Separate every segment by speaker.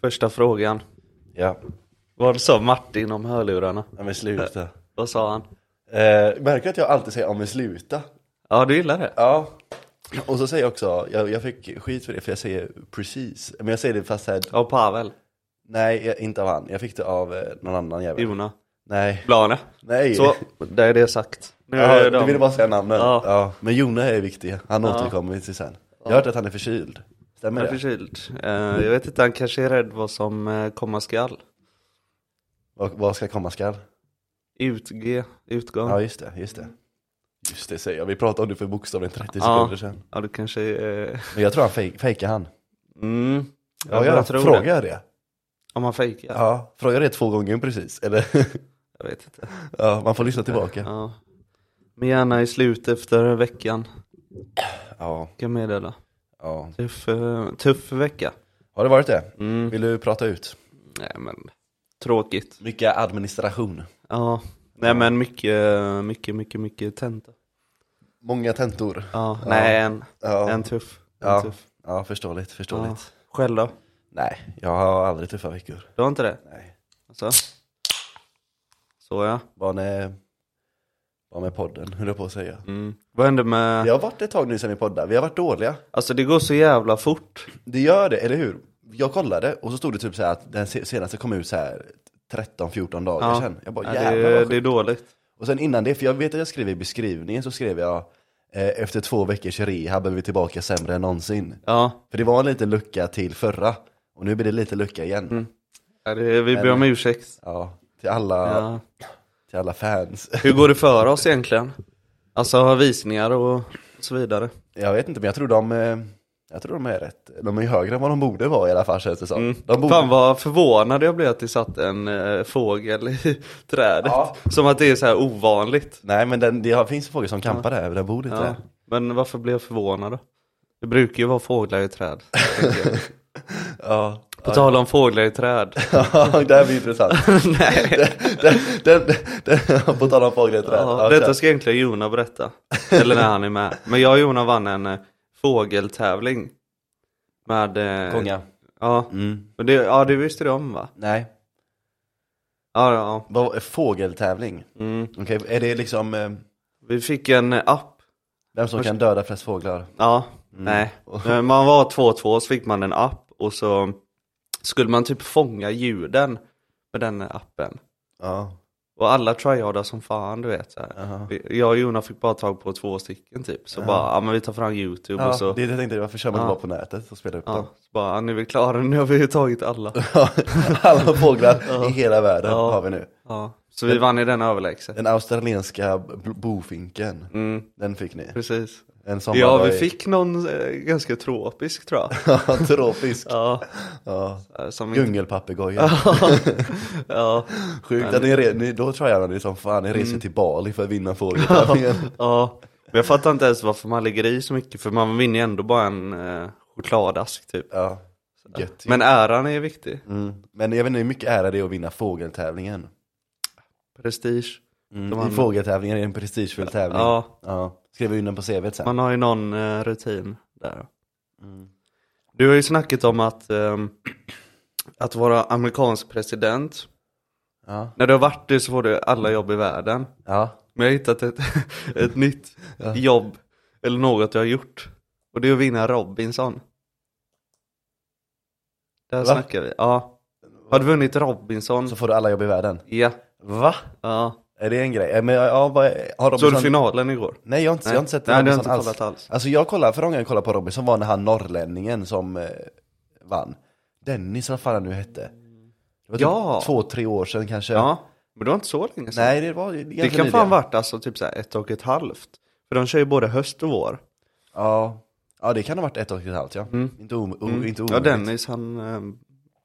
Speaker 1: Första frågan.
Speaker 2: Ja,
Speaker 1: Vad sa Martin om hörlurarna?
Speaker 2: ja men sluta.
Speaker 1: Vad sa han?
Speaker 2: Eh, märker du att jag alltid säger ja men sluta?
Speaker 1: Ja, du gillar det?
Speaker 2: Ja. Och så säger jag också, jag, jag fick skit för det för jag säger precis. Men jag säger det fast såhär,
Speaker 1: Av Pavel?
Speaker 2: nej jag, inte av han. Jag fick det av eh, någon annan jävel.
Speaker 1: Jona?
Speaker 2: Nej.
Speaker 1: Blane?
Speaker 2: Nej.
Speaker 1: Så, där är det sagt. Nu
Speaker 2: Ja,
Speaker 1: är
Speaker 2: du
Speaker 1: de-
Speaker 2: ville bara säga namnen.
Speaker 1: Ja.
Speaker 2: Ja. Men Jona är viktig, han återkommer till sen. Jag har hört att han är förkyld. Stämmer
Speaker 1: Han är
Speaker 2: det?
Speaker 1: förkyld. Eh, jag vet inte, han kanske är rädd vad som eh, komma skall.
Speaker 2: Vad, vad ska komma skall?
Speaker 1: Utg, utgång.
Speaker 2: Ja just det, just det. Just det säger jag, vi pratade om det för bokstavligen 30
Speaker 1: Ja.
Speaker 2: sekunder sedan.
Speaker 1: Ja, du kanske är... eh,
Speaker 2: Men jag tror han fej- fejkar han.
Speaker 1: Mm.
Speaker 2: Ja,
Speaker 1: jag
Speaker 2: jag
Speaker 1: tror
Speaker 2: frågar
Speaker 1: det.
Speaker 2: jag det?
Speaker 1: Om han fejkar?
Speaker 2: Ja, frågar jag det två gånger precis? Eller?
Speaker 1: Jag vet inte.
Speaker 2: ja, man får lyssna tillbaka.
Speaker 1: Ja. Men gärna i slutet efter veckan.
Speaker 2: Ja,
Speaker 1: Kan jag meddela.
Speaker 2: ja.
Speaker 1: Tuff, eh, tuff vecka.
Speaker 2: Har det varit det?
Speaker 1: Mm.
Speaker 2: Vill du prata ut?
Speaker 1: Nej men, tråkigt.
Speaker 2: Mycket administration.
Speaker 1: Ja. Nej men mycket, mycket, mycket, mycket tenta.
Speaker 2: Många tentor.
Speaker 1: Ja, nej en.
Speaker 2: Ja.
Speaker 1: En tuff. En
Speaker 2: Ja,
Speaker 1: tuff.
Speaker 2: ja förståeligt,
Speaker 1: Ja.
Speaker 2: förståeligt.
Speaker 1: Själv då?
Speaker 2: Nej, jag har aldrig tuffa veckor.
Speaker 1: Du har inte det?
Speaker 2: Nej.
Speaker 1: Alltså. Så ja.
Speaker 2: Vad med, vad med podden, höll jag på att säga.
Speaker 1: Mm. Vad hände med...
Speaker 2: Det har varit ett tag nu sedan vi poddade, vi har varit dåliga.
Speaker 1: Alltså det går så jävla fort.
Speaker 2: Det gör det, eller hur? Jag kollade och så stod det typ så här att den se- senaste kom ut så här 13-14 dagar
Speaker 1: Ja.
Speaker 2: sedan. Jag
Speaker 1: Ja,
Speaker 2: bara jävlar
Speaker 1: det,
Speaker 2: vad
Speaker 1: det är
Speaker 2: sjukt.
Speaker 1: dåligt.
Speaker 2: Och sen innan det, för jag vet att jag skrev i beskrivningen så skrev jag eh, efter två veckors rehab är vi tillbaka sämre än någonsin.
Speaker 1: Ja.
Speaker 2: För det var en liten lucka till förra, och nu blir det lite lucka igen.
Speaker 1: Mm. Ja, det, vi ber om ursäkt.
Speaker 2: Ja, till alla,
Speaker 1: Ja.
Speaker 2: till alla fans.
Speaker 1: Hur går det för oss egentligen? Alltså visningar och så vidare.
Speaker 2: Jag vet inte, men jag tror de, eh, jag tror de är rätt. De är högre än vad de borde vara i alla fall känns det som. De borde...
Speaker 1: Mm. Fan vad förvånad jag blev att det satt en eh, fågel i trädet.
Speaker 2: Ja.
Speaker 1: Som att det är så här ovanligt.
Speaker 2: Nej men den, det har- finns fåglar som kampar där, den bor lite
Speaker 1: Ja.
Speaker 2: där.
Speaker 1: Men varför blev jag förvånad då? Det brukar ju vara fåglar i träd. tänker jag.
Speaker 2: Ja,
Speaker 1: På tal om fåglar i träd.
Speaker 2: ja det här blir intressant.
Speaker 1: Nej.
Speaker 2: den, den, den, på tal om fåglar i träd.
Speaker 1: Ja, detta ska egentligen Jona berätta. Eller när han är med. Men jag och Jona vann en eh, fågeltävling. Med... eh,
Speaker 2: Konga.
Speaker 1: Ja.
Speaker 2: Mm.
Speaker 1: Och det, ja, det visste du om va?
Speaker 2: Nej,
Speaker 1: Ja, ja.
Speaker 2: vad, fågeltävling.
Speaker 1: ja. Mm.
Speaker 2: Okej, är det liksom eh,
Speaker 1: Vi fick en eh, app
Speaker 2: vem som kan döda flest fåglar?
Speaker 1: Ja, nej. Men Man var 2-2 så fick man en app och så skulle man typ fånga ljuden med den appen.
Speaker 2: Ja.
Speaker 1: Och alla tryhardade som fan du vet. Så här.
Speaker 2: Jaha.
Speaker 1: Vi- Jag och Jona fick bara tag på två stycken typ. Så bara, ja men vi tar fram youtube
Speaker 2: Ja,
Speaker 1: och så.
Speaker 2: det jag tänkte, varför kör man
Speaker 1: Ja.
Speaker 2: inte bara på nätet och spelar upp
Speaker 1: Ja,
Speaker 2: dem?
Speaker 1: så bara, ja, nu är vi klara, nu har vi ju tagit alla.
Speaker 2: Alla fåglar i hela världen
Speaker 1: Ja.
Speaker 2: har vi nu.
Speaker 1: Ja, så vi vann i den överlägset.
Speaker 2: Den australienska b- bofinken,
Speaker 1: Mm,
Speaker 2: den fick ni.
Speaker 1: precis.
Speaker 2: En sommardag
Speaker 1: Ja, vi
Speaker 2: i-
Speaker 1: fick någon eh, ganska tropisk tror jag.
Speaker 2: Ja, tropisk.
Speaker 1: Ja,
Speaker 2: Ja.
Speaker 1: som inte...
Speaker 2: Djungelpapegojan.
Speaker 1: Ja, Mm.
Speaker 2: Sjukt, att ni, re- ni, då tror jag att ni som fan, ni reser till Bali för att vinna fågeltävlingen.
Speaker 1: Ja, men jag fattar inte ens varför man lägger i så mycket för man vinner ju ändå bara en eh, chokladask typ.
Speaker 2: ja, gött. Men,
Speaker 1: Men äran är viktig.
Speaker 2: mm. Men jag vet inte hur mycket ära det är att vinna fågeltävlingen.
Speaker 1: Prestige.
Speaker 2: Mm.
Speaker 1: De
Speaker 2: I
Speaker 1: andra-
Speaker 2: fågeltävlingen är det en prestigefull tävling.
Speaker 1: Ja,
Speaker 2: Ja. Skriver in den på CVt sen.
Speaker 1: man har ju någon eh, rutin där.
Speaker 2: Mm.
Speaker 1: Du har ju snackat om att, ehm, att vara amerikansk president.
Speaker 2: Ja.
Speaker 1: När du har varit det så får du alla jobb i världen.
Speaker 2: ja.
Speaker 1: Men jag har hittat ett, ett nytt
Speaker 2: Ja.
Speaker 1: jobb, eller något jag har gjort. Och det är att vinna Robinson. Där
Speaker 2: Va?
Speaker 1: snackar vi. Ja. Har du vunnit Robinson?
Speaker 2: Så får du alla jobb i världen.
Speaker 1: Ja.
Speaker 2: Va?
Speaker 1: Ja.
Speaker 2: Är det en grej? Eh, Men, ja, vad, har Robinson...
Speaker 1: Såg du finalen igår?
Speaker 2: Nej jag har inte, jag har inte
Speaker 1: Nej,
Speaker 2: sett
Speaker 1: du har
Speaker 2: Robinson
Speaker 1: inte kollat alls.
Speaker 2: Alltså jag kollade, förra gången jag kollade på Robinson var när han norrlänningen som eh, vann. Dennis, vad fan han nu hette. Det var typ
Speaker 1: Ja.
Speaker 2: två, tre år sedan kanske.
Speaker 1: Ja. Men det var inte så länge sedan.
Speaker 2: Nej det var
Speaker 1: det kan fan varit alltså typ så här ett och ett halvt. För de kör ju både höst och vår.
Speaker 2: Ja. ja, det kan ha varit ett och ett halvt ja. Inte, om, o, inte
Speaker 1: Mm. Ja,
Speaker 2: omöjligt.
Speaker 1: Dennis han eh,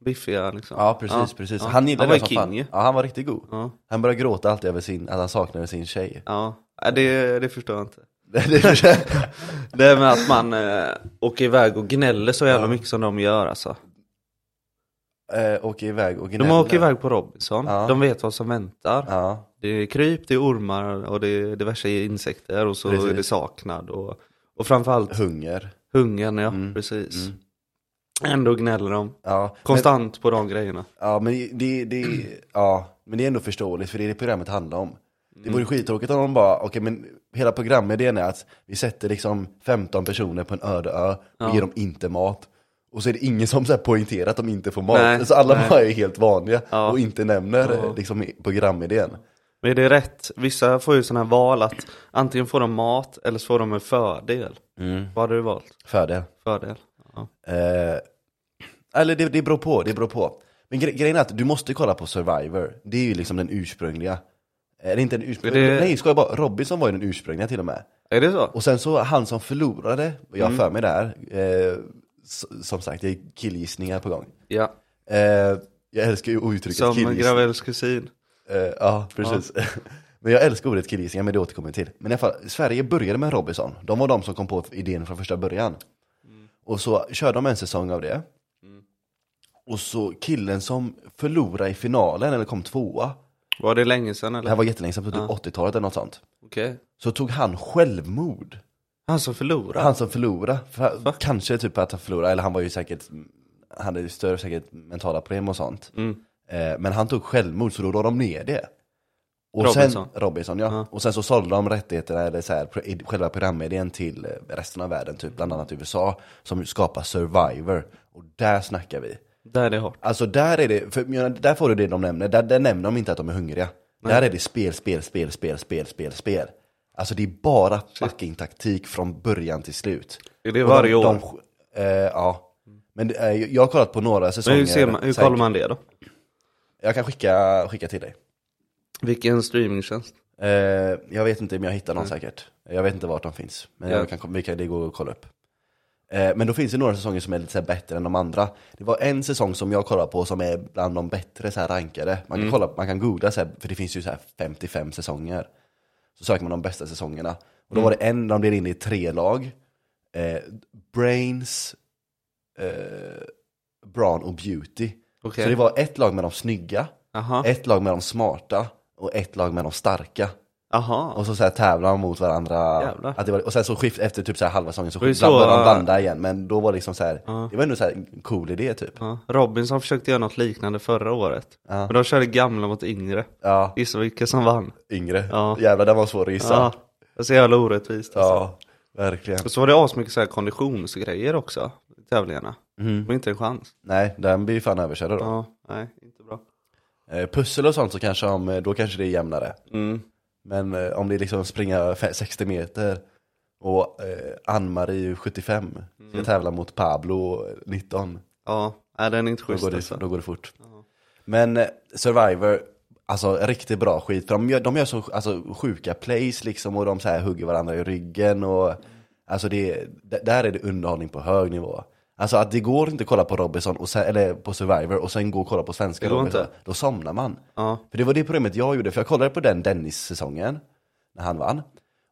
Speaker 1: biffiga liksom.
Speaker 2: Ja precis, precis.
Speaker 1: Ja.
Speaker 2: Han gillade
Speaker 1: han
Speaker 2: det
Speaker 1: var
Speaker 2: som
Speaker 1: ju king
Speaker 2: fan.
Speaker 1: ju.
Speaker 2: Ja, han var riktigt god.
Speaker 1: Ja.
Speaker 2: Han började gråta alltid över sin, att han saknade sin tjej.
Speaker 1: Ja. ja. Det, det förstår jag inte.
Speaker 2: Det är-
Speaker 1: Det är med att man eh, åker iväg och gnäller så jävla mycket som de gör alltså.
Speaker 2: eh, åker iväg och
Speaker 1: De
Speaker 2: gnäller.
Speaker 1: åker iväg på Robinson,
Speaker 2: Ja.
Speaker 1: de vet vad som väntar.
Speaker 2: Ja,
Speaker 1: Det är kryp, det är ormar och det är diverse insekter och så
Speaker 2: Precis.
Speaker 1: är det saknad. Och, och framförallt Mm.
Speaker 2: hunger.
Speaker 1: hungern, ja precis. Ändå gnäller de.
Speaker 2: Ja,
Speaker 1: Konstant på de grejerna.
Speaker 2: Men, ja, men det, det, ja, men det är ändå förståeligt för det är det programmet handlar om.
Speaker 1: Mm.
Speaker 2: Det vore skittråkigt om de bara, okej men hela programidén är att vi sätter liksom 15 personer på en öde ö och
Speaker 1: Ja.
Speaker 2: ger dem inte mat. Och så är det ingen som så här poängterar att de inte får mat.
Speaker 1: Nej,
Speaker 2: så alla
Speaker 1: nej.
Speaker 2: bara är helt vanliga
Speaker 1: Ja.
Speaker 2: och inte nämner
Speaker 1: Ja.
Speaker 2: liksom programidén.
Speaker 1: Men är det rätt? Vissa får ju sådana här val att antingen får de mat eller så får de en fördel.
Speaker 2: Mm.
Speaker 1: Vad hade du valt?
Speaker 2: Fördel.
Speaker 1: Fördel? Ja.
Speaker 2: Eh, eller det, det beror på, det beror på. Men gre- grejen är att du måste kolla på Survivor, det är ju liksom den ursprungliga. Eller inte den ursprungliga,
Speaker 1: Men det-
Speaker 2: nej skojar bara, Robinson var ju den ursprungliga till och med.
Speaker 1: Är det så?
Speaker 2: Och sen så han som förlorade, jag
Speaker 1: Mm.
Speaker 2: har för mig där, eh, s- som sagt det är killgissningar på gång.
Speaker 1: Ja.
Speaker 2: Eh, jag älskar ju uttrycket
Speaker 1: Som
Speaker 2: killgissningar.
Speaker 1: Gravels kusin.
Speaker 2: Eh, ja, precis. men jag älskar ordet killgissningar, men det återkommer vi till. Men i alla fall, Sverige började med Robinson. De var de som kom på idén från första början. Och så körde de en säsong av det. Och så killen som förlorade i finalen, eller kom tvåa,
Speaker 1: Var det länge sedan
Speaker 2: det
Speaker 1: eller?
Speaker 2: här var jättelänge sedan, på typ 80-talet eller något sånt.
Speaker 1: Okej.
Speaker 2: Så tog han självmord.
Speaker 1: Han som förlorade?
Speaker 2: Han som förlorade, för, kanske typ att han förlorade, eller han var ju säkert, han hade ju större säkert mentala problem och sånt.
Speaker 1: Mm.
Speaker 2: Eh, men han tog självmord så då la de ner det. Och
Speaker 1: Robinson.
Speaker 2: Sen, Robinson ja. Och sen så sålde de rättigheterna, eller så här, pro- i- själva programidén till eh, resten av världen, typ bland annat USA, som skapar Survivor. Och där snackar vi.
Speaker 1: Där är det hårt.
Speaker 2: Alltså där är det, för, jag menar, där får du det de nämner, där, där nämner de inte att de är hungriga. Där är det spel, spel, spel, spel, spel, spel, spel. Alltså det är bara fucking taktik från början till slut.
Speaker 1: Är det
Speaker 2: Och de-
Speaker 1: varje år?
Speaker 2: de- eh, ja. Men eh, jag har kollat på några
Speaker 1: Men
Speaker 2: säsonger.
Speaker 1: hur, ser man, hur
Speaker 2: säkert.
Speaker 1: kollar man det då?
Speaker 2: Jag kan skicka, skicka till dig.
Speaker 1: Vilken streamingtjänst?
Speaker 2: Eh, jag vet inte om jag hittar någon säkert. Jag vet inte vart de finns. Men
Speaker 1: Mm. Ja.
Speaker 2: jag kan, vi kan, det går att kolla upp. Eh, men då finns det några säsonger som är lite så här bättre än de andra. Det var en säsong som jag kollade på som är bland de bättre så här rankade. Man kan,
Speaker 1: Mm.
Speaker 2: kolla, man kan googla, så här, för det finns ju så här 55 säsonger. Så söker man de bästa säsongerna. Och
Speaker 1: Mm.
Speaker 2: då var det en, de delade in i tre lag. Eh, brains, eh, Brawn och Beauty.
Speaker 1: Okej.
Speaker 2: Så det var ett lag med de snygga,
Speaker 1: Aha.
Speaker 2: ett lag med de smarta och ett lag med de starka.
Speaker 1: Aha.
Speaker 2: Och så, så här tävlar de mot varandra.
Speaker 1: Jävlar.
Speaker 2: Att det var, och sen så skift efter typ så här halva säsongen så
Speaker 1: ju
Speaker 2: blandade
Speaker 1: så,
Speaker 2: de
Speaker 1: äh,
Speaker 2: blanda igen. Men då var det liksom så här,
Speaker 1: Ja.
Speaker 2: det var ändå så här en cool idé typ.
Speaker 1: Ja. Robinson försökte göra något liknande förra året.
Speaker 2: Ja.
Speaker 1: Men de körde gamla mot yngre.
Speaker 2: Ja,
Speaker 1: Gissa vilka som vann?
Speaker 2: yngre.
Speaker 1: Ja.
Speaker 2: Jävlar den var svår att gissa.
Speaker 1: Ja.
Speaker 2: Ja,
Speaker 1: Det är så jävla orättvist. alltså.
Speaker 2: verkligen.
Speaker 1: Och så var det asmycket så här konditionsgrejer också, i tävlingarna.
Speaker 2: Mm.
Speaker 1: Det var inte en chans.
Speaker 2: Nej, den blir ju fan överkörd då.
Speaker 1: Ja, nej, inte bra.
Speaker 2: Eh, pussel och sånt så kanske de, eh, då kanske det är jämnare.
Speaker 1: Mm.
Speaker 2: Men eh, om det är liksom springa fe- 60 meter och eh, Ann-Marie 75
Speaker 1: Mm.
Speaker 2: ska tävla mot Pablo eh, 19.
Speaker 1: Ja, nej, den är inte
Speaker 2: Då
Speaker 1: schysst
Speaker 2: går, det,
Speaker 1: alltså.
Speaker 2: då går det fort. Men eh, Survivor, alltså riktigt bra skit. För de gör, de gör så alltså, sjuka plays liksom och de så här hugger varandra i ryggen. Och, alltså det, d- där är det underhållning på hög nivå. Alltså att det går inte att kolla på Robinson, och sen, eller på Survivor och sen gå och kolla på svenska
Speaker 1: Det går
Speaker 2: Robinson.
Speaker 1: inte.
Speaker 2: Då somnar man.
Speaker 1: Ja.
Speaker 2: För det var det problemet jag gjorde, för jag kollade på den Dennis-säsongen, när han vann.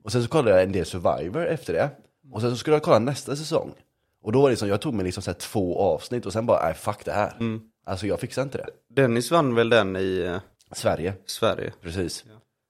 Speaker 2: Och sen så kollade jag en del Survivor efter det. Och sen så skulle jag kolla nästa säsong. Och då var det som, jag tog mig liksom så här två avsnitt och sen bara, nej fuck det här. Alltså jag fixar inte det.
Speaker 1: Dennis vann väl den i eh,
Speaker 2: Sverige,
Speaker 1: Sverige?
Speaker 2: precis.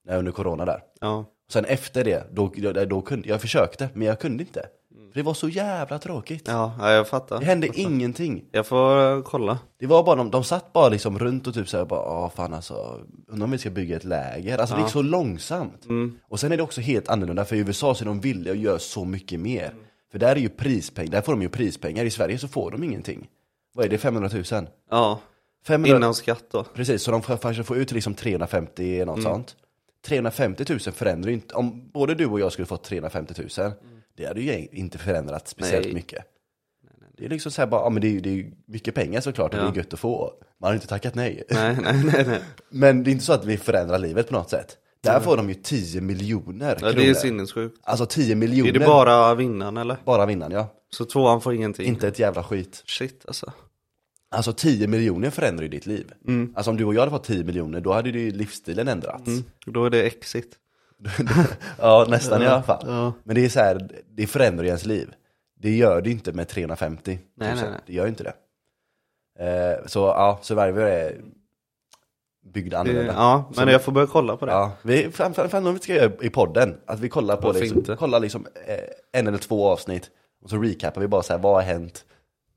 Speaker 2: Nej, under corona där.
Speaker 1: Ja.
Speaker 2: Sen efter det, då, då, då kunde, jag försökte, men jag kunde inte. För det var så jävla tråkigt.
Speaker 1: Ja, ja, jag
Speaker 2: Det
Speaker 1: fattar.
Speaker 2: hände ingenting.
Speaker 1: Jag får eh, kolla.
Speaker 2: Det var bara, de, de satt bara liksom runt och typ såhär bara, ah fan alltså, undrar om vi ska bygga ett läger. Alltså det gick så långsamt. Och sen är det också helt annorlunda, för i USA så är de villiga att göra så mycket mer. För där är ju prispeng, där får de ju prispengar, i Sverige så får de ingenting. Vad är det, 500 000? 500...
Speaker 1: Ja, innan skatt då.
Speaker 2: Precis, så de får- kanske får ut liksom 350 något
Speaker 1: Mm.
Speaker 2: sånt. 350 000 förändrar ju inte, om både du och jag skulle fått 350 000, det hade ju egent- inte förändrat speciellt
Speaker 1: Mm. Nej.
Speaker 2: mycket. Det är liksom såhär bara, ja men det är ju det är ju mycket pengar såklart och det är gött att få. Man har ju inte tackat nej.
Speaker 1: Nej, nej, nej. nej.
Speaker 2: Men det är inte så att vi förändrar livet på något sätt. Där får de ju 10 miljoner
Speaker 1: Ja,
Speaker 2: kronor.
Speaker 1: det är sinnessjukt.
Speaker 2: Alltså 10
Speaker 1: Är
Speaker 2: miljoner,
Speaker 1: det
Speaker 2: bara...
Speaker 1: bara Mm. vinnaren eller?
Speaker 2: vinnaren ja.
Speaker 1: Så tvåan får ingenting?
Speaker 2: Inte ett jävla skit.
Speaker 1: Shit alltså.
Speaker 2: Alltså 10 miljoner förändrar ju ditt liv.
Speaker 1: Mm.
Speaker 2: Alltså om du och jag hade fått 10 miljoner, då hade ju livsstilen ändrats.
Speaker 1: Då är det exit.
Speaker 2: Ja, nästan i alla fall.
Speaker 1: Ja.
Speaker 2: Men det är så här, det förändrar ju ens liv. Det gör det inte med 350
Speaker 1: Nej,
Speaker 2: tusen.
Speaker 1: nej, nej.
Speaker 2: Det gör ju inte det. Eh, så ja, Survivor är byggd
Speaker 1: Det,
Speaker 2: annorlunda.
Speaker 1: ja, men jag får börja kolla på det.
Speaker 2: Ja, vi, framför allt om vi ska göra i podden, att vi kollar på
Speaker 1: Varför
Speaker 2: liksom,
Speaker 1: inte?
Speaker 2: kollar liksom eh, en eller två avsnitt och så recapar vi bara så här, vad har hänt?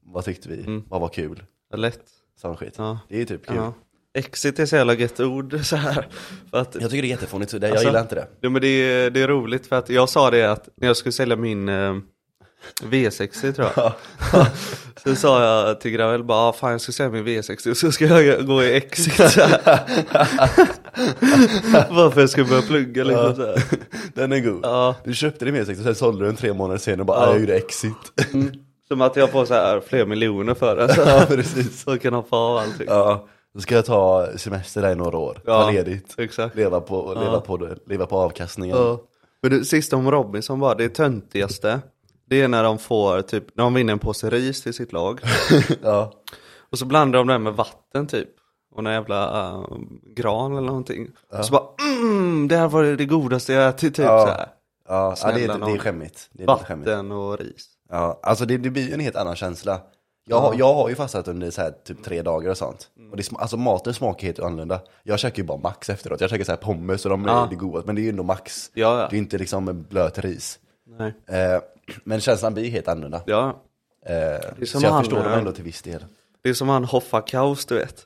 Speaker 2: Vad tyckte vi? Vad var kul?
Speaker 1: Lätt.
Speaker 2: Sån skit.
Speaker 1: Mm. Ja.
Speaker 2: Det är typ kul.
Speaker 1: Ja. Exit är så jävla gött ord så här. För att,
Speaker 2: Jag tycker det är jättefånigt, så det, jag
Speaker 1: Alltså-
Speaker 2: gillar inte det.
Speaker 1: ja, men det, är, det är roligt för att jag sa det att när jag skulle sälja min eh, V60 tror jag. så sa jag till Gravel bara, ah, fan jag ska sälja min V60 och så ska jag gå i exit så här. Bara för jag ska börja plugga liksom så här.
Speaker 2: Den är god.
Speaker 1: Ja.
Speaker 2: Du köpte din V60 och sen sålde du den tre månader senare och bara ja. jag gjorde exit.
Speaker 1: Som att jag får så här flera miljoner för det. Så,
Speaker 2: ja precis.
Speaker 1: så jag kan hoppa av allting.
Speaker 2: Ja. Då ska jag ta semester där i några år, ta
Speaker 1: Ja,
Speaker 2: ledigt,
Speaker 1: exakt.
Speaker 2: leva på, leva, på, det, leva på avkastningen.
Speaker 1: Ja. Men du, sista om Robinson bara, det töntigaste. Det är när de får, typ, när de vinner en påse ris till sitt lag.
Speaker 2: Ja.
Speaker 1: Och så blandar de det med vatten typ. Och någon jävla eh, gran eller någonting. Och så bara, mm, det här var det godaste jag ätit typ
Speaker 2: Ja.
Speaker 1: så här.
Speaker 2: Ja, ja det,
Speaker 1: Snälla
Speaker 2: är, det är
Speaker 1: nån.
Speaker 2: skämmigt. Det är lite skämmigt.
Speaker 1: Vatten och ris.
Speaker 2: Ja, alltså det, det blir ju en helt annan känsla. Jag, har, jag har ju fastnat under så här, typ tre dagar och sånt. Och det, sma- alltså maten smakar helt annorlunda. Jag käkar ju bara max efteråt. Jag käkar så här pommes och de är
Speaker 1: Ja.
Speaker 2: det goda, men det är ju ändå max.
Speaker 1: Ja,
Speaker 2: Det är
Speaker 1: ja.
Speaker 2: ju inte liksom en blöt ris.
Speaker 1: Nej.
Speaker 2: Eh, men känslan blir helt annorlunda.
Speaker 1: ja.
Speaker 2: Eh,
Speaker 1: är
Speaker 2: så
Speaker 1: som
Speaker 2: jag
Speaker 1: han, eh,
Speaker 2: förstår dem
Speaker 1: ja.
Speaker 2: ändå till viss del.
Speaker 1: Det är som han Hoffa-kaos du vet.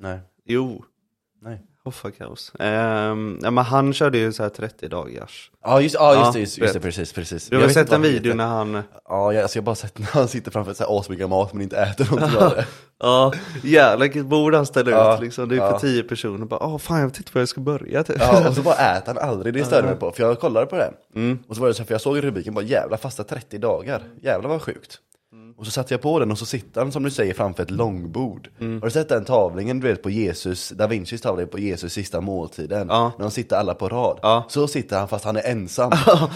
Speaker 2: Nej.
Speaker 1: Jo,
Speaker 2: Nej.
Speaker 1: Hoffa-kaos. Ehm, ja, men han körde ju så här 30 dagars.
Speaker 2: Ja just, ja, just, det,
Speaker 1: Ja,
Speaker 2: just, just det,
Speaker 1: vet.
Speaker 2: precis, precis.
Speaker 1: Du
Speaker 2: Jag
Speaker 1: har
Speaker 2: vet
Speaker 1: sett
Speaker 2: inte
Speaker 1: en
Speaker 2: vad han
Speaker 1: video
Speaker 2: heter.
Speaker 1: när han
Speaker 2: Ja, jag, alltså, jag har bara sett när han sitter framför så här asmycket mat men inte äter någonting av det.
Speaker 1: Ja, jävlar vilket bord han ställer
Speaker 2: Ja,
Speaker 1: ut liksom. Det är
Speaker 2: ja.
Speaker 1: för tio personer. Bara, Åh, fan jag vet inte var jag ska börja typ.
Speaker 2: Ja, och så bara äter han aldrig, det störde mig på. För jag kollade på det. Mm. Och så var det så här, för jag såg rubriken bara jävla fasta 30 dagar. Jävlar vad sjukt.
Speaker 1: Mm.
Speaker 2: Och så satte jag på den och så sitter han som du säger framför ett långbord.
Speaker 1: Mm.
Speaker 2: Har du sett den tavlingen du vet på Jesus, da Vincis tavling på Jesus sista måltiden?
Speaker 1: Ja.
Speaker 2: När de sitter alla på rad.
Speaker 1: Ja.
Speaker 2: Så sitter han fast han är ensam.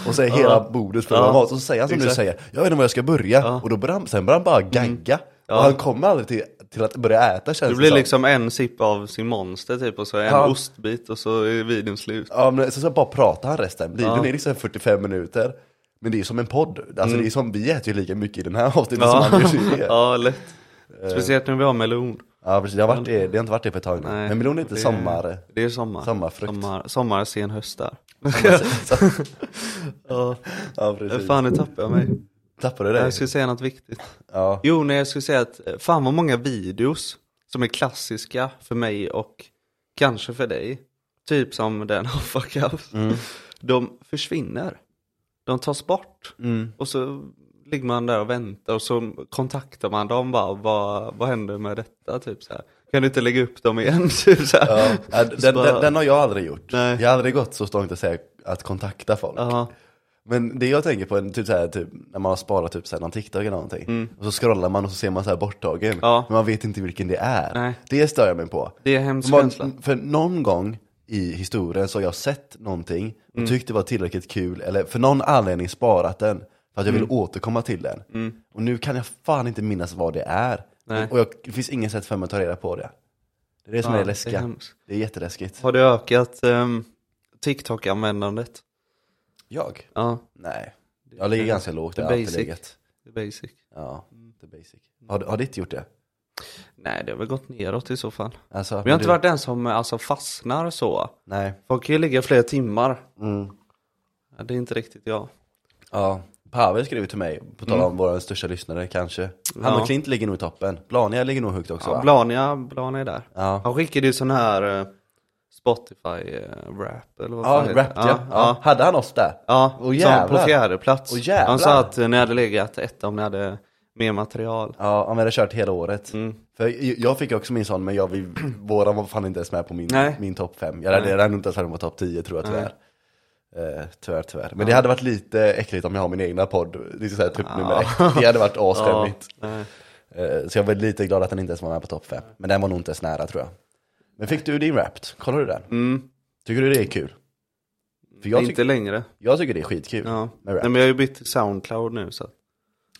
Speaker 2: Och så är hela bordet fullt av
Speaker 1: Ja.
Speaker 2: mat. Och så säger han som du
Speaker 1: Exakt.
Speaker 2: säger, jag vet inte var jag ska börja. Och då börjar han, sen börjar han bara gagga. Och han kommer aldrig till, till att börja äta känns
Speaker 1: Det Mm. blir
Speaker 2: som.
Speaker 1: liksom en sipp av sin monster typ och så en
Speaker 2: Ja.
Speaker 1: ostbit och så är videon slut.
Speaker 2: Ja, men så, så bara pratar han resten. Videon är liksom 45 minuter. Men det är ju som en podd. Alltså det är som, vi äter ju lika mycket i den här avsnittet som Anders gjorde. Ja.
Speaker 1: Mm. ja, lätt.
Speaker 2: Eh.
Speaker 1: Speciellt när vi har melon.
Speaker 2: precis. Det har, varit det, det har inte varit det på ett tag nu.
Speaker 1: Nej,
Speaker 2: men melon är inte
Speaker 1: det-
Speaker 2: sommar...
Speaker 1: Det är sommar.
Speaker 2: Sommarfrukt.
Speaker 1: Sommar, sommar sen höst där. ja,
Speaker 2: Ja, precis.
Speaker 1: fan nu tappade jag
Speaker 2: Mm.
Speaker 1: mig.
Speaker 2: Tappade du det?
Speaker 1: Jag skulle säga något viktigt.
Speaker 2: Ja.
Speaker 1: Jo, nej jag skulle säga att eh, fan vad många videos som är klassiska för mig och kanske för dig. Typ som den Hoffa Cups.
Speaker 2: Mm.
Speaker 1: De försvinner. De tas bort.
Speaker 2: Mm.
Speaker 1: Och så ligger man där och väntar och så kontaktar man dem bara, vad, vad händer med detta? Typ så här. Kan du inte lägga upp dem igen? Typ så här.
Speaker 2: Ja, ja,
Speaker 1: Så
Speaker 2: den,
Speaker 1: bara-
Speaker 2: den, den har jag aldrig gjort.
Speaker 1: Nej.
Speaker 2: Jag har aldrig gått så långt att säga att kontakta folk.
Speaker 1: Ja,
Speaker 2: Men det jag tänker på, är typ så här, typ, när man har sparat typ så här, någon TikTok eller någonting. Och så scrollar man och så ser man så här borttagen.
Speaker 1: Mm. Ja.
Speaker 2: Men man vet inte vilken det är.
Speaker 1: Nej.
Speaker 2: Det stör jag mig på.
Speaker 1: det är hemskt
Speaker 2: Man,
Speaker 1: känsla.
Speaker 2: för någon gång i historien så har jag sett någonting och
Speaker 1: Mm.
Speaker 2: tyckt det var tillräckligt kul, eller för någon anledning sparat den. För att jag vill
Speaker 1: Mm.
Speaker 2: återkomma till den. Och nu kan jag fan inte minnas vad det är.
Speaker 1: Nej.
Speaker 2: Och jag, det finns inget sätt för mig att ta reda på det. Det är det som
Speaker 1: Ja,
Speaker 2: är läskiga.
Speaker 1: det
Speaker 2: Det
Speaker 1: är
Speaker 2: är,
Speaker 1: hemskt.
Speaker 2: jätteläskigt.
Speaker 1: Har det ökat ehm, TikTok-användandet?
Speaker 2: Jag?
Speaker 1: Ja,
Speaker 2: Nej. Jag ligger ganska lågt, det har
Speaker 1: Det är
Speaker 2: alltid
Speaker 1: basic. Mm.
Speaker 2: legat.
Speaker 1: det är basic.
Speaker 2: Ja, det är basic. Har, har ditt gjort det?
Speaker 1: Nej, det har väl gått neråt i så fall.
Speaker 2: Alltså,
Speaker 1: Men jag har inte
Speaker 2: du-
Speaker 1: varit den som eh, alltså, fastnar så.
Speaker 2: Nej.
Speaker 1: Folk kan ju ligga flera timmar. Ja, det är inte riktigt jag.
Speaker 2: Ja, Pavel skrev till mig, på tal om våra största lyssnare kanske. Han
Speaker 1: Mm. Ja.
Speaker 2: och Klint ligger nog i toppen. Blania ligger nog högt också
Speaker 1: Ja,
Speaker 2: va?
Speaker 1: Blania, Blania är där.
Speaker 2: Ja.
Speaker 1: Han skickade ju sån här eh, Spotify-rap eller vad
Speaker 2: Ja,
Speaker 1: fan heter
Speaker 2: rap
Speaker 1: det?
Speaker 2: ja. Ja. Hade han oss där?
Speaker 1: Ja,
Speaker 2: Och
Speaker 1: som på
Speaker 2: jävlar.
Speaker 1: fjärde plats.
Speaker 2: Och jävlar.
Speaker 1: Han sa att eh, ni hade legat ett om ni hade mer material.
Speaker 2: Ja, han hade kört hela året.
Speaker 1: Mm.
Speaker 2: För jag- jag fick också min sån, men jag, vi, våran var fan inte ens med på min,
Speaker 1: Nej.
Speaker 2: min topp 5. Jag hade jag hade nog inte ens varit på topp 10 tror jag tyvärr. Eh, tyvärr, tyvärr. Men det hade varit lite äckligt om jag har min egna podd, det är så här, typ nummer ett. Det hade varit asskämmigt.
Speaker 1: nej.
Speaker 2: Eh, så jag var lite glad att den inte ens var med på topp 5. Men den var nog inte ens nära tror jag. Men fick du din Wrapped? Kollar du den?
Speaker 1: Mm,
Speaker 2: Tycker du det är kul? För
Speaker 1: jag
Speaker 2: jag,
Speaker 1: inte
Speaker 2: tyck-
Speaker 1: längre.
Speaker 2: jag tycker det är skitkul.
Speaker 1: Ja.
Speaker 2: Med
Speaker 1: Nej,
Speaker 2: Wrapped.
Speaker 1: men jag har ju bytt till Soundcloud nu så att,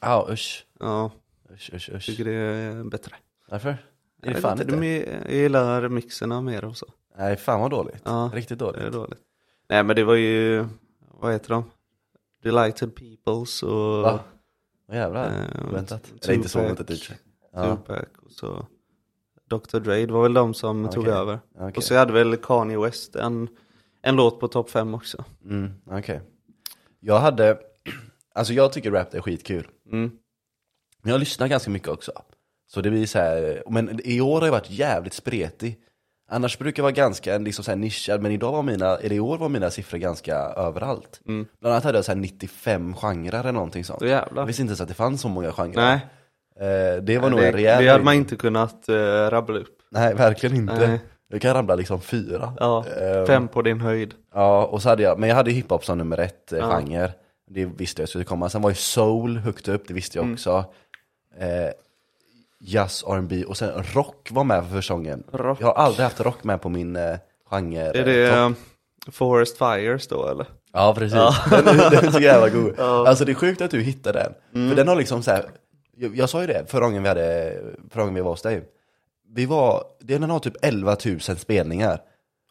Speaker 2: Ja, usch.
Speaker 1: ja,
Speaker 2: Usch, usch, usch.
Speaker 1: tycker det är bättre.
Speaker 2: Varför? Det
Speaker 1: Jag
Speaker 2: är
Speaker 1: vet
Speaker 2: fan inte.
Speaker 1: de är- Jag gillar remixerna mer och så.
Speaker 2: Nej, fan vad dåligt.
Speaker 1: Ja.
Speaker 2: Riktigt
Speaker 1: Det är
Speaker 2: dåligt.
Speaker 1: dåligt. Nej men det var ju, vad heter de? Delighted Peoples och
Speaker 2: Va? Vad jävlar.
Speaker 1: Eh,
Speaker 2: Oväntat.
Speaker 1: Tupac.
Speaker 2: Eller inte så oväntat
Speaker 1: typ.
Speaker 2: i och för sig. Ja.
Speaker 1: Tupac och så Dr Dre, det var väl de som tog
Speaker 2: Okej.
Speaker 1: över.
Speaker 2: Okej.
Speaker 1: Och så hade väl Kanye West en, en låt på topp 5 också.
Speaker 2: Mm, okej. Jag hade, alltså jag tycker rap är skitkul.
Speaker 1: Mm.
Speaker 2: Men jag lyssnar ganska mycket också. Så det blir så här, men i år har jag varit jävligt spretig. Annars brukar jag vara ganska liksom så här nischad, men idag var mina, eller i år var mina siffror ganska överallt. Bland annat hade jag så här 95 genrer eller någonting sånt.
Speaker 1: Då Mm. jävlar.
Speaker 2: Jag visste inte ens att det fanns så många genrer.
Speaker 1: Nej,
Speaker 2: Eh, det var nog
Speaker 1: det,
Speaker 2: en rejäl
Speaker 1: det hade
Speaker 2: höjning.
Speaker 1: man inte kunnat eh, rabbla upp.
Speaker 2: Nej, verkligen inte.
Speaker 1: Nej.
Speaker 2: Jag kan rabbla liksom fyra.
Speaker 1: Ja,
Speaker 2: Eh,
Speaker 1: fem på din höjd.
Speaker 2: Ja, och så hade jag, men jag hade ju hiphop som nummer ett eh, genre. Det visste jag skulle komma. Sen var ju soul högt upp, det visste
Speaker 1: Mm.
Speaker 2: jag också. Eh, jazz, R&B och sen rock var med för första gången.
Speaker 1: Rock.
Speaker 2: Jag har aldrig haft rock med på min eh, genre.
Speaker 1: Är det
Speaker 2: topp.
Speaker 1: eh, Forest Fires då eller?
Speaker 2: Ja, precis. Den, är- den är så jävla god. Alltså det är sjukt att du hittade den.
Speaker 1: Mm.
Speaker 2: För den har liksom så här, jag, jag sa ju det förra gången vi, hade, förra gången vi var hos dig. Vi var, den har typ 11 000 spelningar.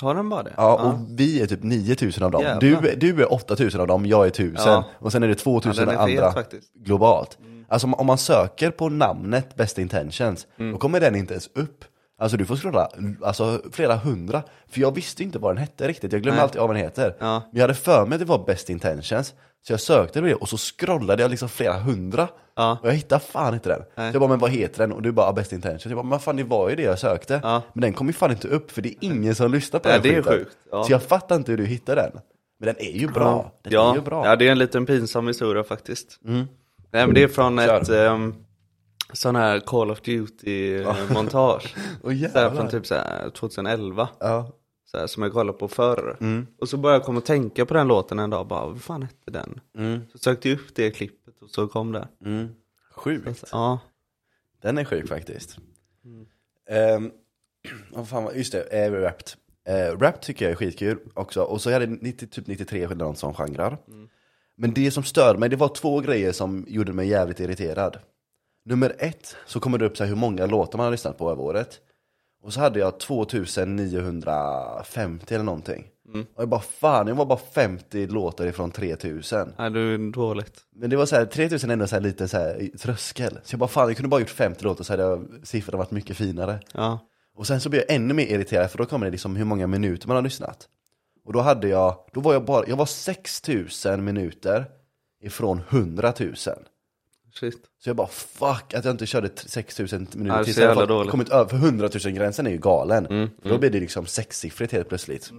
Speaker 1: Har den bara det?
Speaker 2: Ja, och vi är typ 9000 av dem.
Speaker 1: Jävlar.
Speaker 2: Du, du är 8000 av dem, jag är 1000.
Speaker 1: Ja.
Speaker 2: Och sen är det 2000
Speaker 1: Ja, den är fet
Speaker 2: andra
Speaker 1: faktiskt.
Speaker 2: globalt. Alltså om- om man söker på namnet Best Intentions, då kommer den inte ens upp. Alltså du får scrolla alltså, flera hundra. För jag visste inte vad den hette riktigt, jag glömmer alltid av vad den heter.
Speaker 1: Ja.
Speaker 2: Men jag hade för mig att det var Best Intentions. Så jag sökte på det och så scrollade jag liksom flera hundra.
Speaker 1: Ja.
Speaker 2: Och jag hittade fan inte den. Så jag bara, men vad heter den? Och du bara, "Ah, Best Intentions. Jag bara, men fan det var ju det jag sökte.
Speaker 1: Ja.
Speaker 2: Men den kom ju fan inte upp för det är ingen som lyssnar på
Speaker 1: Nej,
Speaker 2: den
Speaker 1: det är
Speaker 2: skiten.
Speaker 1: sjukt, ja.
Speaker 2: Så jag fattar inte hur du hittar den. Men den är ju bra. Den
Speaker 1: ja.
Speaker 2: är ju bra.
Speaker 1: ja, det är Mm. en liten pinsam historia faktiskt. Nej men det är från
Speaker 2: Kör.
Speaker 1: ett um, sån här Call of Duty-montage.
Speaker 2: Åh,
Speaker 1: så här
Speaker 2: jävlar.
Speaker 1: från typ så här 2011.
Speaker 2: ja.
Speaker 1: Så här, som jag kollade på förr. Och så började jag komma och tänka på den låten en dag, bara vad fan hette den? Så sökte jag upp det klippet och så kom det.
Speaker 2: Sjukt.
Speaker 1: Ja,
Speaker 2: Mm. Den är sjuk faktiskt. Ehm, vad fan, var- just det, uh, Wrapped. Eh, rap tycker jag är skitkul också. Och så är det 90, typ 93 eller något som genrer. Men det som stör mig, det var två grejer som gjorde mig jävligt irriterad. Nummer ett, så kommer det upp så här hur många låtar man har lyssnat på över året. Och så hade jag 2950 eller någonting. Och jag bara fan, jag var bara 50 låtar ifrån 3000.
Speaker 1: nej det är dåligt.
Speaker 2: Men det var så här, 3000 är ändå så här lite så här tröskel. Så jag bara fan, jag kunde bara gjort 50 låtar så hade jag, siffrorna varit mycket finare.
Speaker 1: Ja,
Speaker 2: Och sen så blev jag ännu mer irriterad för då kommer det liksom hur många minuter man har lyssnat. Och då hade jag, då var jag bara, jag var 6000 minuter ifrån 100 000.
Speaker 1: shit.
Speaker 2: Så jag bara fuck att jag inte körde t- 6000
Speaker 1: Ja, det
Speaker 2: minuter
Speaker 1: är
Speaker 2: tills
Speaker 1: så
Speaker 2: jag
Speaker 1: jävla
Speaker 2: hade fått-
Speaker 1: dåligt. Mm,
Speaker 2: kommit över, för 100 000 gränsen är ju galen. För då blir det liksom sexsiffrigt helt plötsligt.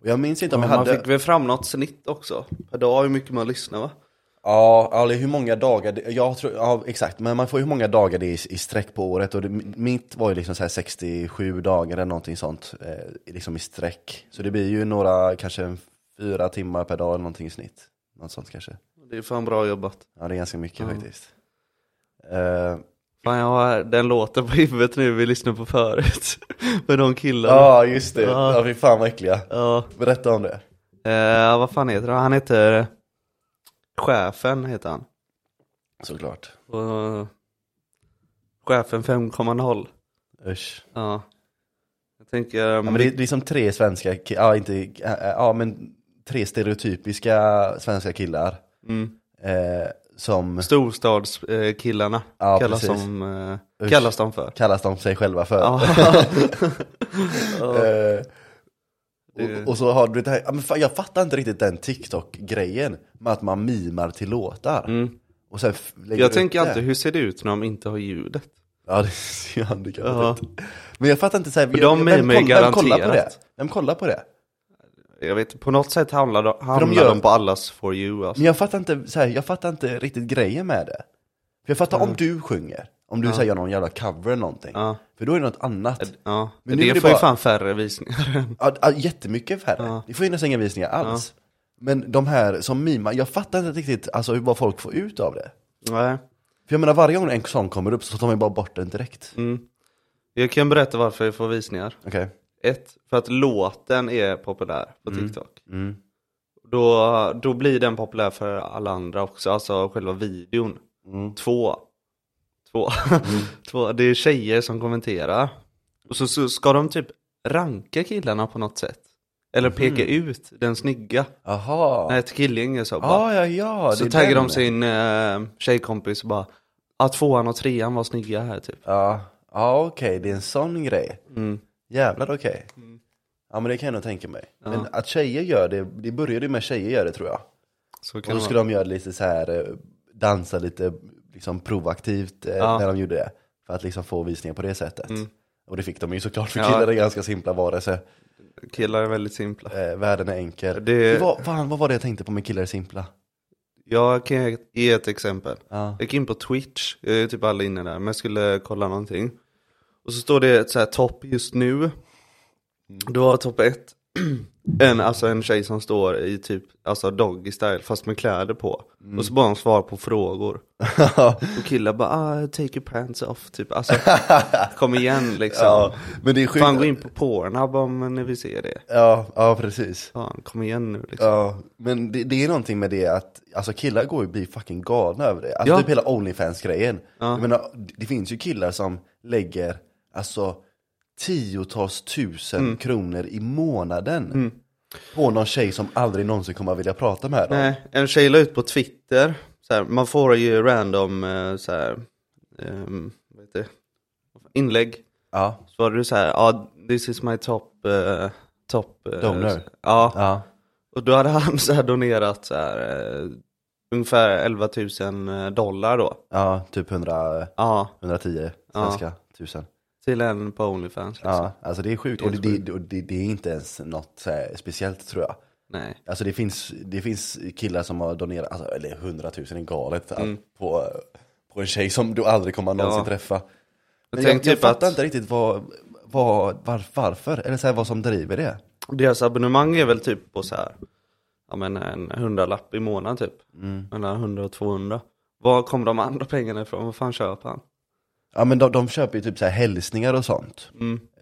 Speaker 2: Och jag minns inte om
Speaker 1: Men
Speaker 2: jag
Speaker 1: man
Speaker 2: hade...
Speaker 1: fick väl fram något snitt också, per dag hur mycket man lyssnar va?
Speaker 2: Ja, eller hur många dagar, det- jag tror, ja, exakt, men man får ju hur många dagar det är i, i sträck på året och det, mitt var ju liksom så här 67 dagar eller någonting sånt, eh, liksom i sträck. Så det blir ju några, kanske en fyra timmar per dag eller någonting i snitt. Något sånt kanske.
Speaker 1: Det är fan bra jobbat.
Speaker 2: Ja, det är ganska mycket faktiskt. Eh,
Speaker 1: Fan jag har den låten på huvudet nu vi lyssnade på förut. Med de killarna. Ja.
Speaker 2: Ja, just det.
Speaker 1: Ja.
Speaker 2: Ja, fy fan vad äckliga. Berätta om det.
Speaker 1: Eh, vad fan heter han? Han heter... Chefen heter han.
Speaker 2: Såklart.
Speaker 1: Och... Chefen 5,0.
Speaker 2: Usch.
Speaker 1: Ja. Jag tänker... ehm,
Speaker 2: Ja, men det, är- det är som tre svenska, ki- ja inte, ja, ja men tre stereotypiska svenska killar.
Speaker 1: mm,
Speaker 2: Eh, som
Speaker 1: storstadskillarna
Speaker 2: Ja,
Speaker 1: kallas,
Speaker 2: precis.
Speaker 1: de, eh,
Speaker 2: Usch.
Speaker 1: kallas de för.
Speaker 2: kallas de sig själva för.
Speaker 1: Ja.
Speaker 2: Eh,
Speaker 1: Det-
Speaker 2: och, och så har du det här, ja, men fan, jag fattar inte riktigt den TikTok-grejen med att man mimar till låtar.
Speaker 1: Mm.
Speaker 2: Och sen f- lägger
Speaker 1: Jag
Speaker 2: du
Speaker 1: tänker
Speaker 2: upp det.
Speaker 1: alltid, hur ser det ut när de inte har ljudet?
Speaker 2: Ja, det ser ju handikappat
Speaker 1: Ja.
Speaker 2: ut. Men jag fattar inte, så här,
Speaker 1: För de
Speaker 2: vem,
Speaker 1: mimar ju
Speaker 2: koll- vem kollar på det?
Speaker 1: garanterat.
Speaker 2: Vem kollar på det?
Speaker 1: Jag vet på något sätt handlar de, hamnar
Speaker 2: gör-
Speaker 1: de på allas for you alltså.
Speaker 2: Men jag fattar inte, så här, jag fattar inte riktigt grejen med det. För jag fattar om du sjunger, om du säger gör någon jävla cover eller någonting.
Speaker 1: Ja.
Speaker 2: För då är det något annat.
Speaker 1: Ja,
Speaker 2: Men
Speaker 1: men
Speaker 2: nu
Speaker 1: det
Speaker 2: är det
Speaker 1: får
Speaker 2: bara-
Speaker 1: ju fan färre visningar än.
Speaker 2: Ja, ja, jättemycket färre.
Speaker 1: Ja.
Speaker 2: Det får ju nästan inga visningar alls. Men de här som mimar, jag fattar inte riktigt alltså, vad folk får ut av det.
Speaker 1: Nej.
Speaker 2: För jag menar varje gång en sång kommer upp så tar man ju bara bort den
Speaker 1: Mm.
Speaker 2: direkt.
Speaker 1: Jag kan berätta varför jag får visningar.
Speaker 2: Okej.
Speaker 1: Ett, för att låten är populär på
Speaker 2: Mm.
Speaker 1: TikTok. Då, då blir den populär för alla andra också, alltså själva videon.
Speaker 2: Mm.
Speaker 1: Två, två. två, det är tjejer som kommenterar. Och så, så ska de typ ranka killarna på något sätt. Eller
Speaker 2: Mm.
Speaker 1: peka ut den snygga.
Speaker 2: Jaha.
Speaker 1: När ett killgäng så bara,
Speaker 2: Ja, ja, ja. det
Speaker 1: Så
Speaker 2: är
Speaker 1: taggar
Speaker 2: den.
Speaker 1: de sin eh, tjejkompis och bara Ja tvåan och trean var snygga här typ
Speaker 2: Ja, ja okej, det är en sån grej.
Speaker 1: mm.
Speaker 2: Jävlar okej. Ja men det kan jag nog tänka mig. Men att tjejer gör det, det började ju med tjejer gör det tror jag.
Speaker 1: Så kan
Speaker 2: Och då
Speaker 1: det
Speaker 2: skulle de göra lite så här eh, dansa lite liksom proaktivt eh,
Speaker 1: Ja.
Speaker 2: när de gjorde det. För att liksom få visningar på det sättet.
Speaker 1: Mm.
Speaker 2: Och det fick de ju såklart, för
Speaker 1: Ja.
Speaker 2: killar är ganska simpla varelser.
Speaker 1: Killar är väldigt simpla.
Speaker 2: Eh, världen är enkel.
Speaker 1: Det-
Speaker 2: Det... Var, fan, vad var det jag tänkte på med killar är simpla?
Speaker 1: Jag kan ge ett exempel.
Speaker 2: Ja.
Speaker 1: Jag gick in på Twitch, jag är typ aldrig inne där, men jag skulle kolla någonting. Och så står det ett så här topp just nu. Då var topp ett en, alltså en tjej som står i typ alltså doggy style fast med kläder på.
Speaker 2: Mm.
Speaker 1: Och så bara hon svarar på frågor. Och killar bara ah, take your pants off typ. Alltså kom igen liksom.
Speaker 2: ja, men det är
Speaker 1: Fan gå
Speaker 2: sjukt.
Speaker 1: in på Pornhub om ni vill se det.
Speaker 2: Ja, ja, precis.
Speaker 1: Fan kom igen nu liksom.
Speaker 2: Ja, men det, det är någonting med det att alltså killar går ju bli fucking galna över det. Alltså
Speaker 1: Ja.
Speaker 2: typ hela Onlyfans-grejen. Jag menar, det det finns ju killar som lägger alltså tiotals tusen
Speaker 1: Mm.
Speaker 2: kronor i månaden på någon tjej som aldrig någonsin kommer att vilja prata med dem.
Speaker 1: Nej, en tjej la ut på Twitter, så här, man får ju random eh, så här, ehm, vad heter det? inlägg.
Speaker 2: Ja,
Speaker 1: Så var det så här, ja this is my top, eh, top eh,
Speaker 2: Donor.
Speaker 1: Ja,
Speaker 2: ja,
Speaker 1: och då hade han så här donerat så här, eh, ungefär 11 000 dollar då.
Speaker 2: ja typ 100,
Speaker 1: Ja,
Speaker 2: 110
Speaker 1: Ja.
Speaker 2: svenska tusen.
Speaker 1: till en på Onlyfans liksom.
Speaker 2: Ja, alltså det är sjukt.
Speaker 1: Det är
Speaker 2: Och det, det, och det, det är inte ens något så här, speciellt tror jag.
Speaker 1: Nej.
Speaker 2: Alltså det finns, det finns killar som har donerat, alltså, eller hundratusen är galet, att- på, på en tjej som du aldrig kommer att någonsin
Speaker 1: Mm. Ja.
Speaker 2: träffa. Men
Speaker 1: tänk
Speaker 2: jag, jag
Speaker 1: typ
Speaker 2: fattar
Speaker 1: att-
Speaker 2: inte riktigt vad, vad, var, varför, eller så här, vad som driver det.
Speaker 1: Deras abonnemang är väl typ på så här, ja men en hundralapp i månaden typ.
Speaker 2: Mm.
Speaker 1: Mellan 100 och 200. Var kom de andra pengarna ifrån? Vad fan köper han?
Speaker 2: Ja men de, de köper ju typ så här hälsningar och sånt.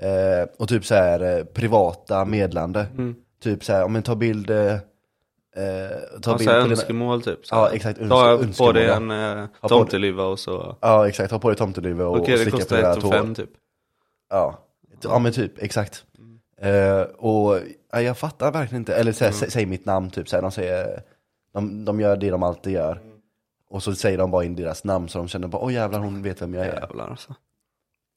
Speaker 2: Eh, och typ så här eh, privata medlande.
Speaker 1: Mm.
Speaker 2: Typ så här, om man tar bild, eh, eh, tar
Speaker 1: Alltså
Speaker 2: bild på dina-
Speaker 1: önskemål typ. Så.
Speaker 2: Ja, exakt,
Speaker 1: Ta
Speaker 2: öns-
Speaker 1: jag på
Speaker 2: önskemål,
Speaker 1: dig
Speaker 2: ja.
Speaker 1: en eh,
Speaker 2: på
Speaker 1: tomteluva och så.
Speaker 2: Ja exakt, ha på dig tomteluva och,
Speaker 1: Okej,
Speaker 2: och
Speaker 1: det
Speaker 2: slicka på
Speaker 1: kostar
Speaker 2: dina
Speaker 1: ett och
Speaker 2: tår.
Speaker 1: fem typ.
Speaker 2: Ja, ja men typ, exakt. Eh, och ja, jag fattar verkligen inte, eller såhär, sä- säg mitt namn typ, såhär, de, säger, de, de gör det de alltid gör. Och så säger de bara in deras namn så de känner bara, åh jävlar hon vet vem jag är.
Speaker 1: Jävlar alltså.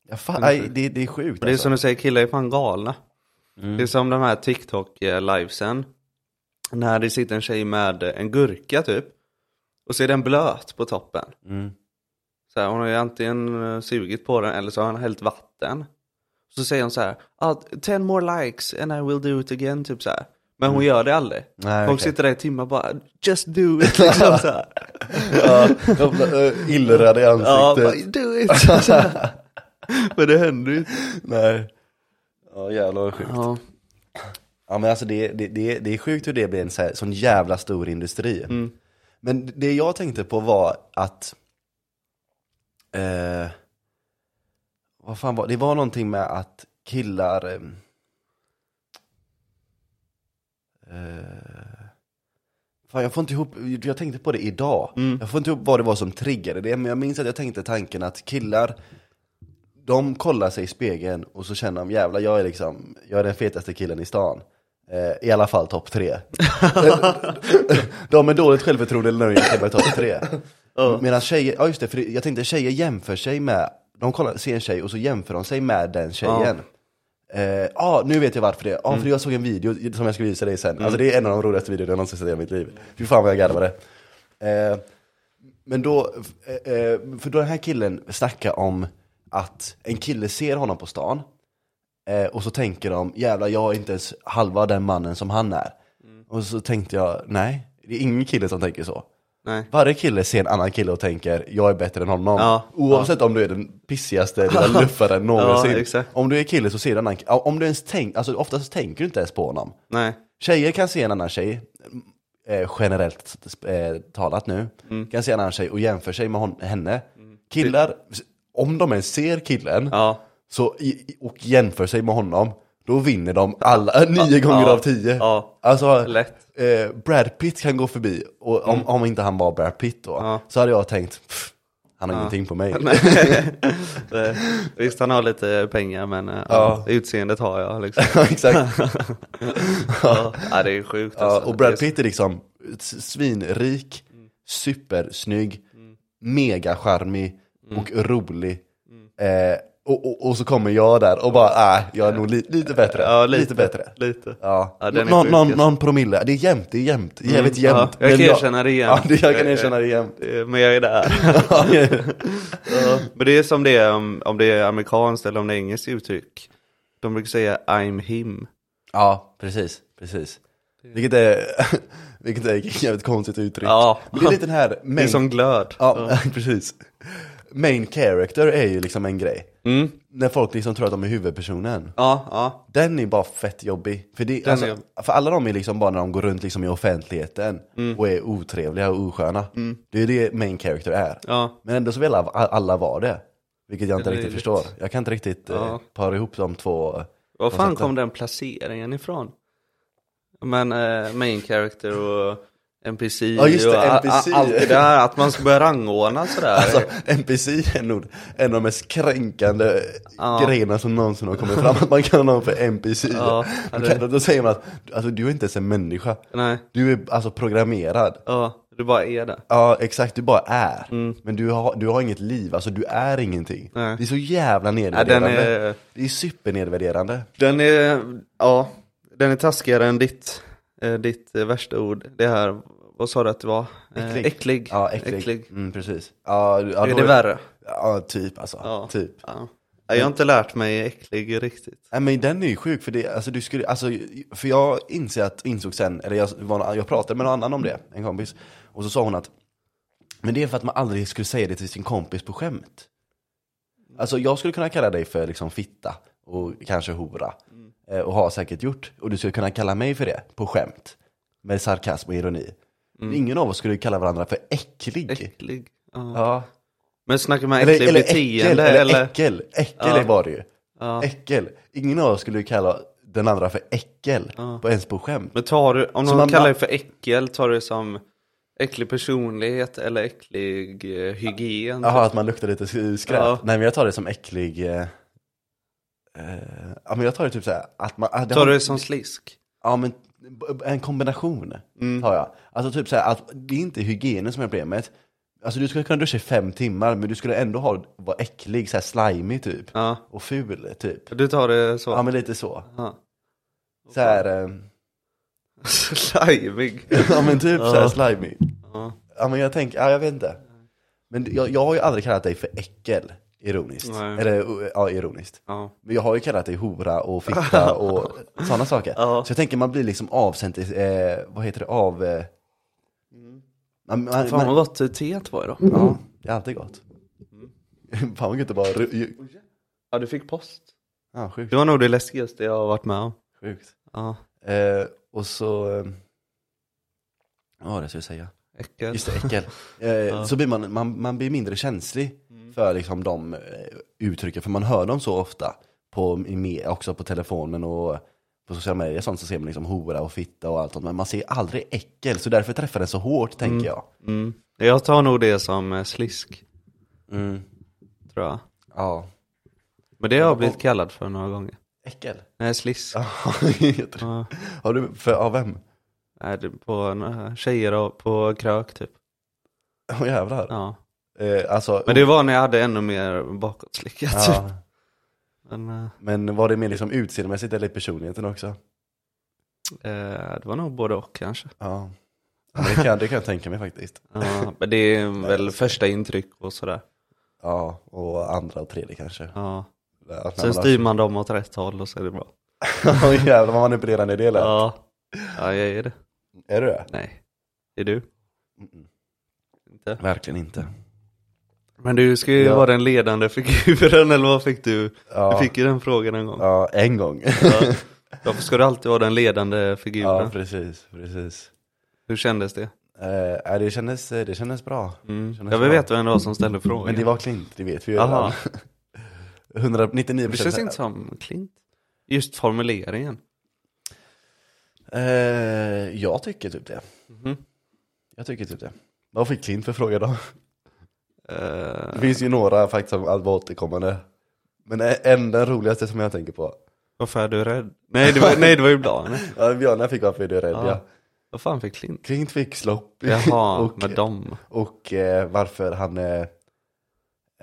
Speaker 2: Jag fa- aj, det, det är sjukt
Speaker 1: Det är
Speaker 2: alltså.
Speaker 1: som du säger, killar är fan galna.
Speaker 2: Mm.
Speaker 1: Det är som de här TikTok-livesen. När det sitter en tjej med en gurka typ. Och så är den blöt på toppen.
Speaker 2: Mm.
Speaker 1: Så här, hon har ju antingen eh, sugit på den eller så har hon hällt vatten. Så säger hon så här, ah, 10 more likes and I will do it again, typ så här. Men hon gör det aldrig.
Speaker 2: Mm. Nej,
Speaker 1: Folk
Speaker 2: okej.
Speaker 1: sitter där i timmar och bara, just do it, liksom så här.
Speaker 2: Ja, de blir, eh, illröda i
Speaker 1: Ja, bara,
Speaker 2: ansiktet.
Speaker 1: do it. Så här. Men det händer ju inte.
Speaker 2: Nej. Ja jävlar vad sjukt.
Speaker 1: Ja.
Speaker 2: Ja men alltså det, det, det, det är sjukt hur det blir en så här, sån jävla stor industri. Men det jag tänkte på var att, eh, vad fan var det, var någonting med att killar, eh, eh, fan jag får inte ihop, jag tänkte på det idag, jag får inte ihop vad det var som triggade det, men jag minns att jag tänkte tanken att killar, de kollar sig i spegeln och så känner de jävlar jag är liksom, jag är den fetaste killen i stan. Eh, I alla fall topp tre. de med dåligt självförtroende nöjer sig med topp tre. Medan tjejer, ja just det, för det- jag tänkte tjejer jämför sig med, de kollar, ser en tjej och så jämför de sig med den tjejen. Ja, eh, ah, nu vet jag varför det. Ja, för jag såg en video som jag ska visa dig sen. Alltså det är en av de roligaste videorna jag någonsin sett i hela mitt liv. Fy fan vad jag garvade. Eh, men då, eh, eh, för då den här killen snackar om att en kille ser honom på stan eh, och så tänker de, jävlar jag är inte ens halva den mannen som han är.
Speaker 1: Mm.
Speaker 2: Och så tänkte jag, nej, det är ingen kille som tänker så.
Speaker 1: Nej.
Speaker 2: Varje kille ser en annan kille och tänker, jag är bättre än honom.
Speaker 1: Ja,
Speaker 2: Oavsett om du är den pissigaste lilla luffaren någonsin.
Speaker 1: Ja, exakt.
Speaker 2: om du är kille så ser du en annan kille. Om du ens tänker, alltså oftast tänker du inte ens på honom.
Speaker 1: Nej.
Speaker 2: Tjejer kan se en annan tjej, eh, generellt eh, talat nu,
Speaker 1: Mm.
Speaker 2: kan se en annan tjej och jämför sig med hon, henne. Killar, om de ens ser killen
Speaker 1: Ja.
Speaker 2: så, i, i- och jämför sig med honom, då vinner de alla, eh, nio gånger av tio.
Speaker 1: Ja.
Speaker 2: Alltså,
Speaker 1: Lätt. Mm.
Speaker 2: Eh, Brad Pitt kan gå förbi, och om, om inte han var Brad Pitt då, så hade jag tänkt, "Pff, han har ingenting på mig.
Speaker 1: Eh, Visst han har lite pengar men eh, ja. utseendet har jag liksom.
Speaker 2: Ja, Exakt.
Speaker 1: Ja, ja, det är sjukt
Speaker 2: Ja,
Speaker 1: alltså.
Speaker 2: och
Speaker 1: Det är
Speaker 2: Brad
Speaker 1: så-
Speaker 2: Pitt är liksom s- svinrik, supersnygg, megacharmig och rolig. Eh, Och, och, och så kommer jag där och bara, nej, jag är nog li, lite bättre.
Speaker 1: Ja,
Speaker 2: lite. bättre.
Speaker 1: Lite.
Speaker 2: Ja.
Speaker 1: Ja, den är
Speaker 2: någon,
Speaker 1: sjuk,
Speaker 2: någon,
Speaker 1: alltså.
Speaker 2: någon promille. Det är jämnt, det är jämnt. Det är jävligt
Speaker 1: Mm, ja.
Speaker 2: jämnt.
Speaker 1: Jag
Speaker 2: Men
Speaker 1: kan erkänna det
Speaker 2: Ja,
Speaker 1: jämnt.
Speaker 2: det, jag kan
Speaker 1: Eh,
Speaker 2: erkänna det jämnt.
Speaker 1: Eh, Men jag är där. Men det är som det är om, om det är amerikanskt eller om det är engelskt uttryck. De brukar säga I'm him.
Speaker 2: Ja, precis. precis. Vilket är, vilket är ett jävligt konstigt uttryck.
Speaker 1: Ja.
Speaker 2: Men det är lite den här main,
Speaker 1: Det är som glöd.
Speaker 2: ja, precis. main character är ju liksom en grej.
Speaker 1: Mm.
Speaker 2: När folk liksom tror att de är huvudpersonen.
Speaker 1: Ja, ja.
Speaker 2: Den är bara fett jobbig. För, det,
Speaker 1: Den är Mm.
Speaker 2: alltså,
Speaker 1: jobbig.
Speaker 2: för alla de är liksom bara när de går runt liksom i offentligheten och är otrevliga och osköna.
Speaker 1: Mm.
Speaker 2: Det är det main character är.
Speaker 1: ja.
Speaker 2: Men ändå så vill alla, alla vara det. Vilket jag inte
Speaker 1: Det är
Speaker 2: riktigt
Speaker 1: lite-
Speaker 2: förstår. Jag kan inte riktigt eh,
Speaker 1: Ja.
Speaker 2: para ihop de två. eh,
Speaker 1: Var fan
Speaker 2: Konceptet.
Speaker 1: kom den placeringen ifrån? Men eh, main character och NPC
Speaker 2: Ja, just det,
Speaker 1: och a- a-
Speaker 2: NPC.
Speaker 1: allt det där, att man ska börja rangordna sådär.
Speaker 2: Alltså, NPC är nog en av de mest kränkande
Speaker 1: Ja.
Speaker 2: grejerna som någonsin har kommit fram. Att man kallar någon för NPC.
Speaker 1: Ja,
Speaker 2: Man
Speaker 1: det-
Speaker 2: kallar- Då säger man att alltså, du är inte ens en människa.
Speaker 1: Nej,
Speaker 2: Du är alltså programmerad.
Speaker 1: ja, du bara är det.
Speaker 2: Ja exakt, du bara är. Men du har, du har inget liv, alltså du är ingenting.
Speaker 1: Mm. Nej.
Speaker 2: Det är så jävla
Speaker 1: Ja, den
Speaker 2: nedvärderande.
Speaker 1: är,
Speaker 2: Det är supernedvärderande.
Speaker 1: den är, ja, den är taskigare än ditt, eh, ditt eh, värsta ord. Det här, vad sa du att det var? Eh,
Speaker 2: Äcklig.
Speaker 1: äcklig.
Speaker 2: Ja, äcklig. Mm, precis. Ja, ja,
Speaker 1: Är
Speaker 2: då
Speaker 1: det värre?
Speaker 2: Ja, typ alltså.
Speaker 1: Ja.
Speaker 2: Typ.
Speaker 1: Ja. Jag har inte lärt mig äcklig riktigt.
Speaker 2: Nej men den är ju sjuk, för, det, alltså, du skulle, alltså, för jag inser att, insåg sen, eller jag, var, jag pratade med någon annan om det, en kompis, och så sa hon att Men det är för att man aldrig skulle säga det till sin kompis på skämt. Alltså jag skulle kunna kalla dig för liksom fitta och kanske hora. Eh, Och har säkert gjort. Och du skulle kunna kalla mig för det på skämt. Med sarkasm och ironi. Men Ingen av oss skulle kalla varandra för äcklig.
Speaker 1: Äcklig. Ja.
Speaker 2: Ja.
Speaker 1: Men snackar man
Speaker 2: Eller,
Speaker 1: äcklig
Speaker 2: eller äckel,
Speaker 1: beteende
Speaker 2: eller,
Speaker 1: eller?
Speaker 2: äckel. Äckel
Speaker 1: Ja.
Speaker 2: var det ju.
Speaker 1: Ja.
Speaker 2: Äckel. Ingen av oss skulle ju kalla den andra för äckel. På, ens på skämt.
Speaker 1: Men tar du, om
Speaker 2: Så
Speaker 1: någon
Speaker 2: man-
Speaker 1: kallar dig för äckel, tar du det som äcklig personlighet eller äcklig eh, hygien?
Speaker 2: Jaha, att man luktar lite sk- skräp.
Speaker 1: Ja.
Speaker 2: Nej men jag tar det som äcklig... Eh, eh, ja men jag tar det typ såhär, att man... ah, det
Speaker 1: Tar
Speaker 2: har-
Speaker 1: du det som slisk?
Speaker 2: Ja men b- b- en kombination
Speaker 1: Mm.
Speaker 2: tar jag. Alltså typ såhär, att det är inte hygienen som är problemet. Alltså du skulle kunna duscha i fem timmar men du skulle ändå ha, vara äcklig, såhär slimy typ.
Speaker 1: Ja.
Speaker 2: Och ful typ.
Speaker 1: Du tar det så?
Speaker 2: Ja men lite så.
Speaker 1: Ja.
Speaker 2: Såhär, eh,
Speaker 1: Slajmig.
Speaker 2: ja men typ såhär slimy.
Speaker 1: Ja.
Speaker 2: Ja men jag tänker, ja jag vet inte. Men jag, jag har ju aldrig kallat dig för äckel, ironiskt.
Speaker 1: Nej.
Speaker 2: Eller ja, ironiskt.
Speaker 1: Ja.
Speaker 2: Men jag har ju kallat dig hora och fitta och sådana saker.
Speaker 1: Ja.
Speaker 2: Så jag tänker man blir liksom avsent, eh, vad heter det, av... Eh, man, man,
Speaker 1: Fan vad
Speaker 2: man,
Speaker 1: gott teet var idag.
Speaker 2: ja, det är alltid gott. Fan vad gött att bara... ru- ju-
Speaker 1: Ja du fick post.
Speaker 2: Ja, sjukt.
Speaker 1: Det var nog det läskigaste jag har varit med om.
Speaker 2: sjukt.
Speaker 1: Ja.
Speaker 2: Eh, och så... Eh, vad var det jag skulle säga?
Speaker 1: Äckel.
Speaker 2: Just det, äckel. Eh, Så blir man, man, man blir mindre känslig
Speaker 1: Mm.
Speaker 2: för liksom de eh, uttrycken, för man hör dem så ofta. På, i med, också på telefonen och på sociala medier och sånt så ser man liksom hora och fitta och allt sånt. Men man ser aldrig äckel, så därför träffar den så hårt tänker jag.
Speaker 1: Mm. Jag tar nog det som eh, slisk, Mm. tror jag.
Speaker 2: Ja.
Speaker 1: Men det har jag blivit kallad för några gånger.
Speaker 2: Äckel?
Speaker 1: Nej, slisk.
Speaker 2: Ja, jag tror-
Speaker 1: Ja.
Speaker 2: Har du, för, av vem?
Speaker 1: Nej, det- på några tjejer och- på krök typ.
Speaker 2: Åh jävlar.
Speaker 1: Ja.
Speaker 2: Eh, alltså,
Speaker 1: Men det var när jag hade ännu mer bakåtslickat.
Speaker 2: ja.
Speaker 1: typ. Men eh,
Speaker 2: Men var det mer liksom utseendemässigt eller personligheten också?
Speaker 1: eh, det var nog både och kanske.
Speaker 2: Ja. Men Det kan, det kan jag tänka mig faktiskt.
Speaker 1: Ja, men det är väl första intryck och sådär.
Speaker 2: Ja, och andra och tredje kanske.
Speaker 1: Ja.
Speaker 2: Att när
Speaker 1: Sen
Speaker 2: man
Speaker 1: styr man dem åt rätt håll och så är det bra.
Speaker 2: har- Oj, Jävlar vad manipulerande det lät.
Speaker 1: Ja, ja jag är det.
Speaker 2: Är du det?
Speaker 1: Nej, är du? Inte.
Speaker 2: Verkligen inte.
Speaker 1: Men du ska ju
Speaker 2: Ja.
Speaker 1: vara den ledande figuren, eller vad fick du?
Speaker 2: Ja.
Speaker 1: Du fick ju den frågan en gång.
Speaker 2: Ja, en gång.
Speaker 1: Ja. Varför ska du alltid vara den ledande figuren?
Speaker 2: ja, precis. precis.
Speaker 1: Hur kändes det?
Speaker 2: Eh, ja, det, kändes, det kändes bra. Det Mm. kändes
Speaker 1: Jag vill
Speaker 2: bra.
Speaker 1: veta vem det var som ställde frågan.
Speaker 2: Men det var Klint, det vet vi ju redan.
Speaker 1: Aha.
Speaker 2: 199
Speaker 1: Det känns inte som Klint. Just formuleringen.
Speaker 2: jag tycker typ det. Jag tycker typ det. Vad fick Klint för fråga då?
Speaker 1: Eh,
Speaker 2: Det finns ju några faktiskt som var återkommande. Men en, den roligaste som jag tänker på.
Speaker 1: varför är du rädd? Nej det var, nej, det var ju Blarne.
Speaker 2: Ja, Björn fick varför är du rädd?
Speaker 1: Ja.
Speaker 2: Ja.
Speaker 1: Vad fan fick Klint?
Speaker 2: Klint fick slopp.
Speaker 1: Jaha,
Speaker 2: och,
Speaker 1: med dem.
Speaker 2: och eh, varför han eh,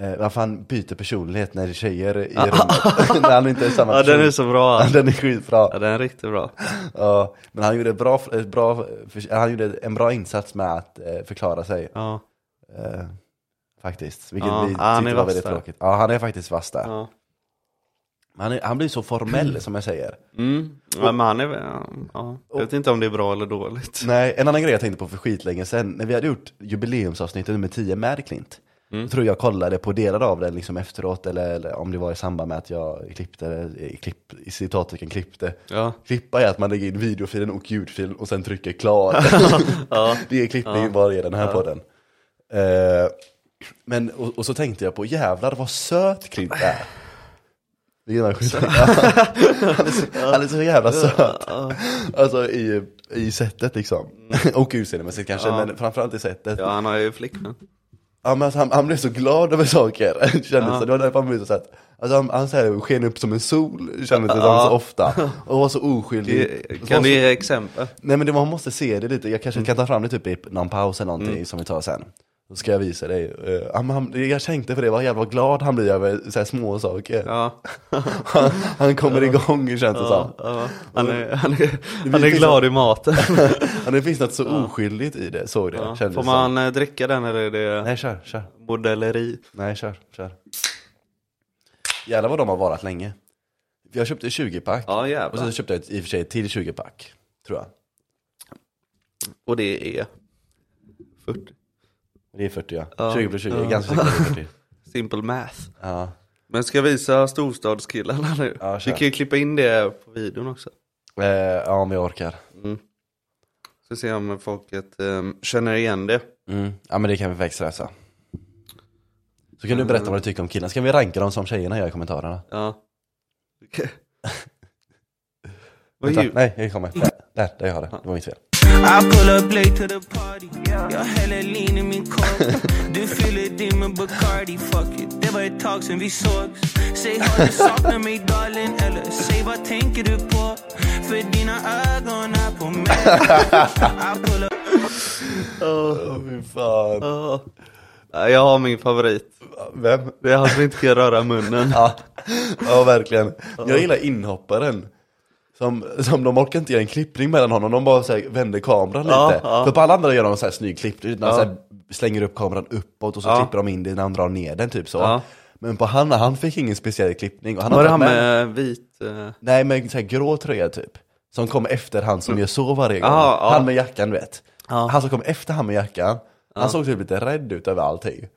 Speaker 2: Eh, varför han byter personlighet när det är tjejer i rummet. när han inte är samma
Speaker 1: Ah. Ja
Speaker 2: person.
Speaker 1: den är så bra
Speaker 2: Ja,
Speaker 1: alltså.
Speaker 2: den är skitbra.
Speaker 1: Ja den är riktigt bra.
Speaker 2: Ja, men han gjorde, ett bra, ett bra, för- han gjorde en bra insats med att eh, förklara sig.
Speaker 1: Ja.
Speaker 2: Eh, faktiskt. Vilket
Speaker 1: Ja, ah,
Speaker 2: vi
Speaker 1: han
Speaker 2: tyckte
Speaker 1: är
Speaker 2: var
Speaker 1: vass
Speaker 2: väldigt
Speaker 1: där.
Speaker 2: tråkigt. Ja, han är faktiskt vass där.
Speaker 1: ja.
Speaker 2: Men Han, är, han blir så formell som jag säger.
Speaker 1: Mm. ja men han är väl- ja, ja. Jag vet inte om det är bra eller dåligt.
Speaker 2: Nej, en annan grej jag tänkte på för skitlänge sedan, när vi hade gjort jubileumsavsnittet nummer 10 med Klint, jag tror jag kollade på delar av det liksom efteråt, eller, eller om det var i samband med att jag klippte, eller, eh, klipp, i citattecken klippte.
Speaker 1: Ja.
Speaker 2: Klippa är att man lägger in videofilen och ljudfilen och sen trycker klar.
Speaker 1: Ja.
Speaker 2: det är klippning bara i den här podden. Eh, men, och, och så tänkte jag på, jävlar vad söt Klint är. Vilken är skit- han, är så, han är så jävla söt. Alltså i, i sättet liksom. Och utseendemässigt kanske, men framförallt i sättet.
Speaker 1: Mm. ja
Speaker 2: Ja.
Speaker 1: han har ju flickvän.
Speaker 2: men alltså, han, han blev så glad över saker, kändes det. Det var därför han blev så söt. Alltså han, han så här, sken upp som en sol, kändes det som så ofta. Och var så oskyldig.
Speaker 1: Det-
Speaker 2: Var
Speaker 1: Kan
Speaker 2: så-
Speaker 1: du ge exempel?
Speaker 2: Nej men det, man måste se det lite, jag
Speaker 1: Mm.
Speaker 2: kanske kan ta fram det typ i någon paus eller någonting som vi tar sen. Då ska jag visa dig. Eh, ja, men han, jag tänkte på det, vad jävla glad han blir över så här små saker.
Speaker 1: Ja.
Speaker 2: Han, han kommer igång känns det som.
Speaker 1: ja. Han, är, han, är, han är
Speaker 2: finns
Speaker 1: glad i maten.
Speaker 2: Ja, det finns något så oskyldigt i det, såg det,
Speaker 1: Ja.
Speaker 2: kändes
Speaker 1: Får
Speaker 2: som.
Speaker 1: man eh, dricka den eller är det
Speaker 2: Nej kör, kör.
Speaker 1: bordelleri?
Speaker 2: Nej kör, kör. Jävlar vad de har varat länge. Jag köpte 20-pack.
Speaker 1: Ja
Speaker 2: och sen
Speaker 1: jävlar.
Speaker 2: så köpte jag ett- i och för sig ett till 20-pack. Tror jag.
Speaker 1: Och det är 40.
Speaker 2: Det är 40 ja.
Speaker 1: Ja.
Speaker 2: 20 plus 20,
Speaker 1: Ja.
Speaker 2: ganska säkert det är 40.
Speaker 1: Simple math.
Speaker 2: Ja.
Speaker 1: Men ska jag visa storstadskillarna nu?
Speaker 2: Ja,
Speaker 1: vi
Speaker 2: kör.
Speaker 1: kan ju klippa in det på videon också.
Speaker 2: Eh, ja om jag orkar.
Speaker 1: Så se om folket ehm, känner igen det.
Speaker 2: Mm. Ja men det kan vi faktiskt lösa. Så kan du berätta vad du tycker om killarna. Ska vi ranka dem som tjejerna gör i kommentarerna?
Speaker 1: Ja. Okej. Vad
Speaker 2: Vänta,
Speaker 1: ljud?
Speaker 2: nej, jag kommer. Där, där, där jag har det. Det var mitt fel.
Speaker 3: I pull up late to the party. Jag häller lean i min kopp. Du fyller din med Bacardi. Fuck it, det var ett tag sen vi sågs. Säg har du saknat mig darling? Eller säg vad tänker du på? För dina ögon är på mig. I pull up
Speaker 2: Åh fy fan.
Speaker 1: Ja. Nej, Jag har min favorit.
Speaker 2: Vem?
Speaker 1: Det är han som inte kan röra munnen.
Speaker 2: Ja, ja verkligen. Jag gillar inhopparen. Som, som de orkar inte göra en klippning mellan honom, de bara så här vänder kameran
Speaker 1: Ja,
Speaker 2: lite.
Speaker 1: ja.
Speaker 2: För på alla andra gör de så här snygg klippning, utan
Speaker 1: Ja.
Speaker 2: så här slänger upp kameran uppåt och så
Speaker 1: Ja.
Speaker 2: klipper de in det när han drar ner den typ så.
Speaker 1: Ja.
Speaker 2: Men på han, han fick ingen speciell klippning. Och han har
Speaker 1: Var det
Speaker 2: varit
Speaker 1: han med vit? eh,
Speaker 2: Nej, men så här grå tröja typ. Som kom efter han som gör så varje gång.
Speaker 1: Mm. Ja, ja.
Speaker 2: Han med jackan du vet.
Speaker 1: Ja.
Speaker 2: Han som kom efter han med jackan. Han såg typ lite rädd ut över allting.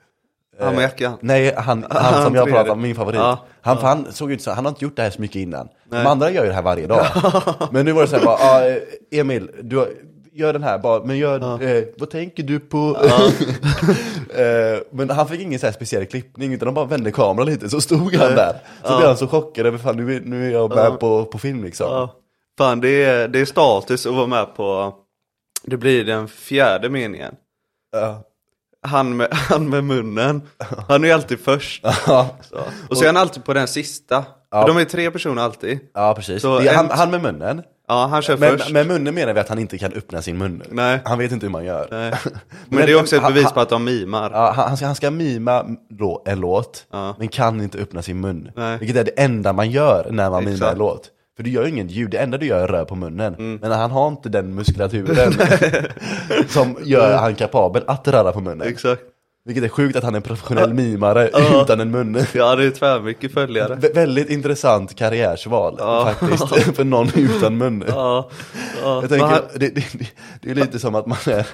Speaker 1: Han med jackan?
Speaker 2: Eh, Nej, han, han,
Speaker 1: Han
Speaker 2: som jag
Speaker 1: tredje.
Speaker 2: pratade om, min favorit.
Speaker 1: Ja.
Speaker 2: Han, för han såg ut så, han har inte gjort det här så mycket innan. De andra gör ju det här varje dag. men nu var det så här, bara, "Ah, eh, Emil, du har, gör den här bara, men gör, eh, vad tänker du på? eh, men han fick ingen så här speciell klippning, utan de bara vände kameran lite, så stod han där. Så blev han så chockad över, fan nu, är- nu är jag med på, på film liksom.
Speaker 1: Ja. Fan det är, det är status att vara med på. Det blir den fjärde meningen.
Speaker 2: Ja.
Speaker 1: Han med, han med munnen. Han är ju alltid först.
Speaker 2: Ja.
Speaker 1: Så. Och så är han alltid på den sista. För de är tre personer alltid.
Speaker 2: Ja, precis.
Speaker 1: Så
Speaker 2: det är
Speaker 1: en-
Speaker 2: han, han med munnen.
Speaker 1: Ja, han kör
Speaker 2: Men
Speaker 1: först.
Speaker 2: med munnen menar vi att han inte kan öppna sin mun.
Speaker 1: Nej.
Speaker 2: Han vet inte hur man gör.
Speaker 1: Nej. Men,
Speaker 2: Men
Speaker 1: det är också ett
Speaker 2: han-
Speaker 1: bevis
Speaker 2: han-
Speaker 1: på att de mimar.
Speaker 2: Ja, han, han, ska, han ska mima då en låt,
Speaker 1: Ja.
Speaker 2: men kan inte öppna sin mun.
Speaker 1: Nej.
Speaker 2: Vilket är det enda man gör när man mimar
Speaker 1: Exakt. Mm.
Speaker 2: en låt. För du gör ju inget ljud, det enda du gör är rör på munnen. Men han har inte den muskulaturen som gör han kapabel att röra på munnen.
Speaker 1: Exakt.
Speaker 2: Vilket är sjukt att han är en professionell mimare utan en mun.
Speaker 1: Ja, det är tvärmycket följare.
Speaker 2: Vä- väldigt intressant karriärsval faktiskt, för någon utan mun.
Speaker 1: Ja, ja.
Speaker 2: Jag tänker,
Speaker 1: Men han-
Speaker 2: det, det, det, det är lite som att man är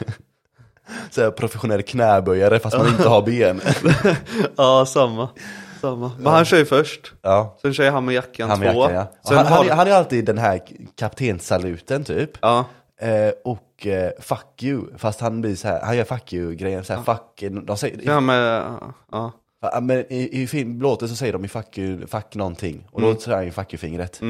Speaker 2: så här, professionell knäböjare fast man inte har ben.
Speaker 1: ja samma. samma. Men han kör ju först.
Speaker 2: Ja.
Speaker 1: Sen kör ju han med jackan
Speaker 2: Han med
Speaker 1: två.
Speaker 2: jackan ja. Och
Speaker 1: Sen
Speaker 2: Han, han,
Speaker 1: har...
Speaker 2: är- han är alltid den här kaptenssaluten typ.
Speaker 1: ja.
Speaker 2: Eh, och eh, fuck you, fast han blir så här, han gör fuck you-grejen, så här, fuck, de säger,
Speaker 1: Ja, med, ja.
Speaker 2: Ja, men i, i film, låten så säger de ju fuck, you, fuck någonting, och
Speaker 1: Mm.
Speaker 2: då säger han ju fuck you-fingret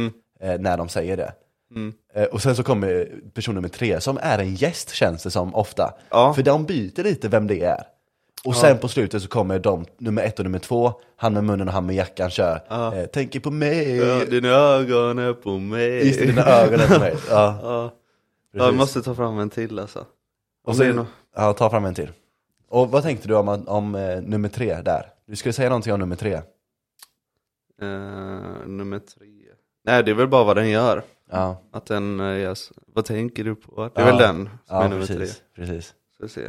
Speaker 2: eh, när de säger det.
Speaker 1: Mm.
Speaker 2: Eh, och sen så kommer person nummer tre, som är en gäst känns det som ofta.
Speaker 1: Ja.
Speaker 2: För de byter lite vem det är. Och sen på slutet så kommer de, nummer ett och nummer två, han med munnen och han med jackan kör, eh, tänker på mig,
Speaker 1: Ja, Dina ögon är på mig.
Speaker 2: just det, dina ögon är på mig. Ja.
Speaker 1: Ja. Ja, jag
Speaker 2: Precis.
Speaker 1: måste ta fram en till alltså.
Speaker 2: Och
Speaker 1: det är
Speaker 2: så,
Speaker 1: nog-
Speaker 2: ja, ta fram en till. Och vad tänkte du om, om eh, nummer tre där? Du skulle säga någonting om nummer tre.
Speaker 1: Eh, nummer tre. Nej, det är väl bara vad den gör.
Speaker 2: Ja,
Speaker 1: Att den, eh, gör s- vad tänker du på? Det är
Speaker 2: Ja.
Speaker 1: väl den som
Speaker 2: ja
Speaker 1: är nummer
Speaker 2: precis.
Speaker 1: tre.
Speaker 2: precis.
Speaker 1: Ska vi se.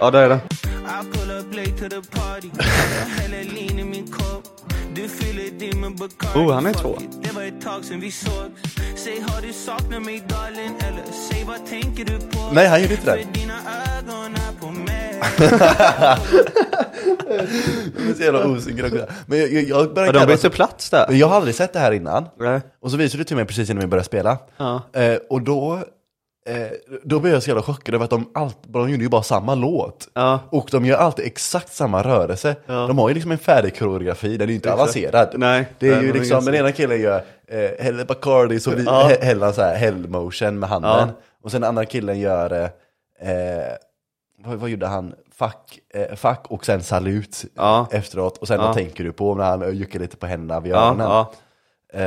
Speaker 1: Ja, där är den.
Speaker 3: I pull up late to the party. Hella lean i min kopp. Du fyller din med Bacardi.
Speaker 1: Oh, han är två.
Speaker 3: Fuck it, Det var ett tag sen vi såg. Säg har du saknat mig darling eller säg vad tänker du på?
Speaker 2: Nej, han gjorde inte det.
Speaker 3: För dina ögon är på mig.
Speaker 2: Det är så jävla osynkroniserat. Men jag, jag, jag
Speaker 1: Ja,
Speaker 2: började
Speaker 1: de
Speaker 2: garva
Speaker 1: bytte
Speaker 2: så-
Speaker 1: plats där.
Speaker 2: Men Jag har aldrig sett det här innan.
Speaker 1: Nej.
Speaker 2: Och så visade du till mig precis innan vi började spela.
Speaker 1: Ja.
Speaker 2: Eh, och då, eh, då blev jag så jävla chockad över att de, allt, de gjorde ju bara samma låt.
Speaker 1: Ja.
Speaker 2: Och de gör alltid exakt samma rörelse. De har ju liksom en färdig koreografi, den är ju inte avancerad.
Speaker 1: Nej,
Speaker 2: det är
Speaker 1: den
Speaker 2: ju
Speaker 1: är
Speaker 2: liksom,
Speaker 1: ganska-
Speaker 2: den ena killen gör eh, Helle Bacardi, så vi,
Speaker 1: Ja.
Speaker 2: he- häller han så här hell motion med handen.
Speaker 1: Ja.
Speaker 2: Och sen den andra killen gör, eh, eh, vad, vad gjorde han? Fuck, eh, fuck och sen salut
Speaker 1: Ja.
Speaker 2: efteråt. Och sen vad tänker du på när han eh, juckar lite på händerna vid
Speaker 1: Ja,
Speaker 2: öronen?
Speaker 1: ja.
Speaker 2: Eh,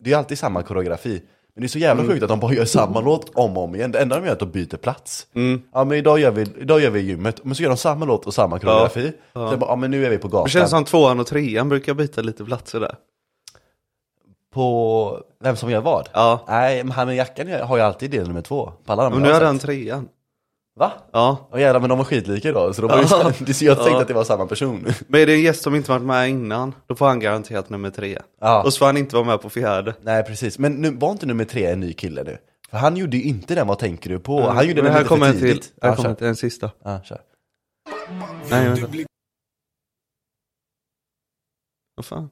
Speaker 2: det är ju alltid samma koreografi. Men det är så jävla
Speaker 1: Mm.
Speaker 2: sjukt att de bara gör samma låt om och om igen. Det enda de gör är att de byter plats.
Speaker 1: Mm.
Speaker 2: Ja men idag gör, vi, idag gör vi gymmet, men så gör de samma låt och samma koreografi. Sen bara, ja men nu är vi på gatan.
Speaker 1: Det känns som tvåan och trean brukar byta lite platser där.
Speaker 2: På vem som gör vad?
Speaker 1: Ja.
Speaker 2: Nej, men han med jackan gör- har ju alltid del nummer två. På alla de
Speaker 1: Men nu
Speaker 2: jag har
Speaker 1: är den
Speaker 2: sett.
Speaker 1: trean.
Speaker 2: Va?
Speaker 1: Ja.
Speaker 2: Ja jävlar men de var skitlika idag, så de var ju
Speaker 1: Ja.
Speaker 2: det, så jag tänkte
Speaker 1: Ja.
Speaker 2: att det var samma person.
Speaker 1: Men är det en gäst som inte varit med innan, då får han garanterat nummer tre.
Speaker 2: Ja.
Speaker 1: Och så får han inte vara med på fjärde.
Speaker 2: Nej precis, men nu, var inte nummer tre en ny kille nu? För han gjorde ju inte den Vad tänker du på? Han gjorde
Speaker 1: Mm. Men
Speaker 2: den
Speaker 1: här
Speaker 2: lite
Speaker 1: kommer
Speaker 2: för
Speaker 1: en till.
Speaker 2: tidigt.
Speaker 1: Här
Speaker 2: Ja,
Speaker 1: kommer
Speaker 2: kör.
Speaker 1: en till, en sista.
Speaker 2: Ja, kör.
Speaker 1: Nej, vänta. Vad fan?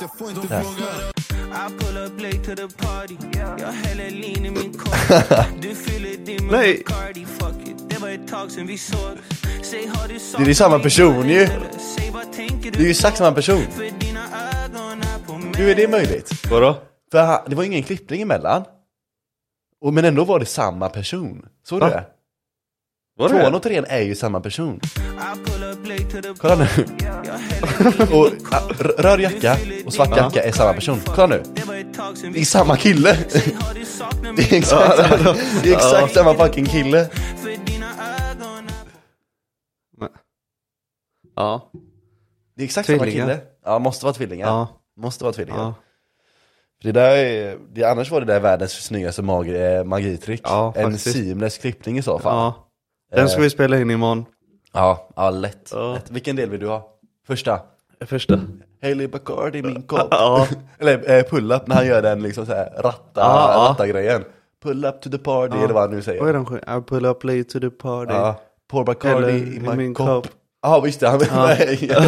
Speaker 3: I pull up late to the party. Jag häller lean i min kopp. Du fyller din med
Speaker 1: Nej.
Speaker 3: Bacardi. Fuck it, det var ett tag sen vi såg. Säg har du saknat
Speaker 2: Det är ju samma
Speaker 3: mig,
Speaker 2: person ju.
Speaker 3: darling, eller Säg vad tänker du
Speaker 2: Det är ju exakt samma person.
Speaker 3: För dina ögon är på mig.
Speaker 2: Hur är det möjligt?
Speaker 1: Vadå?
Speaker 2: För han, det var ju ingen klippning emellan. Och, men ändå var det samma person. Såg du
Speaker 1: Va?
Speaker 2: det?
Speaker 1: Var det?
Speaker 2: Tvåan och trean är ju samma person.
Speaker 3: I pull up late to the
Speaker 2: Kolla nu.
Speaker 3: Jag häller lean i
Speaker 2: Och
Speaker 3: min kopp.
Speaker 2: ah, r- röd jacka och svart jacka är samma person. Kolla nu.
Speaker 3: Det var ett tag sen
Speaker 2: Det
Speaker 3: vi
Speaker 2: är samma kille.
Speaker 3: Säg har du saknat
Speaker 2: Det är
Speaker 3: mig?
Speaker 2: exakt, samma, det är exakt samma fucking kille.
Speaker 3: För dina ögon är
Speaker 1: Men- Ja.
Speaker 2: Det är exakt
Speaker 1: Tvillingar.
Speaker 2: samma kille. Ja, måste vara tvillingar.
Speaker 1: Ja.
Speaker 2: Måste vara tvillingar.
Speaker 1: Ja.
Speaker 2: För det där är, det, annars var det där världens snyggaste mag, eh, magitrick.
Speaker 1: Ja,
Speaker 2: en
Speaker 1: faktiskt.
Speaker 2: seamless klippning i så fall.
Speaker 1: ja. Den
Speaker 2: Eh,
Speaker 1: ska vi spela in imorgon.
Speaker 2: Ja, ja lätt,
Speaker 1: Ja.
Speaker 2: lätt. Vilken del vill du ha? Första?
Speaker 1: Första.
Speaker 2: Hailey Bacardi min kopp.
Speaker 1: Ja.
Speaker 2: Eller eh, pull-up när han gör den liksom så här ratta,
Speaker 1: Ja, ja.
Speaker 2: ratta-grejen. Pull-up to the party eller vad han nu
Speaker 1: Vad är
Speaker 2: säger.
Speaker 1: den sj- I pull up late to the party.
Speaker 2: Ja. Pour Bacardi
Speaker 1: Eller
Speaker 2: i
Speaker 1: i
Speaker 2: min
Speaker 1: min
Speaker 2: kopp.
Speaker 1: kopp.
Speaker 2: Ja visst det, han Nej, jag,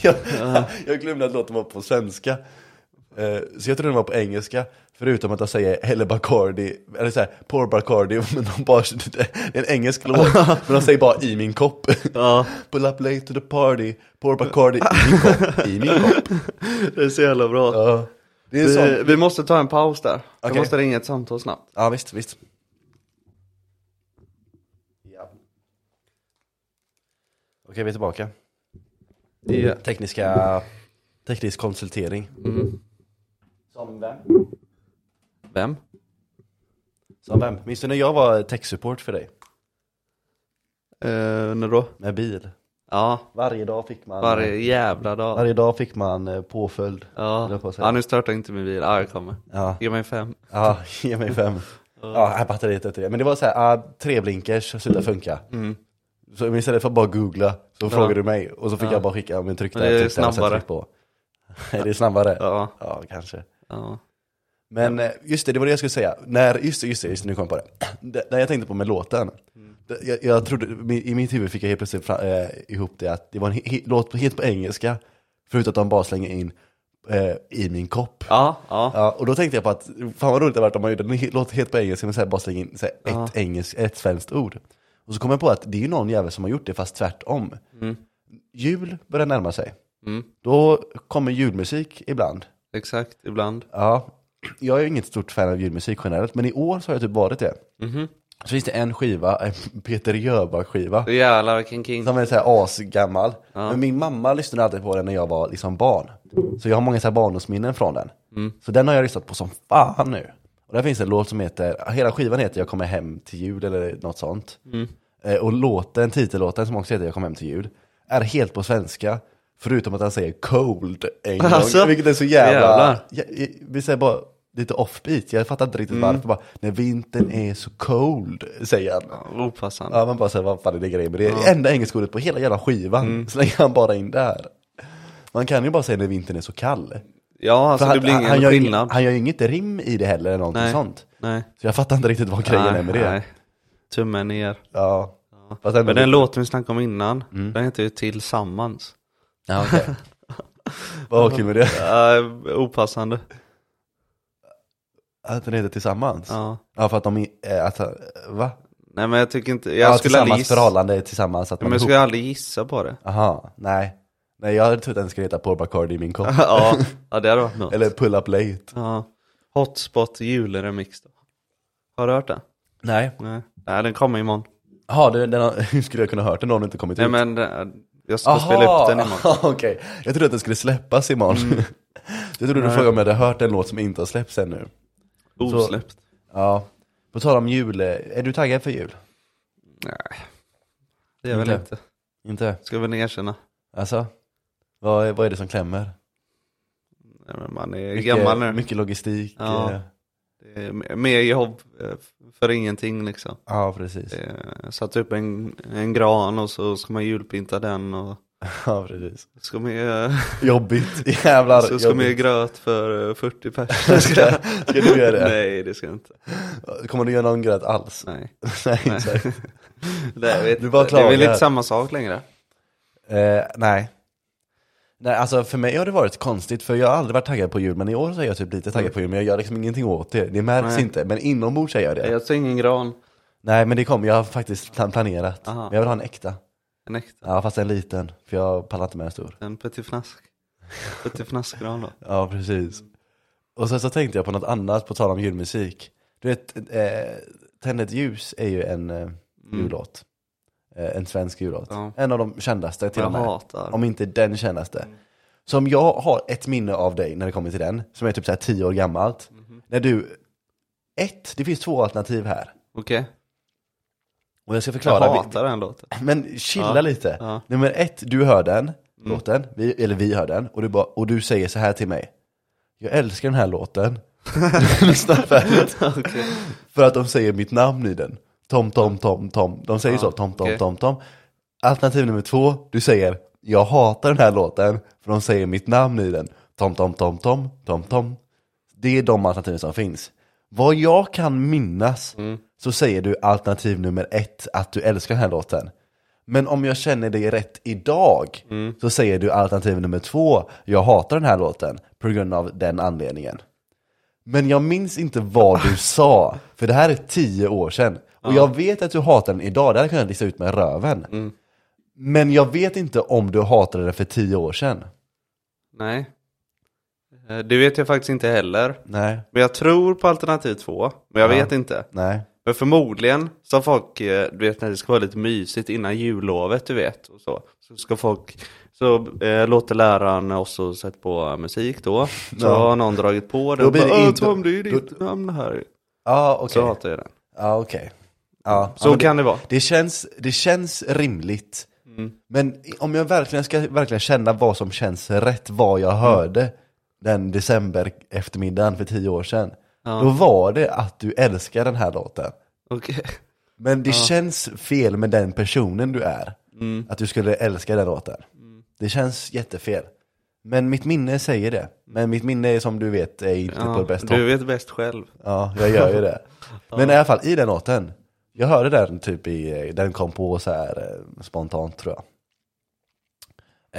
Speaker 2: jag, jag, jag glömde att låten var på svenska. Eh, så jag tror den var på engelska. Förutom att jag säger Helle Bacardi, eller såhär, Pour Bacardi, men de bara, det är en engelsk låt. Men de säger bara i min kopp.
Speaker 1: Ja.
Speaker 2: Pull up late to the party, Pour Bacardi i min kopp. I min kopp.
Speaker 1: Det är så jävla bra.
Speaker 2: Ja. Det är en sån
Speaker 1: Vi, vi måste ta en paus där.
Speaker 2: Okej.
Speaker 1: Jag måste ringa ett samtal snabbt.
Speaker 2: Ja visst, visst. Ja. Okej, vi är tillbaka. Tekniska, teknisk konsultering.
Speaker 1: Mm.
Speaker 2: Som vem?
Speaker 1: Vem?
Speaker 2: Som vem? Minns du när jag var techsupport för dig?
Speaker 1: Eh, när då?
Speaker 2: Med bil.
Speaker 1: Ja,
Speaker 2: Varje dag fick man,
Speaker 1: varje jävla dag.
Speaker 2: varje dag fick man eh, påföljd. höll
Speaker 1: Ja.
Speaker 2: jag på att säga.
Speaker 1: ja, nu startar inte min bil. Ja, jag kommer.
Speaker 2: Ja.
Speaker 1: Ge mig fem.
Speaker 2: Ja, ge mig fem. Ja, här batteriet efter det. Men det var så här, ah, tre blinkers slutar funka.
Speaker 1: Mm.
Speaker 2: Så men istället för att bara googla så frågade du mig och så fick jag bara skicka, men tryck där,
Speaker 1: Men det är
Speaker 2: tryck där och sen
Speaker 1: snabbare.
Speaker 2: tryck på. är det snabbare?
Speaker 1: Ja.
Speaker 2: Ja, kanske.
Speaker 1: Ja.
Speaker 2: Men eh, just det, det var det jag skulle säga. När, just det, just det, just det nu kom jag på det. det. Det jag tänkte på med låten. Det, jag, jag trodde, min- i mitt huvud fick jag helt plötsligt fram, eh, ihop det att det var en he, he, låt på- helt på engelska, förutom att de bara slänger in eh, i min kopp.
Speaker 1: Ja, ja.
Speaker 2: Ja, och då tänkte jag på att fan vad roligt det hade varit om man gjorde en he- låt helt på engelska men så här bara slänger in så här, ett, engelsk, ett svenskt ord. Och så kom jag på att det är ju någon jävel som har gjort det fast tvärtom. Jul börjar närma sig. Då kommer julmusik ibland.
Speaker 1: exakt. Ibland.
Speaker 2: Ja, jag är ju inget stort fan av julmusik generellt, men i år så har jag typ varit det. Så finns det en skiva, en Peter Jöback-skiva,
Speaker 1: Jävlar vilken king.
Speaker 2: som är så här asgammal. Men min mamma lyssnade alltid på den när jag var liksom barn. Så jag har många så här barndomsminnen från den.
Speaker 1: Mm.
Speaker 2: Så den har jag lyssnat på som fan
Speaker 1: Mm.
Speaker 2: nu. Och där finns en låt som heter, hela skivan heter Jag kommer hem till jul eller något sånt. Eh, Och låten, titellåten som också heter Jag kom hem till jul, är helt på svenska. Förutom att han säger cold en gång,
Speaker 1: Alltså,
Speaker 2: vilket är så jävla...
Speaker 1: jävlar.
Speaker 2: Ja, i- vi säger bara lite offbeat, jag fattar inte
Speaker 1: Mm.
Speaker 2: riktigt varför. Bara, när vintern är så cold, säger han.
Speaker 1: Opassande.
Speaker 2: Ja, man bara säger vad fan är det grejen med det? Enda engelskordet på hela jävla skivan
Speaker 1: Mm.
Speaker 2: slänger han bara in där. Man kan ju bara säga när vintern är så kall.
Speaker 1: Ja, alltså
Speaker 2: För
Speaker 1: det blir ingen
Speaker 2: han, gör ing-
Speaker 1: skillnad.
Speaker 2: han gör ju inget rim i det heller eller någonting
Speaker 1: Nej.
Speaker 2: sånt.
Speaker 1: nej.
Speaker 2: Så jag fattar inte riktigt vad grejen är med det.
Speaker 1: Tummen ner.
Speaker 2: Ja. Fast ändå
Speaker 1: Men den
Speaker 2: lite-
Speaker 1: låten vi snackade om innan,
Speaker 2: Mm.
Speaker 1: den heter ju Tillsammans.
Speaker 2: Ja, okej. Vad kul med det.
Speaker 1: Uh, opassande.
Speaker 2: Att den heter Tillsammans? Ja,
Speaker 1: Ja.
Speaker 2: för att de är, eh, att, eh, va?
Speaker 1: Nej men jag tycker inte, jag
Speaker 2: ja,
Speaker 1: skulle aldrig
Speaker 2: tillsammans
Speaker 1: gissa.
Speaker 2: förhållande, tillsammans att
Speaker 1: Men
Speaker 2: man
Speaker 1: jag
Speaker 2: är
Speaker 1: skulle
Speaker 2: ihop.
Speaker 1: aldrig gissa på det.
Speaker 2: Aha, nej. Nej, jag trodde den skulle heta Paul Bacardi i min kopp.
Speaker 1: ja, ja, det hade varit något.
Speaker 2: Eller Pull Up Late.
Speaker 1: Ja. Hotspot julremix då. Har du hört den?
Speaker 2: Nej.
Speaker 1: Nej. Nej, den kommer imorgon.
Speaker 2: Jaha, du, den har, hur skulle jag kunna hört den om den inte kommit
Speaker 1: Nej
Speaker 2: ut?
Speaker 1: men eh, jag ska spela upp den imorgon. Mm.
Speaker 2: Okej, jag trodde att den skulle släppas imorgon. jag trodde du frågade om jag hade hört en låt som inte har släppts ännu.
Speaker 1: Osläppt.
Speaker 2: Ja. På tal om jul, eh, är du taggad för jul?
Speaker 1: Nej. Det är väl
Speaker 2: Inte.
Speaker 1: inte.
Speaker 2: Inte?
Speaker 1: Ska väl erkänna.
Speaker 2: Alltså? Vad, är- vad är det som klämmer?
Speaker 1: Nej, men man är
Speaker 2: Mycket-
Speaker 1: gammal nu.
Speaker 2: Mycket logistik.
Speaker 1: Ja.
Speaker 2: eh,
Speaker 1: Det är m- Mer jobb eh, för ingenting liksom.
Speaker 2: ja precis.
Speaker 1: Eh, Satt upp en, en gran och så ska man julpynta den och
Speaker 2: Ja, precis.
Speaker 1: ska man göra-
Speaker 2: Jobbigt, jävlar.
Speaker 1: så ska man göra
Speaker 2: jobbigt.
Speaker 1: gröt för eh, 40 personer. Ska,
Speaker 2: Ska du göra det?
Speaker 1: Nej det ska jag inte.
Speaker 2: Kommer du göra någon gröt alls?
Speaker 1: Nej.
Speaker 2: Nej, exakt.
Speaker 1: Nej, jag vet
Speaker 2: Du bara
Speaker 1: inte. det är väl
Speaker 2: klagar.
Speaker 1: inte samma sak längre.
Speaker 2: Eh, nej. Nej, alltså för mig har det varit konstigt för jag har aldrig varit taggad på jul men i år så är jag typ lite taggad på jul men jag gör liksom ingenting åt det. Det märks
Speaker 1: Nej.
Speaker 2: inte men inombords är jag det.
Speaker 1: Jag tar ingen gran.
Speaker 2: Nej men det kommer, jag har faktiskt plan- planerat.
Speaker 1: Aha.
Speaker 2: Men jag vill ha en äkta.
Speaker 1: En äkta.
Speaker 2: Ja fast en liten för jag pallar inte med en stor.
Speaker 1: En petitfnask. Petitfnaskgran då.
Speaker 2: Ja precis. Och sen så tänkte jag på något annat på tal om julmusik. Du vet, eh, Tänd ett ljus är ju en eh, jullåt. Eh, en svensk jullåt.
Speaker 1: Ja.
Speaker 2: En av de kändaste till
Speaker 1: Jag
Speaker 2: och med.
Speaker 1: hatar.
Speaker 2: Om inte den kändaste. Som jag har ett minne av dig när det kommer till den, som är typ så här 10 år gammalt. När du, ett, det finns två alternativ här.
Speaker 1: Okej.
Speaker 2: Och jag ska förklara.
Speaker 1: Jag
Speaker 2: vi-
Speaker 1: hatar den låten.
Speaker 2: Men chilla
Speaker 1: Ja,
Speaker 2: lite.
Speaker 1: ja. Mm.
Speaker 2: Nummer ett, du hör den låten, vi, eller vi hör den, och du, bara, och du säger så här till mig. Jag älskar den här låten. Lyssna färdigt. För att de säger mitt namn i den. Tom, Tom, Tom, Tom. De säger så, Tom, Tom,
Speaker 1: okej.
Speaker 2: Tom, Tom. Alternativ nummer två, du säger jag hatar den här låten, för de säger mitt namn i den. Tom, Tom, Tom, Tom, Tom, Tom. Det är de alternativen som finns. Vad jag kan minnas
Speaker 1: Mm.
Speaker 2: så säger du alternativ nummer ett att du älskar den här låten. Men om jag känner dig rätt idag så säger du alternativ nummer två, jag hatar den här låten på grund av den anledningen. Men jag minns inte vad du sa, för det här är tio år sedan. Och jag vet att du hatar den idag, det hade jag kunnat lista ut med röven.
Speaker 1: Mm.
Speaker 2: Men jag vet inte om du hatade den för tio år sedan.
Speaker 1: Nej. Eh, Det vet jag faktiskt inte heller.
Speaker 2: Nej,
Speaker 1: Men jag tror på alternativ två. Men jag
Speaker 2: Ja.
Speaker 1: vet inte.
Speaker 2: nej.
Speaker 1: Men förmodligen så har folk, eh, du vet när det ska vara lite mysigt innan jullovet, du vet. Och så. så ska folk, så eh, låter läraren oss och sätta på musik då. Så
Speaker 2: Ja.
Speaker 1: har någon dragit på den.
Speaker 2: Då
Speaker 1: och
Speaker 2: blir det
Speaker 1: bara, "Åh,
Speaker 2: inte-
Speaker 1: Tom, det är ju
Speaker 2: då-
Speaker 1: ditt namn här.
Speaker 2: Ja, Ah, okej.
Speaker 1: Så hatar jag den.
Speaker 2: Ja, okej. Ja,
Speaker 1: Så
Speaker 2: ja, men
Speaker 1: kan det vara.
Speaker 2: Det känns, det känns rimligt.
Speaker 1: Mm.
Speaker 2: Men i- om jag verkligen ska verkligen känna vad som känns rätt, vad
Speaker 1: Mm.
Speaker 2: jag hörde den december eftermiddagen för tio år sedan. Då var det att du älskar den här låten.
Speaker 1: Okej.
Speaker 2: Men det känns fel med den personen du är.
Speaker 1: Mm.
Speaker 2: Att du skulle älska den låten. Det känns jättefel. Men mitt minne säger det. Men mitt minne är som du vet är inte på
Speaker 1: Mm. Ja,
Speaker 2: det bästa
Speaker 1: du vet bäst själv.
Speaker 2: Ja, jag gör ju det. Men i alla fall, i den låten. Jag hörde den typ i, den kom på så här eh, spontant tror jag.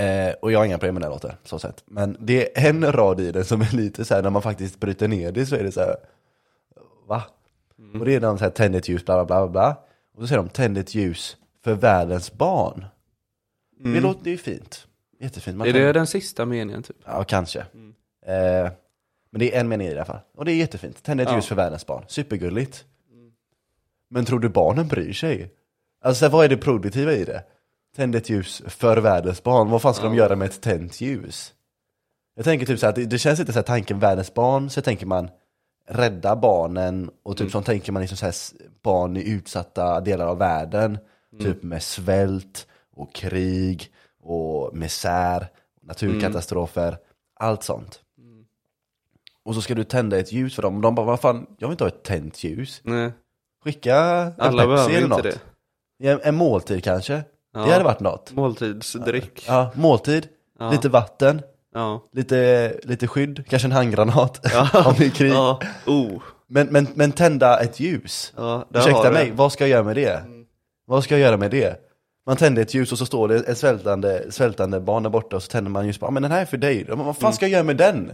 Speaker 2: Eh, och jag har inga problem med den här låten, så sett. Men det är en rad i den som är lite så här, när man faktiskt bryter ner det så är det så här, va?
Speaker 1: Mm.
Speaker 2: Och det är de så här, tänd ett ljus, bla bla bla bla. Och så säger de, tänd ett ljus för världens barn. Det låter ju fint. Jättefint. Mm. Man
Speaker 1: Mm. Är
Speaker 2: kan-
Speaker 1: det den sista meningen typ?
Speaker 2: Ja, kanske. Eh, men det är en mening i det här fall. Och det är jättefint. Tända ett
Speaker 1: Ja. Mm.
Speaker 2: ljus för världens barn. Supergulligt. Men tror du barnen bryr sig? Alltså vad är det produktiva i det? Tända ett ljus för världens barn. Vad fan ska de göra med ett tänt ljus? Jag tänker typ så här, att det, det känns inte så här tanken världens barn, så tänker man
Speaker 1: Mm.
Speaker 2: rädda barnen och typ som tänker man liksom så här s- barn i utsatta delar av världen.
Speaker 1: Mm.
Speaker 2: Typ med svält och krig och misär, naturkatastrofer,
Speaker 1: Mm.
Speaker 2: allt sånt. Och så ska du tända ett ljus för dem och de bara, vad fan, jag vill inte ha ett tänt ljus.
Speaker 1: Nej,
Speaker 2: Skicka en
Speaker 1: alla behöver
Speaker 2: Pepsi
Speaker 1: inte
Speaker 2: eller något.
Speaker 1: det.
Speaker 2: En, en måltid kanske.
Speaker 1: Ja.
Speaker 2: Det hade varit något.
Speaker 1: Måltidsdryck.
Speaker 2: Ja, måltid,
Speaker 1: Ja.
Speaker 2: lite vatten,
Speaker 1: Ja.
Speaker 2: lite, lite skydd, kanske en handgranat om det är krig.
Speaker 1: Ja. Oh.
Speaker 2: Men, men, men tända ett ljus.
Speaker 1: Ja, där har Mm.
Speaker 2: Ursäkta
Speaker 1: du
Speaker 2: mig,
Speaker 1: den.
Speaker 2: vad ska jag göra med det? Vad ska jag göra med det? Man tänder ett ljus och så står det ett svältande, svältande barn där borta och så tänder man ljus. Ja, men den här är för dig. Ja, Men vad fan ska jag göra med den?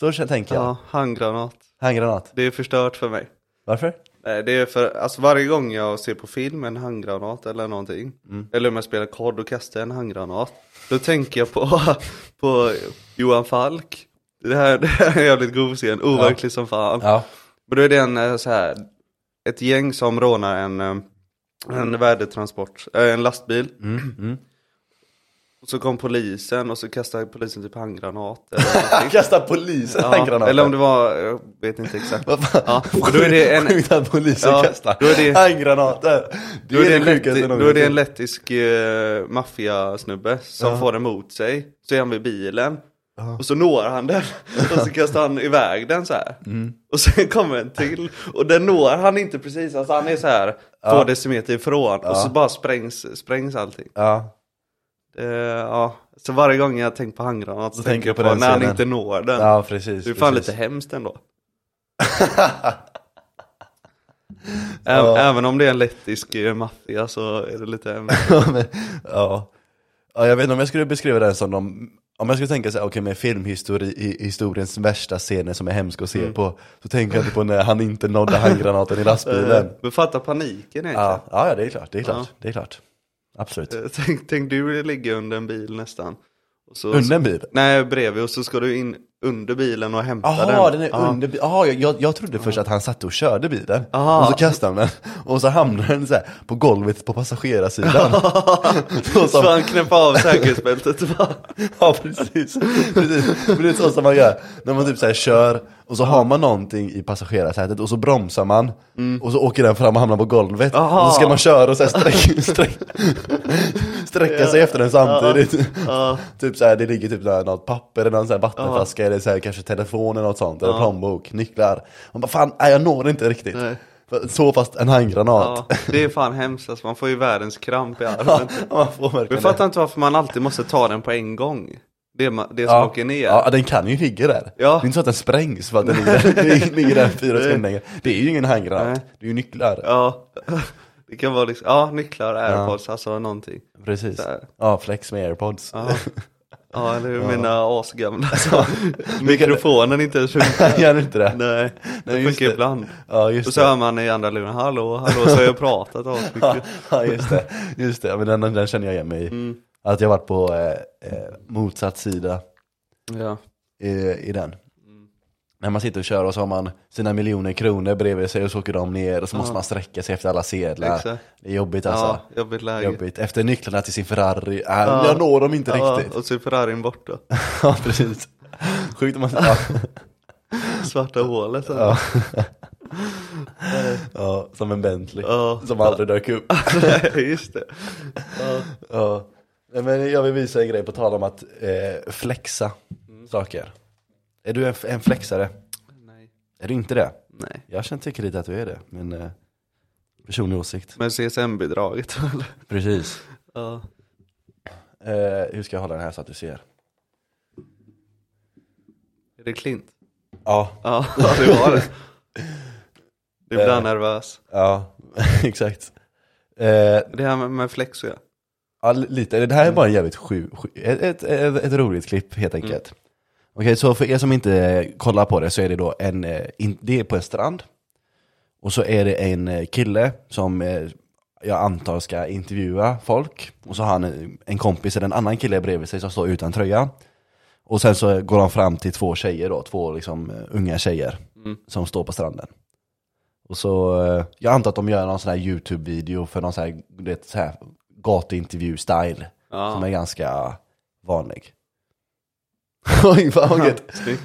Speaker 2: Så kän- tänker jag.
Speaker 1: Mm. Ja, handgranat.
Speaker 2: Handgranat.
Speaker 1: Det är förstört för mig.
Speaker 2: Varför?
Speaker 1: Nej, det är för, alltså varje gång jag ser på film en handgranat eller någonting,
Speaker 2: Mm.
Speaker 1: eller om jag spelar kod och kastar en handgranat, då tänker jag på, på Johan Falk. Det här, det här är en jävligt god scen, overklig som fan.
Speaker 2: Ja.
Speaker 1: Men då är det en eh, så här, ett gäng som rånar en, eh, en värdetransport, eh, en lastbil.
Speaker 2: Mm,
Speaker 1: Och så kom polisen och så kastade polisen typ handgranat eller någonting.
Speaker 2: Kasta polisen
Speaker 1: ja,
Speaker 2: handgranaten.
Speaker 1: eller om det var, jag vet inte exakt.
Speaker 2: Vad fan?
Speaker 1: Ja, och då är det en-
Speaker 2: Sjukt att polisen
Speaker 1: Ja,
Speaker 2: kastar
Speaker 1: då är det-
Speaker 2: handgranater. Det
Speaker 1: Då är det, en
Speaker 2: det sjukaste
Speaker 1: lätt, då är det en
Speaker 2: någonsin.
Speaker 1: lettisk eh, maffiasnubbe som får den mot sig. Så är han vid bilen. Och så når han den. Och så kastar han iväg den så här. Och sen kommer en till. Och den når han inte precis. Alltså han är så här två decimeter ifrån. Och så bara sprängs, sprängs allting.
Speaker 2: Ja.
Speaker 1: Eh, ja. Så varje gång jag tänker på handgranat så tänker jag på,
Speaker 2: den
Speaker 1: när han
Speaker 2: scenen.
Speaker 1: inte når den.
Speaker 2: ja, precis.
Speaker 1: det är fan
Speaker 2: precis.
Speaker 1: lite hemskt ändå. Även, även om det är en lettisk eh, maffia så är det lite hemskt.
Speaker 2: Ja, men, ja. ja, jag vet inte om jag skulle beskriva den som de, om jag skulle tänka så här, okej med filmhistoriens värsta scener som är hemska att se
Speaker 1: Mm.
Speaker 2: på, så tänker jag inte på när han inte nådde handgranaten i lastbilen.
Speaker 1: Eh, Men fatta paniken egentligen.
Speaker 2: Ja, ja, ja, det är klart, det är klart, det är klart. Absolut.
Speaker 1: Eh, Tänk, tänk du ligger under en bil nästan. Och så,
Speaker 2: Under en bil?
Speaker 1: Nej, bredvid och så ska du in under bilen och hämta den.
Speaker 2: Jaha, den är
Speaker 1: Ja.
Speaker 2: under bilen. Jaha, jag, jag, jag trodde först att han satt och körde bilen.
Speaker 1: Aha.
Speaker 2: Och så kastade han den. Och så hamnade den så här på golvet på passagerarsidan. så
Speaker 1: Så
Speaker 2: som,
Speaker 1: han knäpper av säkerhetsbältet och bara,
Speaker 2: Ja precis, precis. Men det är så som man gör när man typ så här kör och så har man någonting i passagerarsätet och så bromsar man och så åker den fram och hamnar på golvet
Speaker 1: Aha.
Speaker 2: och så ska man köra och så här sträck, sträck, sträcka sig efter den samtidigt.
Speaker 1: ja.
Speaker 2: Typ så här, det ligger typ där något papper eller någon så här vattenflaska eller så här, kanske telefon eller något sånt eller plånbok, nycklar. Man bara fan, nej, jag når inte riktigt.
Speaker 1: Nej.
Speaker 2: Så fast en handgranat.
Speaker 1: ja, det är fan hemskt alltså, man får ju världens kramp i
Speaker 2: Ja.
Speaker 1: armen.
Speaker 2: man får
Speaker 1: Jag
Speaker 2: verkligen
Speaker 1: fattar inte varför man alltid måste ta den på en gång. Det, ma- det som
Speaker 2: Ja.
Speaker 1: åker ner.
Speaker 2: Ja, den kan ju ligga där.
Speaker 1: Ja.
Speaker 2: Det är inte så att den sprängs för att den ligger där, den ligger där fyra sekunder längre. Det är ju ingen handgranat,
Speaker 1: Nej.
Speaker 2: det är ju nycklar.
Speaker 1: Ja. Det kan vara liksom, ja, nycklar, airpods, alltså någonting.
Speaker 2: Precis.
Speaker 1: Där.
Speaker 2: Ja, flex med airpods.
Speaker 1: Ja, ja eller hur, mina asgamla. Alltså, mikrofonen inte ens funkar.
Speaker 2: Gör du inte det?
Speaker 1: Nej, det
Speaker 2: just
Speaker 1: funkar
Speaker 2: det.
Speaker 1: ibland.
Speaker 2: Ja, just
Speaker 1: Och så
Speaker 2: det.
Speaker 1: hör man i andra luren, hallå, hallå, så har jag pratat asmycket.
Speaker 2: Ja, just det. Just det. Ja, Men den, den känner jag igen mig i.
Speaker 1: Mm.
Speaker 2: Att jag varit på eh, eh, motsatt sida
Speaker 1: Ja.
Speaker 2: i, i den.
Speaker 1: Mm.
Speaker 2: När man sitter och kör och så har man sina miljoner kronor bredvid sig och så åker de ner och så måste man sträcka sig efter alla sedlar.
Speaker 1: Exakt.
Speaker 2: Det är jobbigt alltså.
Speaker 1: ja, jobbigt läge.
Speaker 2: Jobbigt. Efter nycklarna till sin Ferrari, äh, jag når dem inte
Speaker 1: Ja,
Speaker 2: riktigt.
Speaker 1: och så är Ferrarin borta.
Speaker 2: Ja, precis. Sjukt om man... Ja,
Speaker 1: Svarta hålet. Ja.
Speaker 2: ja. ja, som en Bentley.
Speaker 1: Ja.
Speaker 2: Som aldrig dök upp.
Speaker 1: Just det.
Speaker 2: Ja. Nej, Men jag vill visa en grej på tal om att eh, flexa saker. Är du en, en flexare?
Speaker 1: Nej.
Speaker 2: Är du inte det?
Speaker 1: Nej.
Speaker 2: Jag känner tycker lite att du är det, men eh, personlig åsikt.
Speaker 1: Men CSN-bidraget eller?
Speaker 2: Precis.
Speaker 1: Ja.
Speaker 2: Eh, hur ska jag hålla den här så att du ser?
Speaker 1: Är det Klint?
Speaker 2: Ja,
Speaker 1: Ja, det var det. Du blir
Speaker 2: Eh.
Speaker 1: han nervös.
Speaker 2: ja, exakt. Eh,
Speaker 1: Det här med, med flex och jag.
Speaker 2: Ja, li- lite. Det här är bara en jävligt sju, sju ett, ett, ett, ett roligt klipp helt enkelt. Okej, så för er som inte eh, kollar på det så är det då en, eh, in, det är på en strand. Och så är det en eh, kille som eh, jag antar ska intervjua folk. Och så har han eh, en kompis eller en annan kille bredvid sig som står utan tröja. Och sen så går han fram till två tjejer då, två liksom eh, unga tjejer som står på stranden. Och så, eh, jag antar att de gör någon sån här YouTube-video för någon sån här, du vet, så här gatuintervju-style.
Speaker 1: Ja.
Speaker 2: Som är ganska vanlig. Oj, fan vad gött.
Speaker 1: Snyggt.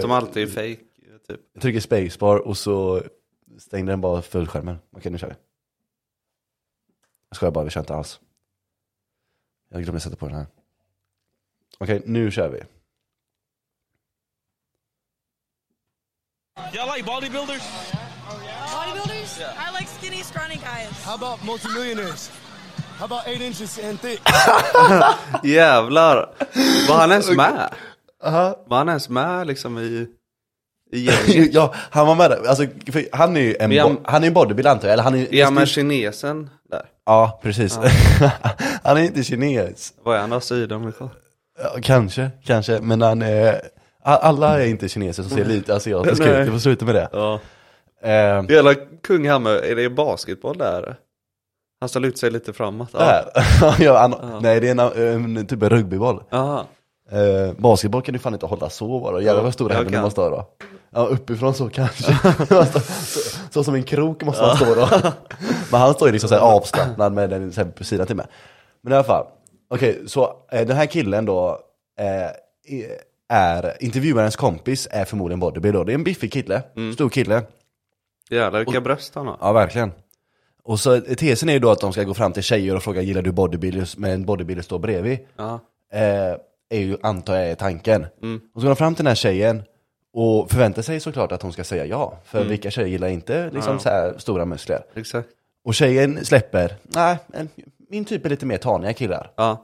Speaker 1: Som alltid är fake typ.
Speaker 2: trycker spacebar och så stängde den bara fullskärmen. Okej, nu kör vi. Jag skojar bara, vi kör inte alls. Jag glömde sätta på den här. Okej, nu kör vi.
Speaker 4: Y'all like bodybuilders?
Speaker 5: Bodybuilders? I like skinny, scrawny guys.
Speaker 6: How about multimillionaires? How about eight inches and thick?
Speaker 1: Jävlar! Var han ens med? Var han ens med liksom i, i gänget?
Speaker 2: ja, han var med där. Alltså, för han är ju en,
Speaker 1: Men jag-
Speaker 2: bo- han är en bodybuilder antar jag. Eller han är,
Speaker 1: Är han med kinesen där?
Speaker 2: ja, precis. han är inte kines.
Speaker 1: Var är han då? Sydamerika?
Speaker 2: Ja, Kanske, kanske. Men han är... a- Alla är inte kineser som ser lite asiatiska
Speaker 1: Nej.
Speaker 2: ut. Vi får sluta med det.
Speaker 1: Ja.
Speaker 2: Eh,
Speaker 1: Jävla kung Hammar, är det basketboll där? Han ställer ut sig lite framåt. Ja.
Speaker 2: där. ja, han, Nej, det är en, en, typ en rugbyboll.
Speaker 1: Aha.
Speaker 2: Eh, basketboll kan du fan inte hålla så bara. Jävlar vad stora
Speaker 1: jag
Speaker 2: händer du
Speaker 1: kan.
Speaker 2: måste ha då. Ja, uppifrån så kanske. så, så som en krok måste han stå då. Men han står ju liksom såhär avslappnad med den så här på sidan till mig. Men i alla fall. Okej, så eh, den här killen då eh, i- är, intervjuarens kompis är förmodligen bodybuilder. då. Det är en biffig kille,
Speaker 1: Mm.
Speaker 2: stor kille.
Speaker 1: Jävlar vilka bröst han har.
Speaker 2: Ja, verkligen. Och så tesen är ju då att de ska gå fram till tjejer och fråga gillar du bodybuilders, men en bodybuilder står bredvid
Speaker 1: Ja.
Speaker 2: eh, är ju, antar jag är tanken.
Speaker 1: Mm.
Speaker 2: Och så går de fram till den här tjejen och förväntar sig såklart att hon ska säga ja. För
Speaker 1: Mm.
Speaker 2: vilka tjejer gillar inte liksom, så här stora muskler?
Speaker 1: Exakt.
Speaker 2: Och tjejen släpper, nej, men min typ är lite mer taniga killar.
Speaker 1: Ja.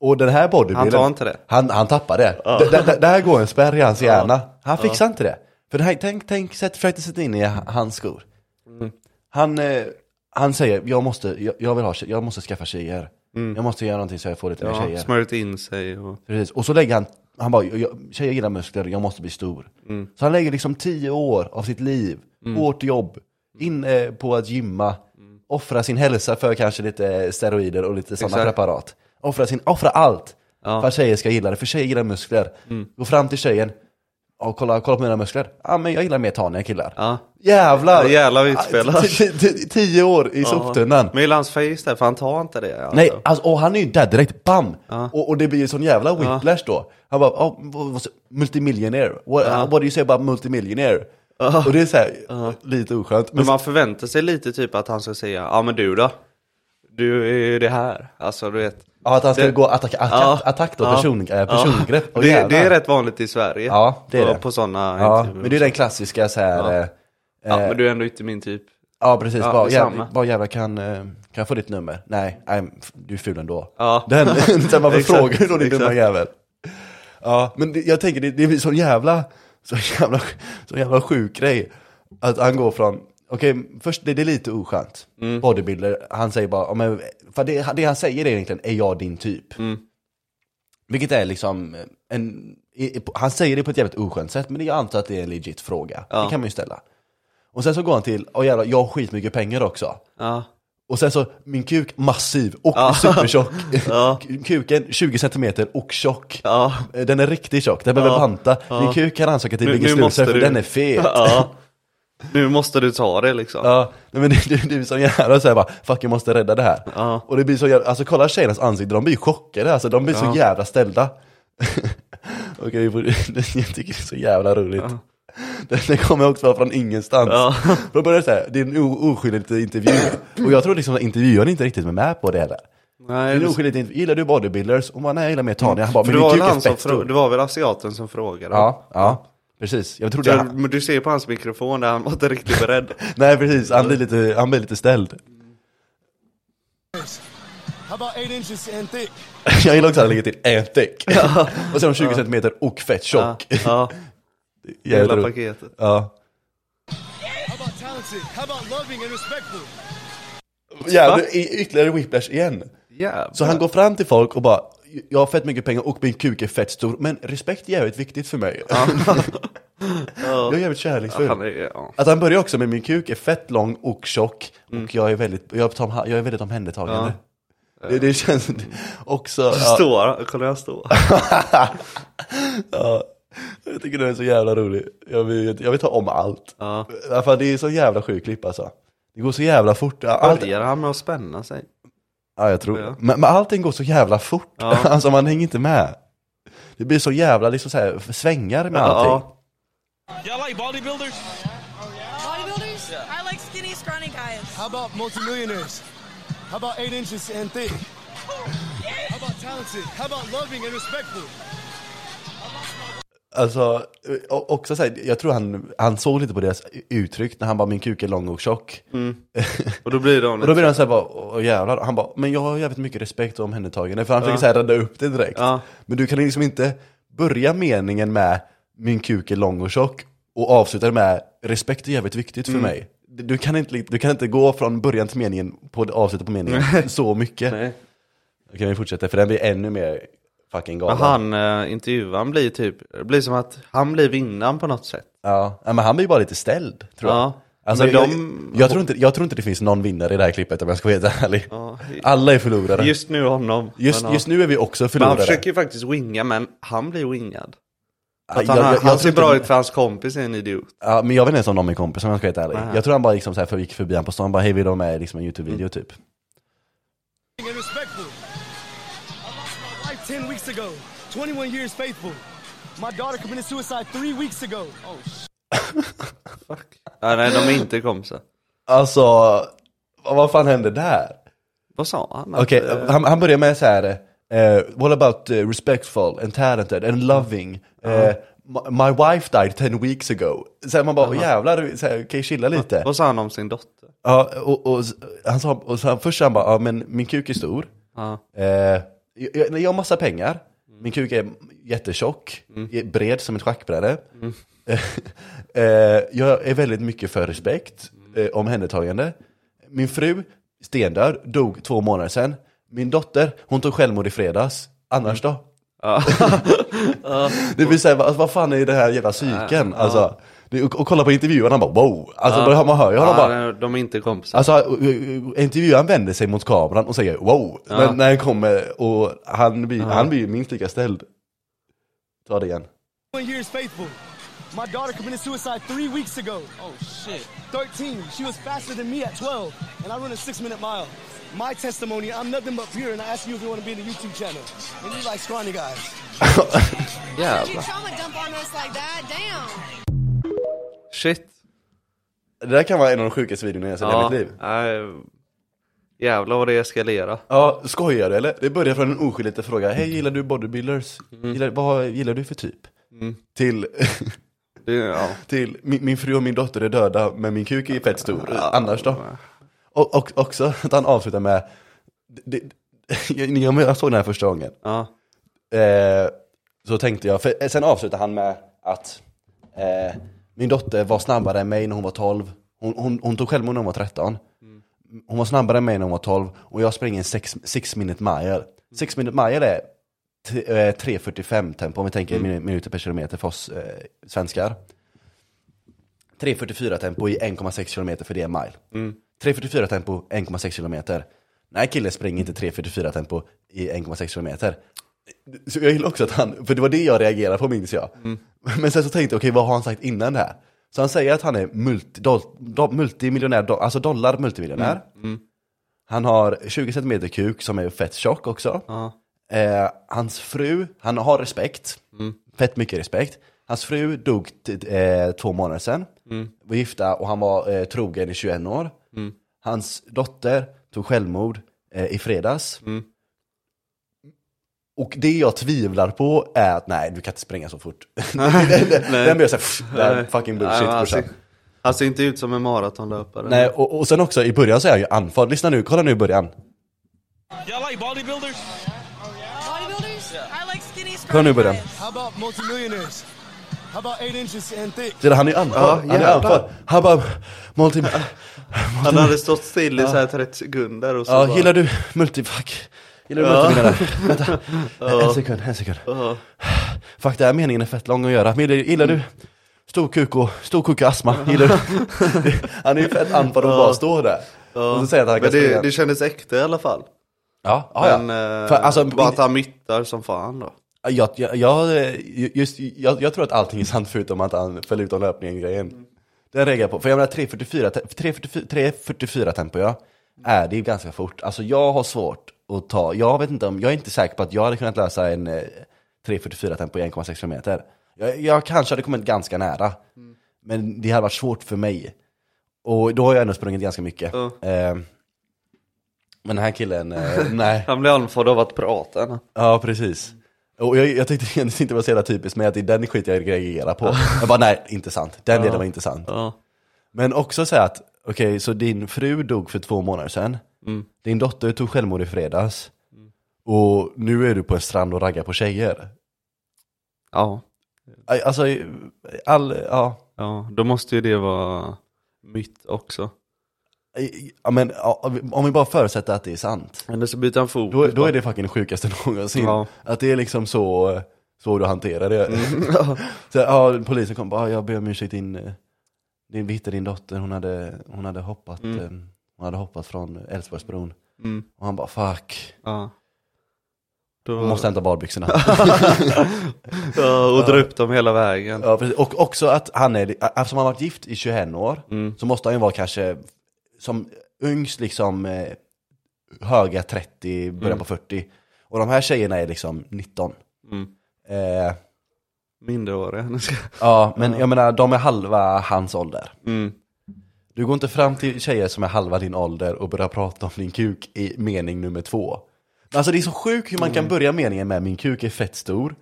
Speaker 2: Och den här bodybuildern,
Speaker 1: Han tar inte det.
Speaker 2: Han, han tappar det. D- d- d- Där går en spärr i hans hjärna. Han fixar inte det. För den här, tänk, tänk, sätt, försökte sätta in i h- hans skor.
Speaker 1: Mm.
Speaker 2: Han, eh, han säger, jag måste, jag, jag vill ha, tje- jag måste skaffa tjejer. Jag måste göra någonting så jag får lite mer
Speaker 1: Mm. ja.
Speaker 2: tjejer.
Speaker 1: Smörjt in sig och...
Speaker 2: Precis. Och så lägger han, han bara, "Jag- tjejer gillar muskler, jag måste bli stor.
Speaker 1: Mm.
Speaker 2: Så han lägger liksom tio år av sitt liv, hårt jobb, in eh, på att gymma,
Speaker 1: Mm.
Speaker 2: offra sin hälsa för kanske lite steroider och lite sådana
Speaker 1: Exakt.
Speaker 2: preparat. Offra, sin, offra allt
Speaker 1: Ja. Mm.
Speaker 2: för att tjejer ska gilla det, för tjejer gillar muskler. Gå fram till tjejen, och kolla, kolla på mina muskler. Ja ah, men jag gillar mer taniga killar.
Speaker 1: Ja.
Speaker 2: Jävlar!
Speaker 1: Ja, jävlar vad utspelat.
Speaker 2: T- t- t- Tio år i soptunnan.
Speaker 1: Men gillar hans face där? För han tar inte det. Alltså.
Speaker 2: Nej, alltså, och han är ju där direkt, bam! Och, och det blir ju sån jävla whiplash då. Han bara, oh, vad- vad- multimillionaire, what, what do you say about multimillionaire? Och det är så här, lite oskönt. Men,
Speaker 1: Men man förväntar sig lite typ att han ska säga, ja men du då? Du är ju det här. Alltså du vet.
Speaker 2: ja, att han ska
Speaker 1: det-
Speaker 2: gå attack, attack,
Speaker 1: Ja.
Speaker 2: attack då,
Speaker 1: Ja.
Speaker 2: person, eh, persongrepp. Åh,
Speaker 1: Det, det
Speaker 2: jävlar.
Speaker 1: är rätt vanligt i Sverige.
Speaker 2: Ja, det är
Speaker 1: på,
Speaker 2: det.
Speaker 1: På sådana
Speaker 2: Ja,
Speaker 1: intervjuer.
Speaker 2: men det är den klassiska så här, ja,
Speaker 1: ja, men du är ändå inte min typ.
Speaker 2: ja precis,
Speaker 1: Ja,
Speaker 2: bara,
Speaker 1: det är samma.
Speaker 2: jävlar, bara jävlar kan, eh, kan jag få ditt nummer? Nej, nej du är ful ändå.
Speaker 1: Ja.
Speaker 2: Den, så här, varför
Speaker 1: Exakt,
Speaker 2: frågar du då din dumma
Speaker 1: exakt.
Speaker 2: jävel? Ja, men det, jag tänker det, det är så jävla, så jävla, så jävla sjuk grej. Att han går från, okej, först det, det är lite oskönt.
Speaker 1: Mm.
Speaker 2: Bodybuilder, han säger bara, ja, men, för det, det han säger är egentligen, är jag din typ?
Speaker 1: Mm.
Speaker 2: Vilket är liksom, en, i- i- han säger det på ett jävligt oskönt sätt, men jag antar att det är en legit fråga. Det kan man ju ställa. Och sen så går han till, åh jävlar, jag har skitmycket pengar också.
Speaker 1: Ja.
Speaker 2: Och sen så, min kuk massiv och supertjock.
Speaker 1: Ja.
Speaker 2: Kuken 20 centimeter och tjock. Eh,
Speaker 1: Ja.
Speaker 2: Den är riktigt tjock, den behöver banta. Min kuk kan ansöka till
Speaker 1: Nu-
Speaker 2: Bigge
Speaker 1: nu
Speaker 2: Snuse
Speaker 1: måste
Speaker 2: för
Speaker 1: du-
Speaker 2: den är fet.
Speaker 1: ja. Nu måste du ta det liksom.
Speaker 2: Ja, nej, men det, det, det blir så jävla såhär bara, fuck jag måste rädda det här. Och det blir så jävla, alltså kolla tjejernas ansikte, de blir ju chockade alltså, de blir så jävla ställda. Okej, vi får- jag tycker det är så jävla roligt. Det, det kommer också bara från ingenstans. Då börjar det såhär, det är en o- oskyldig liten intervju. Och jag tror liksom att intervjuaren inte riktigt var med på det heller. Det
Speaker 1: Nej,
Speaker 2: är en
Speaker 1: det-
Speaker 2: oskyldig intervju, gillar du bodybuilders? Och hon bara, nej jag gillar mer taniga. Han bara,
Speaker 1: för
Speaker 2: men
Speaker 1: det
Speaker 2: din
Speaker 1: var, väl
Speaker 2: kuk är typ
Speaker 1: han som
Speaker 2: fett
Speaker 1: frå- det
Speaker 2: stor.
Speaker 1: var väl asiaten som frågade?
Speaker 2: Ja, ja, precis. Jag trodde
Speaker 1: Så,
Speaker 2: han-
Speaker 1: men du ser ju på hans mikrofon där han var inte riktigt beredd.
Speaker 2: Nej precis, han blir lite, han blir lite ställd.
Speaker 6: How about eight inches and thick?
Speaker 2: Jag gillar också att han lägger till en thick. och sen 20 centimeter och fett
Speaker 1: Ja,
Speaker 2: tjock.
Speaker 1: ja,
Speaker 2: Jävligt
Speaker 1: hela
Speaker 2: roligt.
Speaker 1: paketet.
Speaker 2: Ja.
Speaker 6: How about talented? How about loving and respectful?
Speaker 2: Jävlar, i- ytterligare whiplash igen.
Speaker 1: Jävlar.
Speaker 2: Så han går fram till folk och bara, jag har fett mycket pengar och min kuk är fett stor, men respekt är jävligt viktigt för mig. jag är jävligt kärleksfull.
Speaker 1: Han är, ja.
Speaker 2: Att han börjar också med min kuk är fett lång och tjock
Speaker 1: Mm.
Speaker 2: och jag är väldigt, jag tar, jag är väldigt omhändertagande. Det, det känns också... ja.
Speaker 1: Står, kolla hur han står.
Speaker 2: Ja, jag tycker den är så jävla rolig. Jag vill, jag vill ta om allt.
Speaker 1: Ja.
Speaker 2: Därför att det är så jävla sjuk klipp alltså. Det går så jävla fort. Allt,
Speaker 1: Börjar han med att spänna sig?
Speaker 2: ja, jag tror.
Speaker 1: Ja.
Speaker 2: Men, men allting går så jävla fort. Alltså man hänger inte med. Det blir så jävla liksom så här, svängar med allting.
Speaker 1: Ja,
Speaker 4: Y'all like bodybuilders?
Speaker 5: Bodybuilders? I like skinny, scrawny guys.
Speaker 6: How about multimillionaires? How about eight inches and thick? How about talented? How about loving and respectful?
Speaker 2: Alltså, o- också så här, jag tror han, han såg lite på deras uttryck när han bara min kuk är lång och tjock.
Speaker 1: Mm. Och då blir de
Speaker 2: Och då
Speaker 1: lite
Speaker 2: blir han såhär bara, åh jävlar. Och Han bara, men jag har jävligt mycket respekt och omhändertagande. För han försöker såhär rädda upp det direkt.
Speaker 1: Ja.
Speaker 2: Men du kan liksom inte börja meningen med min kuk är lång och tjock och avsluta det med respekt är jävligt viktigt
Speaker 1: Mm.
Speaker 2: för mig. Du kan, inte, li- du kan inte gå från början till meningen på avslutet på meningen så mycket.
Speaker 1: Nej.
Speaker 2: Okej vi fortsätter för den blir ännu mer fucking galen.
Speaker 1: Och han, eh, intervjuaren blir typ, det blir som att han blir vinnaren på något sätt.
Speaker 2: Ja, ja, men han blir ju bara lite ställd tror jag.
Speaker 1: Ja,
Speaker 2: Alltså,
Speaker 1: men
Speaker 2: jag,
Speaker 1: de-
Speaker 2: jag, tror inte, jag tror inte det finns någon vinnare i det här klippet om jag ska vara helt ärlig. Alla är förlorare. Just,
Speaker 1: Just nu honom.
Speaker 2: just,
Speaker 1: Men, ja.
Speaker 2: nu är vi också
Speaker 1: Men han
Speaker 2: förlorare.
Speaker 1: försöker ju faktiskt winga, men han blir wingad.
Speaker 2: Ja,
Speaker 1: Att han,
Speaker 2: jag- jag-
Speaker 1: han
Speaker 2: jag
Speaker 1: ser
Speaker 2: tror
Speaker 1: bra
Speaker 2: inte-
Speaker 1: ut för hans kompis är en idiot.
Speaker 2: Ja, men jag vet inte ens om de är kompisar om jag ska vara helt ärlig.
Speaker 1: Nej.
Speaker 2: Jag tror han bara liksom så här, för, gick förbi han på stan och bara hej vill du vara med i liksom en YouTube-video typ.
Speaker 6: Loving And respectful. I lost my wife 10 weeks ago. 21 years faithful. My daughter committed suicide three weeks ago. Oh,
Speaker 1: Fuck. Ja, nej, de är inte kompisar.
Speaker 2: Alltså, vad, vad fan hände där?
Speaker 1: Vad sa han? Att,
Speaker 2: Okej,
Speaker 1: eh,
Speaker 2: han, han börjar med så här. eh, what about eh, respectful and talented and loving? Eh, my, my wife died 10 weeks ago. Så här, man bara, uh jävlar, så här, kan jag chilla lite?
Speaker 1: vad sa han om sin dotter?
Speaker 2: Ja, och, och, s- han sa, och så han, först han bara, ja men min kuk är stor,
Speaker 1: Ja.
Speaker 2: eh, jag, jag, jag har massa pengar, min kuk är jättetjock,
Speaker 1: Mm.
Speaker 2: är bred som ett schackbräde, eh, jag är väldigt mycket för respekt,
Speaker 1: Mm.
Speaker 2: eh, omhändertagande, min fru, stendöd, dog två månader sedan, min dotter, hon tog självmord i fredags, annars
Speaker 1: Mm.
Speaker 2: då? det vill säga, alltså, vad fan är det här jävla psyken? Alltså, det, och, och kolla på intervjuerna, han bara wow, alltså då hör man hör ju honom
Speaker 1: Ja,
Speaker 2: bara
Speaker 1: nej, de är inte kompisar.
Speaker 2: Alltså intervjuaren vänder sig mot kameran och säger wow, men när han kommer och han blir, han blir ju minst lika ställd. Ta det igen.
Speaker 6: 21 years faithful. My daughter committed suicide three weeks ago. Oh,
Speaker 4: Shit.
Speaker 6: 13. She was faster than me at 12, and I run a six minute mile. My testimony, I'm nothing but pure, and I ask you if you want to be in the YouTube channel. And you like scrawny guys.
Speaker 5: You trauma dump on us like that? Damn.
Speaker 1: Shit.
Speaker 2: Det där kan vara en av de sjukaste videorna jag sett i hela mitt liv.
Speaker 1: nej, jävlar vad det eskalerar.
Speaker 2: Ja, skojar du eller? Det börjar från en oskyldig liten fråga, hej gillar du bodybuilders? Gillar, vad gillar du för typ? Till,
Speaker 1: Det, ja.
Speaker 2: till min, min fru och min dotter är döda men min kuk är fett stor, annars då? Och, och också att han avslutar med, det, det, jag, jag såg den här första gången,
Speaker 1: Ja.
Speaker 2: Eh, så tänkte jag, för eh, sen avslutade han med att eh, min dotter var snabbare än mig när hon var 12. Hon, hon, hon tog självmord när hon var 13. Hon var snabbare än mig när hon var 12 och jag sprang en 6 minute mile. 6 minute mile är t- eh, 3.45 tempo om vi tänker minu- minuter per kilometer för oss eh, svenskar. 3.44 tempo i 1,6 kilometer för det är en mile. 3.44 tempo, 1,6 kilometer. Nej killen springer inte 3.44 tempo i 1,6 kilometer. Så jag gillar också att han, för det var det jag reagerade på minns jag. Men sen så tänkte jag, okej vad har han sagt innan det här? Så han säger att han är multi, do, do, multimiljonär, do, alltså dollar multimiljonär. Han har 20 cm kuk som är fett tjock också. Eh, hans fru, han har respekt,
Speaker 1: Mm.
Speaker 2: fett mycket respekt. Hans fru dog t- eh, två månader sedan,
Speaker 1: Mm.
Speaker 2: var gifta och han var eh, trogen i 21 år. Hans dotter tog självmord eh, i fredags.
Speaker 1: Mm.
Speaker 2: Och det jag tvivlar på är att nej, du kan inte springa så fort. Den den blir såhär, det här är fucking bullshit
Speaker 1: Nej, men alltså- han,
Speaker 2: brorsan.
Speaker 1: ser, han ser inte ut som en maratonlöpare.
Speaker 2: Nej, och, och sen också i början så är jag ju andfådd. Lyssna nu, kolla nu i början.
Speaker 4: Y'all like bodybuilders?
Speaker 5: Bodybuilders? I like skinny,
Speaker 2: Kolla nu i
Speaker 5: scrawny
Speaker 2: början.
Speaker 5: guys.
Speaker 6: How about multimillionaires? How about eight inches and thick?
Speaker 2: Det är, han är andfådd.
Speaker 1: Ja,
Speaker 2: han är
Speaker 1: jävlar.
Speaker 2: andfådd. Han bara, ah, multi...
Speaker 1: Han hade stått still i så här 30 sekunder och så
Speaker 2: Ja,
Speaker 1: bara,
Speaker 2: gillar du multifuck? Gillar du
Speaker 1: Ja.
Speaker 2: multimiljonär? Vänta, en sekund, en sekund.
Speaker 1: Ja.
Speaker 2: Fuck, den här meningen är fett lång att göra. Men Gillar, gillar du stor kuk och, stor kuk och astma? Gillar du? han är ju fett andfådd och bara står där. Och så säger han att han
Speaker 1: Men
Speaker 2: kan
Speaker 1: det,
Speaker 2: springa.
Speaker 1: det kändes äkta i alla fall.
Speaker 2: Ja, ja, ja.
Speaker 1: Men, eh,
Speaker 2: För, alltså,
Speaker 1: bara att han myttar som fan då.
Speaker 2: Jag, jag, jag, eh, just, jag, jag tror att allting är sant förutom att han föll ut om löpningen-grejen. Den reagerar jag på. För jag menar 3.44, te- 3.44, 3.44 tempo ja, är det är ganska fort. Alltså jag har svårt att ta, jag vet inte om, jag är inte säker på att jag hade kunnat lösa en eh, 3.44 tempo i 1,6 kilometer. Jag, jag kanske hade kommit ganska nära. Men det hade varit svårt för mig. Och då har jag ändå sprungit ganska mycket.
Speaker 1: Ja.
Speaker 2: Eh, Ehm, Men den här killen, eh, nej.
Speaker 1: Han blir andfådd av att prata.
Speaker 2: Ja, precis. Och jag, jag tyckte egentligen inte det var så jävla typiskt, men att det är den skit jag reagerar på. Jag bara, nej, inte sant. Den delen var inte sant.
Speaker 1: Ja.
Speaker 2: Men också så här att, okej, så din fru dog för två månader sedan. Din dotter tog självmord i fredags. Och nu är du på en strand och raggar på tjejer.
Speaker 1: ja.
Speaker 2: Aj, Alltså, all, ja.
Speaker 1: Ja, då måste ju det vara mitt också.
Speaker 2: Aj, ja, men, ja, om vi bara förutsätter att det är sant.
Speaker 1: Eller så byter han fokus.
Speaker 2: Då, då är det fucking det sjukaste någonsin.
Speaker 1: Ja. Mm.
Speaker 2: Att det är liksom så, så du hanterar det. så, ja, polisen kom bara, "Ah, jag ber om ursäkt, din, eh, din, vi hittade din dotter, hon hade, hon hade, hoppat, eh, hon hade hoppat från Älvsborgsbron.
Speaker 1: Mm.
Speaker 2: Och han bara, fuck,
Speaker 1: Ja. Då...
Speaker 2: hon måste hämta badbyxorna.
Speaker 1: ja, och dra upp dem hela vägen.
Speaker 2: ja, precis. och också att han är, eftersom han har varit gift i 21 år,
Speaker 1: Mm.
Speaker 2: så måste han ju vara kanske som yngst liksom eh, höga 30, början på 40. Och de här tjejerna är liksom 19.
Speaker 1: Mm.
Speaker 2: Eh,
Speaker 1: Minderåriga. Nu ska-
Speaker 2: Ja, men jag menar, de är halva hans ålder.
Speaker 1: Mm.
Speaker 2: Du går inte fram till tjejer som är halva din ålder och börjar prata om din kuk i mening nummer två. Men Alltså det är så sjukt hur man
Speaker 1: Mm.
Speaker 2: kan börja meningen med min kuk är fett stor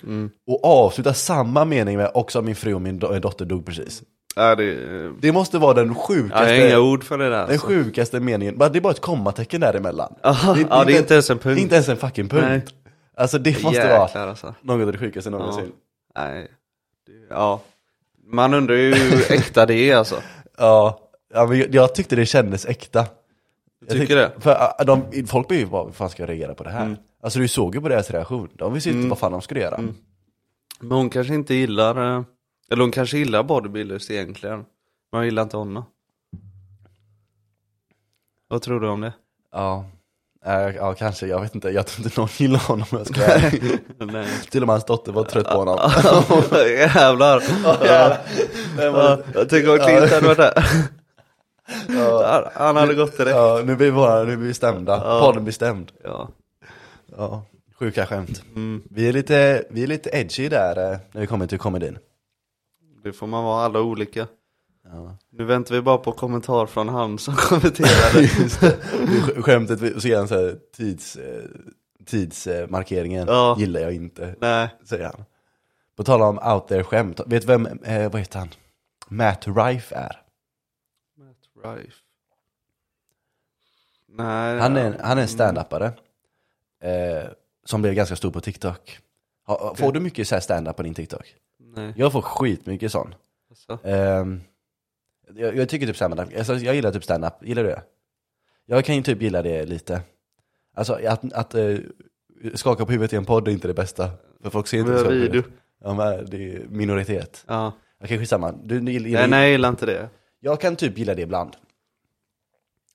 Speaker 2: och avsluta samma mening med också min fru och min do- eh, dotter dog precis.
Speaker 1: Ja, det...
Speaker 2: Det måste vara den
Speaker 1: Ja,
Speaker 2: sjukaste,
Speaker 1: jag har inga ord för det där.
Speaker 2: den
Speaker 1: Alltså.
Speaker 2: sjukaste meningen. Bara- Det är bara ett kommatecken däremellan.
Speaker 1: Ja, det är inte ens en punkt.
Speaker 2: Det är inte ens en fucking punkt.
Speaker 1: Nej.
Speaker 2: Alltså det måste
Speaker 1: Jäklar
Speaker 2: vara
Speaker 1: alltså.
Speaker 2: något av det sjukaste någonsin.
Speaker 1: Nej. Det- Ja. Man undrar ju hur äkta det är alltså.
Speaker 2: Ja, ja men jag, jag tyckte det kändes äkta. Jag
Speaker 1: tycker
Speaker 2: tyckte-
Speaker 1: det? Mm.
Speaker 2: För ah, de, folk blir ju bara, hur fan ska jag reagera på det här? Alltså du såg ju på deras reaktion, de visste ju inte vad fan de skulle göra.
Speaker 1: Men hon kanske inte gillar, eh, eller hon kanske gillar bodybuilders egentligen. Men hon gillar inte honom. Vad tror du om det?
Speaker 2: Ja. Eh, ja, kanske, jag vet inte, jag tror inte någon gillar honom om jag ska vara ärlig.
Speaker 1: Nej.
Speaker 2: Till och med hans dotter var trött på honom.
Speaker 1: Jävlar.
Speaker 2: Ja, den var-
Speaker 1: Ja, jag tänker om Clint hade varit där. Där, Han hade gått till det.
Speaker 2: ja, nu blir vi, bara, nu blir vi stämda, podden blir stämd.
Speaker 1: Ja.
Speaker 2: Ja. Sjuka skämt.
Speaker 1: Mm.
Speaker 2: Vi, är lite, vi är lite edgy där eh, när vi kommer till komedin.
Speaker 1: Det får man vara alla olika. Nu väntar vi bara på kommentar från han som kommenterade.
Speaker 2: Just det. Sk- Skämtet, vi- och så är han så här, tids, eh, tidsmarkeringen
Speaker 1: Ja.
Speaker 2: gillar jag inte,
Speaker 1: Nej.
Speaker 2: säger han. På tal om out there-skämt, vet du vem, eh, vad heter han? Matt Rife är.
Speaker 1: Matt Rife. Nej.
Speaker 2: Han är, han är en standupare eh, som blev ganska stor på TikTok. Ha- Får du mycket så här stand-up på din TikTok?
Speaker 1: Mm, Nej.
Speaker 2: Jag får skitmycket sån.
Speaker 1: Alltså.
Speaker 2: Ehm, jag, jag tycker typ stand-up, alltså, jag gillar typ stand-up, gillar du det? Jag kan ju typ gilla det lite. Alltså att, att eh, skaka på huvudet i en podd är inte det bästa. För folk ser inte
Speaker 1: Men
Speaker 2: ens
Speaker 1: video.
Speaker 2: huvudet. Ja, men det är minoritet.
Speaker 1: Ja.
Speaker 2: Okej, skitsamma. Du, du gillar,
Speaker 1: Nej, nej, jag gillar inte det.
Speaker 2: Jag kan typ gilla det ibland.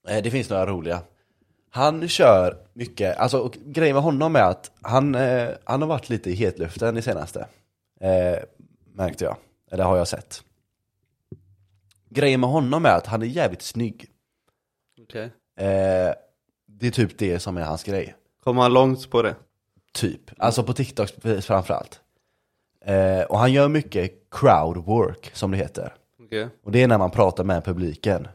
Speaker 2: Eh, det finns några roliga. Han kör mycket, alltså och grejen med honom är att han, eh, han har varit lite i hetluften det senaste. Eh, märkte jag, eller har jag sett. Grejen med honom är att han är jävligt snygg.
Speaker 1: Okej.
Speaker 2: Eh, det är typ det som är hans grej.
Speaker 1: Kommer han långt på det?
Speaker 2: Typ, alltså på TikTok framförallt. Eh, och han gör mycket crowd work som det heter.
Speaker 1: Okej.
Speaker 2: Och det är när man pratar med publiken.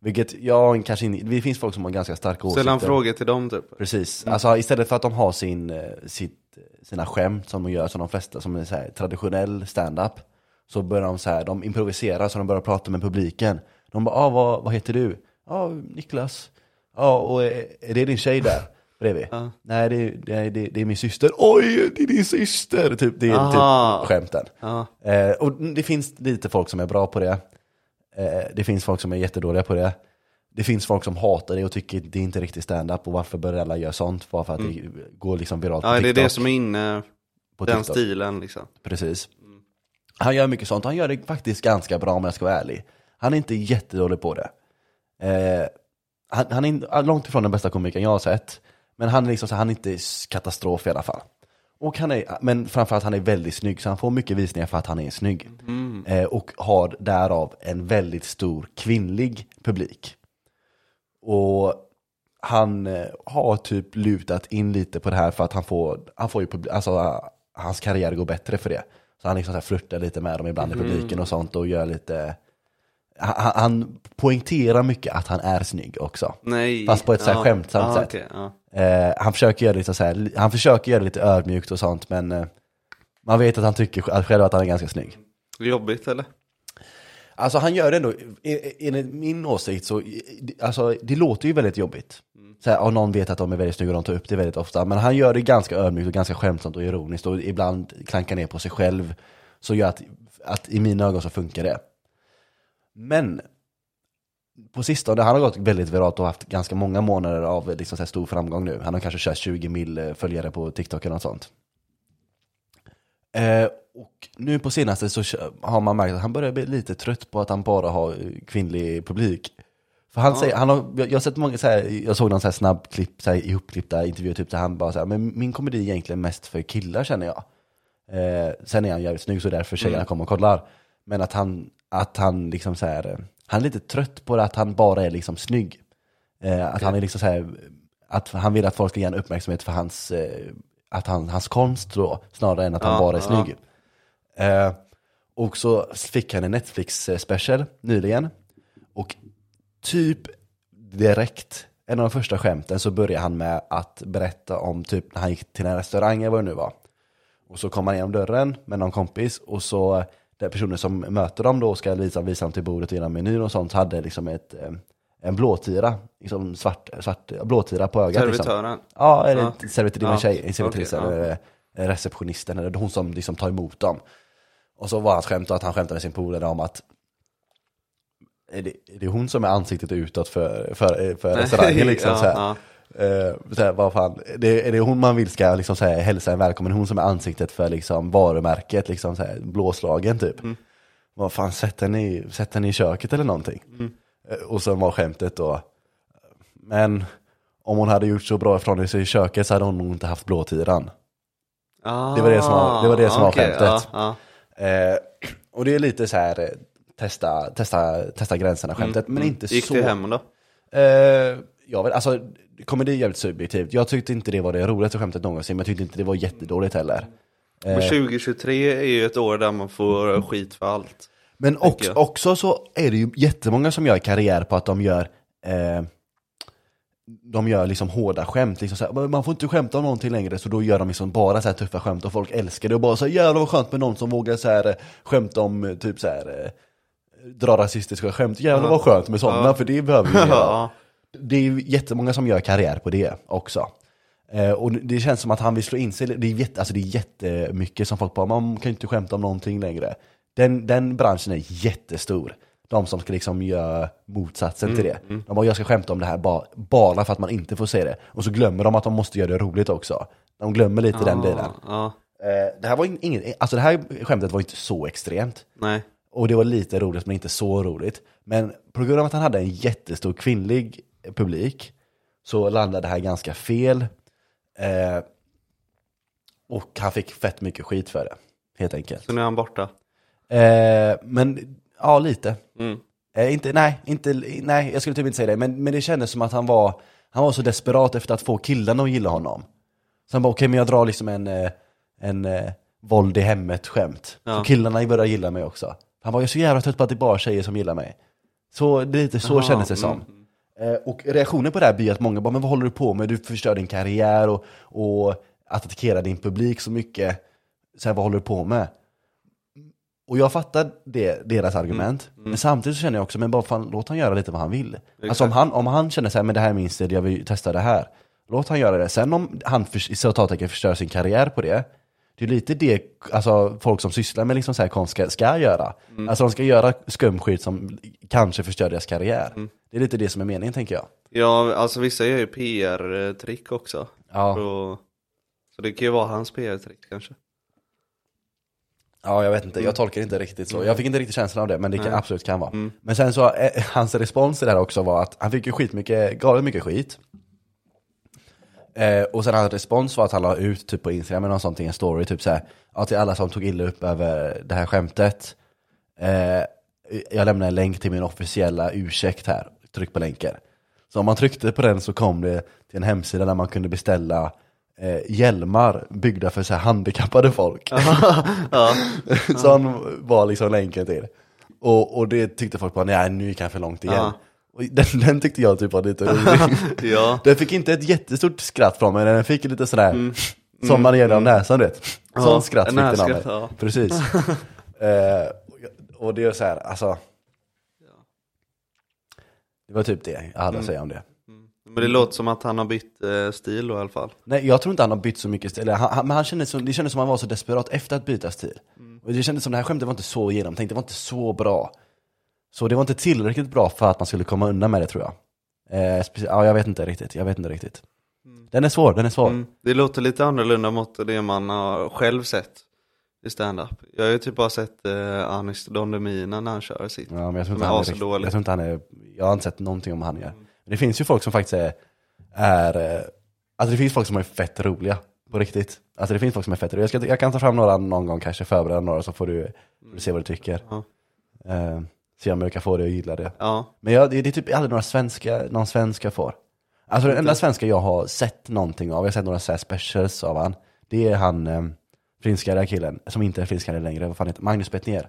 Speaker 2: Vilket jag kanske inte, det finns folk som har ganska starka åsikter.
Speaker 1: Ställer han frågor till dem typ?
Speaker 2: Precis, alltså istället för att de har sin, eh, sitt, sina skämt som de gör som de flesta, som är så här, traditionell stand-up. Så börjar de så här, de improviserar så de börjar prata med publiken. De bara, ah, vad, vad heter du? Ja, ah, Niklas. Ja, ah, och eh, är det din tjej där? Bredvid? Nej, det, är- det, är- det, är- det är min syster. Oj, det är din syster! Typ, det är
Speaker 1: Aha.
Speaker 2: typ skämten.
Speaker 1: Ja.
Speaker 2: Eh, och det finns lite folk som är bra på det. Eh, det finns folk som är jättedåliga på det. Det finns folk som hatar det och tycker det är inte riktigt stand-up och varför börjar alla göra sånt? Bara för att det går liksom viralt på
Speaker 1: Mm. Ja, det är
Speaker 2: TikTok.
Speaker 1: det som är inne,
Speaker 2: på
Speaker 1: den
Speaker 2: TikTok.
Speaker 1: stilen liksom.
Speaker 2: Precis. Han gör mycket sånt. Han gör det faktiskt ganska bra om jag ska vara ärlig. Han är inte jättedålig på det. Eh, han, han är in- långt ifrån den bästa komikern jag har sett. Men han är, liksom, så, han är inte s- katastrof i alla fall. Och han är, ah, men framförallt han är väldigt snygg, så han får mycket visningar för att han är snygg. Eh, och har därav en väldigt stor kvinnlig publik. Och han eh, har typ lutat in lite på det här för att han får, han får ju publi- alltså, eh, hans karriär går bättre för det. Så han liksom så här flörtar lite med dem ibland i publiken och sånt och gör lite, han, han poängterar mycket att han är snygg också.
Speaker 1: Nej.
Speaker 2: Fast på ett så här skämtsamt
Speaker 1: ja,
Speaker 2: sätt.
Speaker 1: okej, ja.
Speaker 2: Eh, han, försöker göra lite så här, han försöker göra det lite ödmjukt och sånt men eh, man vet att han tycker sj- att själv att han är ganska snygg.
Speaker 1: Jobbigt eller?
Speaker 2: Alltså han gör det ändå, e- e- enligt min åsikt så, i- alltså det låter ju väldigt jobbigt. Så här, ja, någon vet att de är väldigt snygga och de tar upp det väldigt ofta. Men han gör det ganska ödmjukt och ganska skämtsamt och ironiskt och ibland klankar ner på sig själv. Så gör att, att i mina ögon så funkar det. Men på sistone, han har gått väldigt viralt och haft ganska många månader av liksom så här stor framgång nu. Han har kanske kört 20 mil eh, följare på TikTok eller något sånt. Eh, och nu på senaste så kö- har man märkt att han börjar bli lite trött på att han bara har eh, kvinnlig publik. För han säger, han har, jag jag har sett många så här, jag såg någon så här snabb klipp, så här ihopklippta intervjuer typ där han bara så här, men min komedi är egentligen mest för killar känner jag. Eh, sen är han jävligt snygg så därför tjejerna
Speaker 1: Mm.
Speaker 2: kommer och kollar. Men att han, att han liksom så här, eh, han är lite trött på det, att han bara är liksom snygg. Eh, att han är liksom så här, att han vill att folk ska ge en uppmärksamhet för hans, eh, att han, hans konst då, snarare än att han
Speaker 1: Ja,
Speaker 2: bara är
Speaker 1: ja.
Speaker 2: snygg. Eh, och så fick han en Netflix eh, special nyligen. Och typ direkt, en av de första skämten, så började han med att berätta om typ när han gick till en restaurang eller vad det nu var. Och så kommer han genom dörren med någon kompis och så den personen som möter dem då och ska visa, visa dem till bordet och innan menyn och sånt hade liksom ett, eh, en blåtira, liksom svart, svart blåtira på ögat. Liksom.
Speaker 1: Servitören?
Speaker 2: Ja, eller
Speaker 1: Ja.
Speaker 2: servitör, det var en
Speaker 1: Ja.
Speaker 2: tjej, en servitris
Speaker 1: Okej, ja.
Speaker 2: eller eh, receptionisten eller hon som liksom tar emot dem. Och så var hans skämt att han skämtade med sin polare om att är det, är det hon som är ansiktet utåt för, för, för restaurangen liksom?
Speaker 1: Ja,
Speaker 2: så här.
Speaker 1: ja.
Speaker 2: Eh, så här, vad fan, det, är det hon man vill ska liksom, så här, hälsa en välkommen? Hon som är ansiktet för liksom, varumärket, liksom, så här, blåslagen typ.
Speaker 1: Mm.
Speaker 2: Vad fan, sätt henne, i, sätt henne i köket eller någonting.
Speaker 1: Mm.
Speaker 2: Eh, och sen var skämtet då, men om hon hade gjort så bra ifrån sig i köket så hade hon nog inte haft blåtiran.
Speaker 1: Ah,
Speaker 2: Det var det som var- det var det som var
Speaker 1: okej,
Speaker 2: skämtet.
Speaker 1: Ja,
Speaker 2: Eh, och det är lite så här, eh, testa, testa, testa gränserna skämtet, men inte
Speaker 1: ja. Mm, Gick
Speaker 2: så
Speaker 1: det hem då?
Speaker 2: Eh, jag vet, alltså, komedi är jävligt subjektivt. Jag tyckte inte det var det roligaste skämtet någonsin, men jag tyckte inte det var jättedåligt heller.
Speaker 1: Men 2023 är ju ett år där man
Speaker 2: Mm.
Speaker 1: får skit för allt.
Speaker 2: Men också,
Speaker 1: jag.
Speaker 2: också så är det ju jättemånga som gör karriär på att de gör eh, de gör liksom hårda skämt, liksom så här, "Men man får inte skämta om någonting längre, så då gör de liksom bara så här tuffa skämt och folk älskar det och bara så här, jävlar vad skönt med någon som vågar så här eh, skämta om eh, typ så här eh, dra rasistiska skämt, jävlar vad skönt med sådana, för det behöver vi göra.
Speaker 1: Ja.
Speaker 2: det är ju jättemånga som gör karriär på det också. Eh, och det känns som att han vill slå in sig, det är, jätte, alltså det är jättemycket som folk bara, man kan ju inte skämta om någonting längre. Den, den branschen är jättestor. De som ska liksom göra motsatsen till det. De bara, jag ska skämta om det här bara, bara för att man inte får se det. Och så glömmer de att de måste göra det roligt också. De glömmer lite
Speaker 1: Ah.
Speaker 2: den delen.
Speaker 1: Ja,
Speaker 2: Eh, det, här var in- inget, alltså det här skämtet var inte så extremt.
Speaker 1: nej.
Speaker 2: Och det var lite roligt men inte så roligt. Men på grund av att han hade en jättestor kvinnlig publik så landade det här ganska fel. Eh, och han fick fett mycket skit för det, helt enkelt.
Speaker 1: Så nu är han borta.
Speaker 2: Eh, men, ja lite.
Speaker 1: Mm.
Speaker 2: Eh, inte, nej, inte, nej, jag skulle typ inte säga det. Men, men det kändes som att han var, han var så desperat efter att få killarna att gilla honom. Så han bara, okej men jag drar liksom en, eh, en eh, våld i hemmet-skämt.
Speaker 1: Ja.
Speaker 2: Så killarna börjar gilla mig också. Han bara, jag är så jävla trött på att det är bara tjejer som gillar mig. Så det är lite så
Speaker 1: Jaha, mm.
Speaker 2: kändes det som. Eh, och reaktionen på det här blir att många bara, men vad håller du på med? Du förstör din karriär och, och att attackera din publik så mycket. Så här, vad håller du på med? Och jag fattar det, deras argument, men samtidigt så känner jag också, men bara fan, låt han göra lite vad han vill. Alltså om han, om han känner så här, men det här är min stil, jag vill testa det här. Låt han göra det. Sen om han förs- i citattecken förstör sin karriär på det, det är lite det alltså, folk som sysslar med liksom så här konst ska, ska göra. Alltså de ska göra skum skit som kanske förstör deras karriär. Det är lite det som är meningen tänker jag.
Speaker 1: Ja, alltså vissa gör ju PR-trick också.
Speaker 2: Ja.
Speaker 1: Så, så det kan ju vara hans PR-trick kanske.
Speaker 2: Ja, jag vet inte. Jag tolkar inte riktigt så. Jag fick inte riktigt känslan av det, men det kan, absolut kan vara. Men sen så, eh, hans respons till det här också var att han fick ju skitmycket, galet mycket skit. Eh, och sen hans respons var att han la ut typ på Instagram eller något sånt, i en story, typ såhär, ja, till alla som tog illa upp över det här skämtet. Eh, jag lämnar en länk till min officiella ursäkt här, tryck på länken. Så om man tryckte på den så kom det till en hemsida där man kunde beställa eh, hjälmar byggda för så här handikappade folk. Som var liksom länken till. Och, och det tyckte folk bara, nej nu gick han för långt igen.
Speaker 1: Ja.
Speaker 2: Och den, den tyckte jag typ var lite rolig.
Speaker 1: Ja.
Speaker 2: Den fick inte ett jättestort skratt från mig, den fick lite sådär, som man gör av näsan du vet. Sån
Speaker 1: Mm. Ja,
Speaker 2: skratt fick den av mig.
Speaker 1: nässkratt, ja.
Speaker 2: Precis. Eh, och jag- och det är så här, alltså. Det var typ det jag hade
Speaker 1: Mm.
Speaker 2: att säga om det.
Speaker 1: Men det låter som att han har bytt eh, stil då i alla fall.
Speaker 2: Nej, jag tror inte han har bytt så mycket stil. Eller Han, han, men han kändes som, det kändes som han var så desperat efter att byta stil. Och det kändes som det här skämtet var inte så genomtänkt, det var inte så bra. Så det var inte tillräckligt bra för att man skulle komma undan med det tror jag. Eh, speci- ja, jag vet inte riktigt, jag vet inte riktigt. Den är svår, den är svår.
Speaker 1: Mm. Det låter lite annorlunda mot det man har själv sett i stand-up. Jag har ju typ bara sett eh, Anis Don Demina när han kör sitt.
Speaker 2: Ja, men jag tror
Speaker 1: Som
Speaker 2: inte
Speaker 1: är
Speaker 2: han är
Speaker 1: asdålig.
Speaker 2: riktigt, jag tror inte han är, jag har inte sett någonting om han gör. Men det finns ju folk som faktiskt är, är, eh, alltså det finns folk som är fett roliga på riktigt. Alltså det finns folk som är fett roliga. Jag, ska, jag kan ta fram några någon gång kanske, förbereda några så får du, får du se vad du tycker.
Speaker 1: Ja.
Speaker 2: Eh, se om du kan få det och gilla det.
Speaker 1: Ja,
Speaker 2: Men jag, det det är typ aldrig några svenska, någon svenska får. Alltså den enda svenska jag har sett någonting av, jag har sett några så här specials av han, det är han eh, finskare killen, som inte är finskare längre, vad fan heter Magnus Bettner. Vet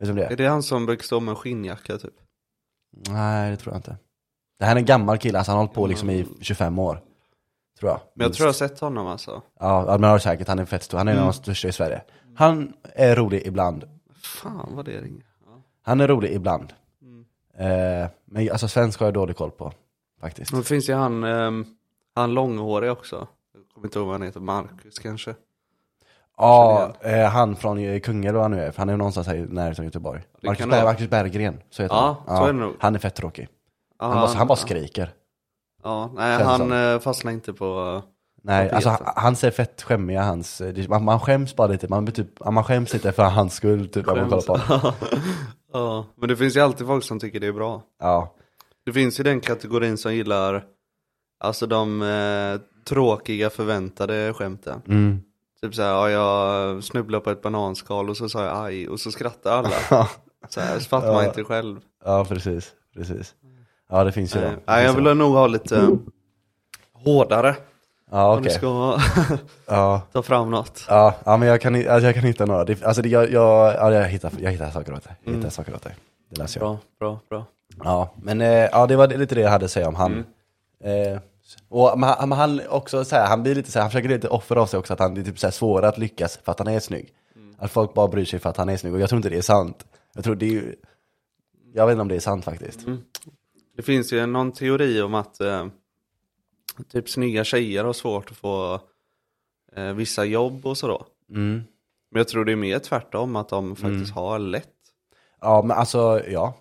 Speaker 2: du vem det är?
Speaker 1: är det han som brukar stå med en skinnjacka typ?
Speaker 2: Nej, det tror jag inte. Det här är en gammal kille, alltså han har hållit på liksom i 25 år. Tror jag.
Speaker 1: Men jag tror jag Mm. har sett honom alltså.
Speaker 2: Ja, men det har du säkert. Han är fett stor. Han är en av de största i Sverige. Han är rolig ibland.
Speaker 1: Fan vad det ringer. Ja.
Speaker 2: Han är rolig ibland.
Speaker 1: Mm.
Speaker 2: Eh, men alltså svensk har jag dålig koll på, faktiskt.
Speaker 1: Men finns ju han, ehm, han långhårig också. Jag kommer inte ihåg vad han heter, Marcus kanske.
Speaker 2: Ja, eh, han från eh, Kungälv vad han nu är. Han är ju någonstans här i närheten av Göteborg.
Speaker 1: det
Speaker 2: Marcus,
Speaker 1: kan
Speaker 2: Berg,
Speaker 1: det vara.
Speaker 2: Marcus Berggren, så heter
Speaker 1: Ja,
Speaker 2: han.
Speaker 1: så är det nog.
Speaker 2: Han är fett tråkig.
Speaker 1: Ja,
Speaker 2: Han, bara, han bara skriker.
Speaker 1: Ja, nej
Speaker 2: Känns
Speaker 1: han
Speaker 2: som.
Speaker 1: eh, fastnar inte på... eh,
Speaker 2: Nej,
Speaker 1: Peter.
Speaker 2: alltså han, han ser fett skämmiga hans, det- man, man skäms bara lite, man, blir typ, ja, man skäms lite för hans skull typ när man kollar på honom.
Speaker 1: ja, men det finns ju alltid folk som tycker det är bra.
Speaker 2: Ja,
Speaker 1: Det finns ju den kategorin som gillar, alltså de eh, tråkiga förväntade skämten.
Speaker 2: mm.
Speaker 1: Typ såhär, ja, jag snubblade på ett bananskal och så sa jag aj och så skrattar alla. så här, så fattar man
Speaker 2: Ja.
Speaker 1: inte själv.
Speaker 2: ja precis, precis. Ja det finns ju
Speaker 1: Nej,
Speaker 2: det.
Speaker 1: nej, jag
Speaker 2: Finns ju
Speaker 1: vill nog ha lite hårdare.
Speaker 2: de. Ja
Speaker 1: Om vi
Speaker 2: okej.
Speaker 1: ska
Speaker 2: Ja,
Speaker 1: ta fram något.
Speaker 2: ja, ja men jag kan, hi- alltså, jag kan hitta några, det, alltså det, jag, jag, ja, jag, hittar, jag hittar saker åt dig. Jag hittar
Speaker 1: Mm.
Speaker 2: saker åt dig. Det läser jag.
Speaker 1: Bra, bra, bra.
Speaker 2: Ja, men eh, ja, det var lite det jag hade att säga om han. Eh, och, men, han- men han också så här, han blir lite så här, han försöker lite offer av sig också att han det är typ så här svårare att lyckas för att han är snygg. Att folk bara bryr sig för att han är snygg och jag tror inte det är sant. Jag tror det är ju, jag vet inte om det är sant faktiskt.
Speaker 1: Det finns ju någon teori om att eh, typ snygga tjejer har svårt att få eh, vissa jobb och sådär.
Speaker 2: Mm.
Speaker 1: Men jag tror det är mer tvärtom, att de faktiskt har lätt.
Speaker 2: Ja, men alltså ja.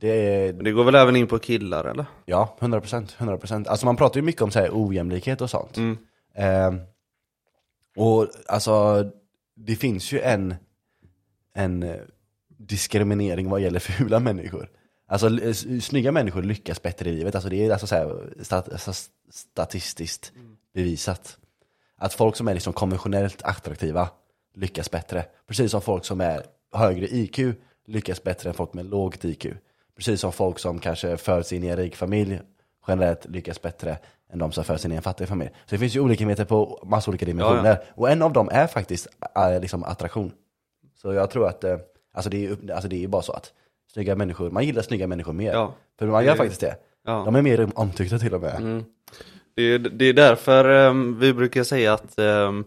Speaker 2: Det är,
Speaker 1: Men det går väl även in på killar eller?
Speaker 2: Ja, 100 procent. 100 procent. Alltså man pratar ju mycket om så här, ojämlikhet och sånt.
Speaker 1: Mm.
Speaker 2: Ehm, och alltså, det finns ju en, en eh, diskriminering vad gäller fula människor. Alltså l- s- snygga människor lyckas bättre i livet. Alltså det är alltså så här, stat, alltså, statistiskt bevisat. Att folk som är liksom konventionellt attraktiva lyckas bättre. Precis som folk som är högre IQ lyckas bättre än folk med lågt IQ. Precis som folk som kanske föds in i en rik familj generellt lyckas bättre än de som föds in i en fattig familj. Så det finns ju olikheter på massa olika dimensioner. Och en av dem är faktiskt äh, liksom attraktion. Så jag tror att, eh, alltså det är ju alltså det är ju bara så att snygga människor, man gillar snygga människor mer.
Speaker 1: Ja.
Speaker 2: För man gör faktiskt det.
Speaker 1: Ja. Mm.
Speaker 2: De är mer omtyckta till och med.
Speaker 1: Det är, det är därför ehm, vi brukar säga att ehm,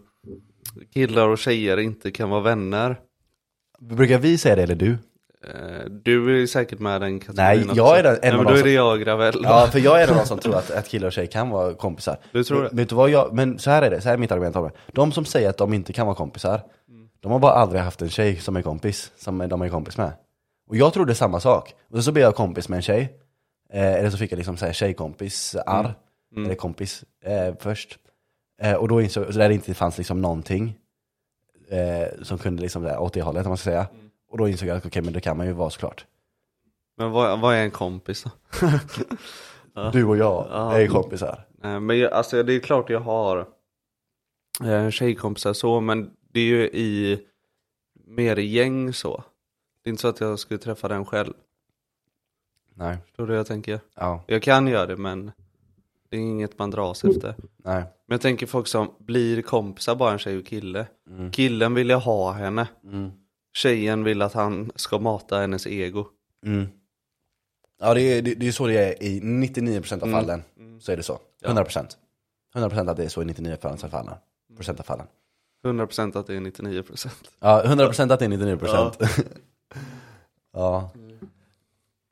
Speaker 1: killar och tjejer inte kan vara vänner.
Speaker 2: Brukar vi säga det eller du?
Speaker 1: Eh, du är säkert med den kategorin
Speaker 2: Nej,
Speaker 1: också.
Speaker 2: jag är den- en
Speaker 1: Nej,
Speaker 2: av
Speaker 1: men
Speaker 2: de
Speaker 1: då är
Speaker 2: som-
Speaker 1: det jag Gravel.
Speaker 2: Ja, för jag är den som tror att, att killar och tjejer kan vara kompisar.
Speaker 1: Du tror det?
Speaker 2: Men, vet du vad jag, men så här är det, så här är mitt argument om det. De som säger att de inte kan vara kompisar, de har bara aldrig haft en tjej som är kompis, som de är kompis med. Och jag trodde samma sak. Och så blev jag kompis med en tjej, eh, eller så fick jag liksom så här tjejkompisar,
Speaker 1: Mm.
Speaker 2: eller kompis, eh, först. Eh, och då insåg så där det inte fanns liksom någonting eh, som kunde liksom där, åt det hållet, om man ska säga.
Speaker 1: Mm.
Speaker 2: Och då insåg jag att okej, men det kan man ju vara såklart.
Speaker 1: Men vad, vad är en kompis då?
Speaker 2: Du och jag är ju kompisar.
Speaker 1: Eh, Men jag, alltså det är klart jag har eh, tjejkompisar så, men det är ju i mer i gäng så. Det är inte så att jag skulle träffa den själv.
Speaker 2: Nej.
Speaker 1: Tror du jag tänker?
Speaker 2: Ja.
Speaker 1: Jag kan göra det, men det är inget man dras efter.
Speaker 2: Nej.
Speaker 1: Men jag tänker folk som blir kompisar bara en tjej och kille. Killen ville ha henne. Tjejen vill att han ska mata hennes ego.
Speaker 2: Mm. Ja, det är, det, det är så det är i 99% av fallen. Så är det så. 100%. 100% att det är så i 99% av fallen. Procent av fallen.
Speaker 1: 100% att det är 99%.
Speaker 2: Ja, 100% att det är 99%. Ja.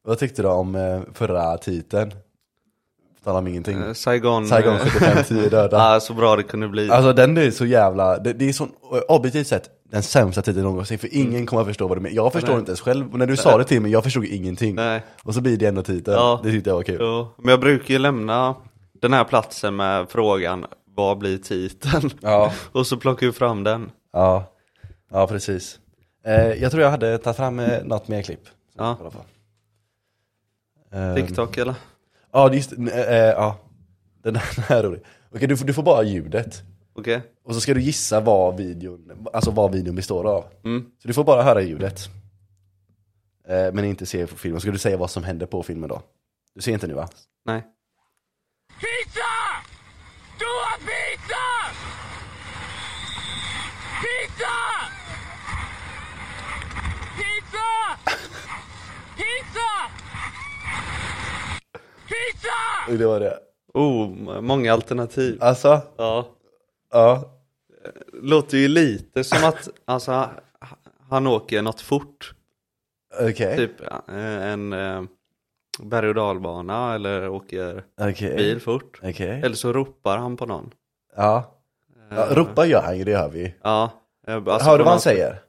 Speaker 2: Vad tyckte du om eh, förra titeln? På tal om ingenting.
Speaker 1: Eh, Saigon,
Speaker 2: Mm. Saigon
Speaker 1: eh,
Speaker 2: 75, 10 döda.
Speaker 1: ah, så bra det kunde bli.
Speaker 2: Alltså den är så jävla, det, det är så, objektivt sett den sämsta titeln någonsin för ingen kommer att förstå vad du menar. Jag förstår
Speaker 1: Mm. Nej.
Speaker 2: inte ens själv, Och när du sa det till mig, jag förstod ingenting.
Speaker 1: Nej.
Speaker 2: Och så blir det ändå titeln,
Speaker 1: Ja.
Speaker 2: det tyckte jag var kul.
Speaker 1: Jo, men jag brukar ju lämna den här platsen med frågan vad blir titeln?
Speaker 2: Ja.
Speaker 1: Och så plockar vi fram den.
Speaker 2: Ja, ja precis. Eh, jag tror jag hade tagit fram eh, något mer klipp.
Speaker 1: Ja.
Speaker 2: I alla fall. Ehm,
Speaker 1: TikTok eller?
Speaker 2: Ja, just eh, eh, Ja, den här, den här är rolig. Okej, du får, du får bara ljudet.
Speaker 1: Okej.
Speaker 2: Och så ska du gissa vad videon, alltså vad videon består av.
Speaker 1: Mm.
Speaker 2: Så du får bara höra ljudet. Eh, men inte se på filmen. Så ska du säga vad som händer på filmen då. Du ser inte nu va?
Speaker 1: Nej.
Speaker 7: Pizza! Do a pizza! Pizza! Pizza! Pizza! Pizza!
Speaker 2: Det var det.
Speaker 1: Oh, många alternativ.
Speaker 2: Alltså,
Speaker 1: Ja.
Speaker 2: ja.
Speaker 1: Låter ju lite som att alltså, ha- han åker något fort.
Speaker 2: Okej.
Speaker 1: Typ eh, en eh, berg och dalbana eller åker
Speaker 2: Okej.
Speaker 1: bil fort.
Speaker 2: Okej.
Speaker 1: Eller Eh. så ropar han på någon.
Speaker 2: Ja. ja. Ropa gör han ju, det hör vi ju.
Speaker 1: Ja. eh, Alltså
Speaker 2: Hör
Speaker 1: på
Speaker 2: du vad han
Speaker 1: något-
Speaker 2: säger?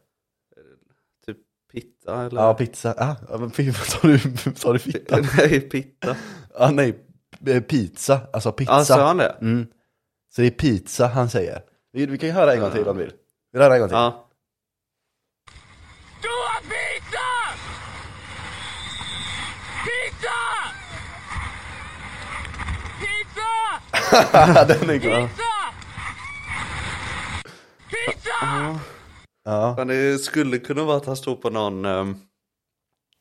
Speaker 1: Typ pitta eller?
Speaker 2: Ja, pizza. Ah, ja, men fy, vad sa du, sa du fitta?
Speaker 1: Nej, pitta.
Speaker 2: Ah, nej, eh, pizza. Alltså pizza.
Speaker 1: Ja, sa han det?
Speaker 2: Mm. Så det är pizza han säger. Vi, vi kan ju höra en gång till om du vill. Vill du höra en gång till?
Speaker 1: Ja.
Speaker 7: Do a pizza! Pizza! Pizza!
Speaker 2: Den är god.
Speaker 7: Pizza! Pizza!
Speaker 2: Ja.
Speaker 1: Men det skulle kunna vara att han stod på någon, ehm,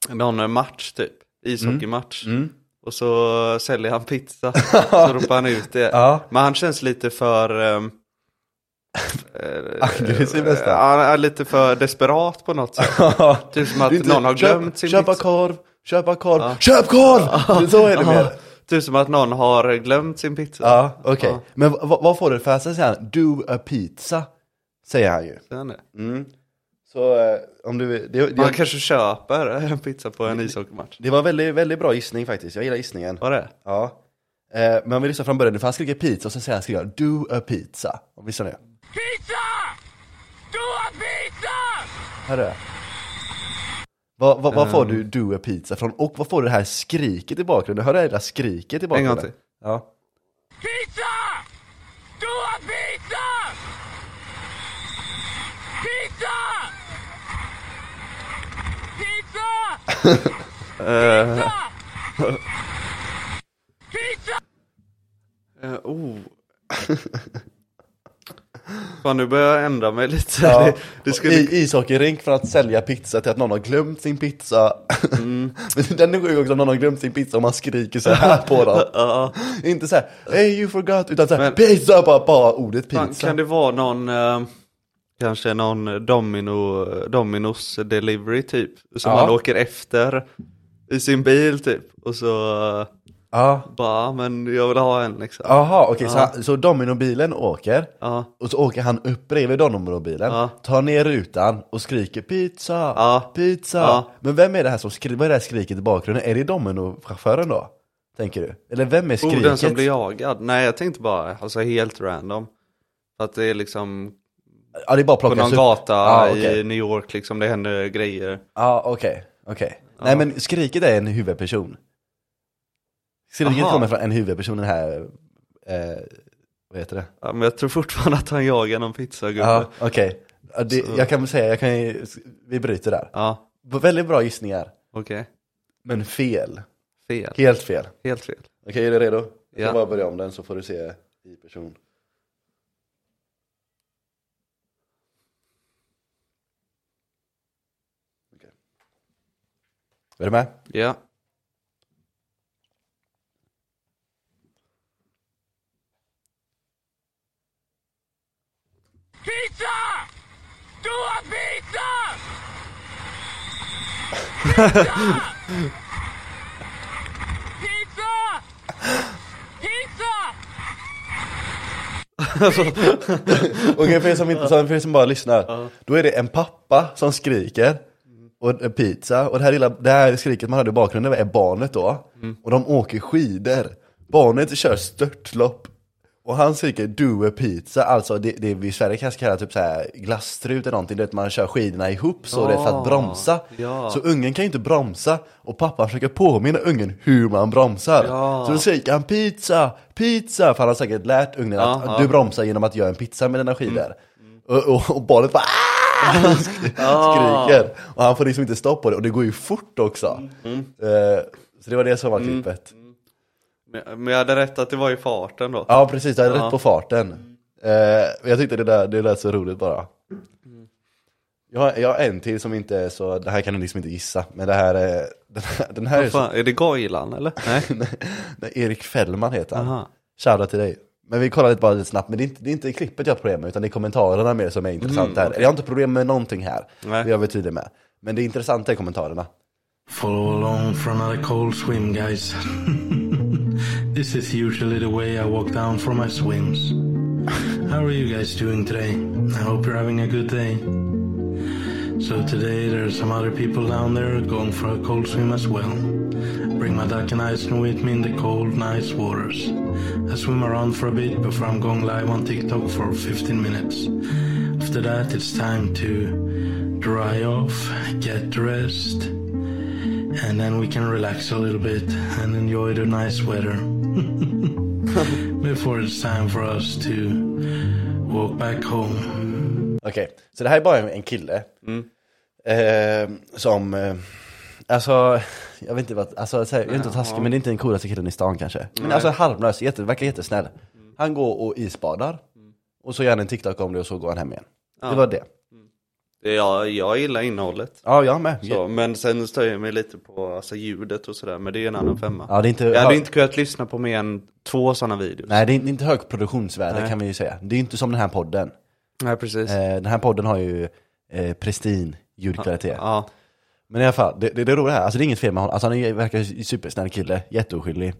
Speaker 1: någon eh, match typ. Ishockeymatch.
Speaker 2: Mm.
Speaker 1: Och så säljer han pizza. så ropar han ut det.
Speaker 2: Ja.
Speaker 1: Men han känns lite för... Um,
Speaker 2: Aggressiv nästan.
Speaker 1: eh, han är lite för desperat på något sätt. Typ som att
Speaker 2: Det är inte-
Speaker 1: någon har
Speaker 2: köp-
Speaker 1: glömt sin
Speaker 2: Köpa
Speaker 1: pizza.
Speaker 2: korv, köpa korv, köp korv! Det är Så är det
Speaker 1: Ja,
Speaker 2: mer.
Speaker 1: typ som att någon har glömt sin pizza.
Speaker 2: Ja, okej.
Speaker 1: Ja.
Speaker 2: Men v- v- vad får du för sig? Säger han, do a pizza, säger han ju.
Speaker 1: Sen är det.
Speaker 2: Mm. Så eh, om du vill, det,
Speaker 1: Man
Speaker 2: det,
Speaker 1: kanske köper en pizza på en ishockeymatch.
Speaker 2: det var en väldigt, väldigt bra gissning faktiskt. Jag gillar gissningen.
Speaker 1: Var det?
Speaker 2: Ja. Eh, men om vi lyssnar från början nu, för han skriker pizza och sen säger han skriker do a pizza. Om vi lyssnar nu.
Speaker 7: Pizza! Do a pizza!
Speaker 2: Hör du? Vad, vad, vad får
Speaker 1: Ehm.
Speaker 2: du do a pizza från? Och vad får du det här skriket i bakgrunden? Hör du det där skriket i
Speaker 1: En
Speaker 2: bakgrunden?
Speaker 1: gång till.
Speaker 2: Ja.
Speaker 7: Pizza! Do a pizza! Pizza! Pizza! Pizza! Pizza!
Speaker 1: Eh, oh. Fan nu börjar jag ändra mig lite.
Speaker 2: ja.
Speaker 1: Det, det skulle...
Speaker 2: I ishockeyrink från att sälja pizza till att någon har glömt sin pizza.
Speaker 1: Mm.
Speaker 2: Men Den är sjuk också om någon har glömt sin pizza och man skriker så här på dem. Inte så här, hey you forgot, utan så här,
Speaker 1: Men-
Speaker 2: pizza, bara, bara ordet pizza.
Speaker 1: Fan, kan det vara någon, eh, kanske någon domino, Dominos delivery typ? Som
Speaker 2: Ja.
Speaker 1: man åker efter i sin bil typ. Och så eh,
Speaker 2: Ja.
Speaker 1: bara, "Ah, men jag vill ha en liksom.
Speaker 2: Jaha, okej, så han- så, Dominobilen åker,
Speaker 1: Ja.
Speaker 2: och så åker han upp bredvid Dominobilen,
Speaker 1: Ja.
Speaker 2: tar ner rutan och skriker pizza,
Speaker 1: Ja.
Speaker 2: pizza.
Speaker 1: Ja.
Speaker 2: Men vem är det här som skriker, vad är det här skriket i bakgrunden? Är det Dominochauffören då? Tänker du? Eller vem är
Speaker 1: Oh,
Speaker 2: skriket?
Speaker 1: den som blir jagad. Nej jag tänkte bara, alltså helt random. För att det är liksom
Speaker 2: ja, det är bara
Speaker 1: på
Speaker 2: plockas
Speaker 1: någon
Speaker 2: upp.
Speaker 1: gata
Speaker 2: ja, Ah, okej.
Speaker 1: i New York liksom, det händer grejer.
Speaker 2: Ja, okej, okej. Nej men skriket är en huvudperson. Skriket
Speaker 1: Aha.
Speaker 2: kommer från en huvudperson, den här, eh, vad heter det?
Speaker 1: Ja, men jag tror fortfarande att han jagar någon pizzagubbe.
Speaker 2: Ja, okej. Ja, det-
Speaker 1: Så-
Speaker 2: Jag kan väl säga, jag kan, ju- vi bryter där.
Speaker 1: Ja,
Speaker 2: Väldigt bra gissningar.
Speaker 1: okej.
Speaker 2: Men fel.
Speaker 1: Fel.
Speaker 2: Helt fel. Okej,
Speaker 1: Helt fel.
Speaker 2: är du redo? Jag
Speaker 1: Ja.
Speaker 2: ska bara börja om den så får du se i person. Okej. Är du med?
Speaker 1: Ja.
Speaker 7: Pizza! Do a pizza! Pizza! Pizza!
Speaker 2: Okej, för er som, inte, för er som bara lyssnar. Då är det en pappa som skriker, och en pizza, och det här, lilla, det här skriket man hade i bakgrunden är barnet då. Och de åker skidor. Barnet kör störtlopp. Och han skriker 'du är pizza', alltså det, det vi i Sverige kanske kallar typ såhär glasstrut eller någonting, du vet man kör skidorna ihop så det är för att bromsa.
Speaker 1: ja.
Speaker 2: Så ungen kan ju inte bromsa och pappan försöker påminna ungen hur man bromsar.
Speaker 1: Ja.
Speaker 2: Så då skriker han 'pizza, pizza' för han har säkert lärt ungen att
Speaker 1: Ja, ja.
Speaker 2: du bromsar genom att göra en pizza med dina
Speaker 1: Mm.
Speaker 2: skidor. Och, och, och barnet bara "Ah!" skriker. Och han får liksom inte stopp på det och det går ju fort också.
Speaker 1: Mm.
Speaker 2: Eh, så det var det som var klippet.
Speaker 1: Men men jag hade rätt att det var i farten då.
Speaker 2: Ja precis, jag hade rätt på farten. Eh, men jag tyckte det, där, det lät så roligt bara. Jag, har- jag har en till som inte är så, det här kan du liksom inte gissa, men det här är, den här, den här är
Speaker 1: Vad
Speaker 2: så,
Speaker 1: fan, är det Gojlan eller? Nej.
Speaker 2: nej, Erik Fällman heter han.
Speaker 1: Aha.
Speaker 2: Shoutout till dig. Men vi kollar lite bara lite snabbt, men det är, inte, det är inte klippet jag har problem med, utan det är kommentarerna mer som är intressant här. Jag har inte problem med någonting här,
Speaker 1: Mm, Nej.
Speaker 2: det är jag väl tydlig med. Men det intressanta är kommentarerna.
Speaker 8: Follow along for another cold swim, guys. this is usually the way I walk down for my swims. How are you guys doing today? I hope you're having a good day. So today there are some other people down there going for a cold swim as well. Bring my duck and icing with me in the cold, nice waters. I swim around for a bit before I'm going live on TikTok for 15 minutes. After that, it's time to dry off, get dressed, and then we can relax a little bit and enjoy the nice weather before it's time for us to walk back home.
Speaker 2: Okej, så det här är bara en- en kille.
Speaker 1: Mm.
Speaker 2: Eh, som, eh, alltså, jag vet inte vad, alltså, så här, jag är inte taskig men det är inte den coolaste killen i stan kanske. Men alltså harmlös, jätte, verkar jättesnäll. Han går och isbadar,
Speaker 1: Mm.
Speaker 2: och så gör han en TikTok om det och så går han hem igen. Det var det.
Speaker 1: Ja, jag gillar innehållet.
Speaker 2: Ja, jag med.
Speaker 1: Så, men sen stör jag mig lite på alltså, ljudet och sådär, men det är en annan femma.
Speaker 2: Ja, det är inte-
Speaker 1: jag hade inte kunnat lyssna på mer än två sådana videos.
Speaker 2: Nej, det är inte- inte högt produktionsvärde
Speaker 1: Nej.
Speaker 2: kan vi ju säga. Det är inte som den här podden.
Speaker 1: Nej, precis.
Speaker 2: Eh, den här podden har ju eh, prestin ljudkvalitet.
Speaker 1: Ja,
Speaker 2: Men i alla fall, det, det, det roliga här, alltså det är inget fel med honom, alltså han är, verkar ju supersnäll kille, jätteoskyldig.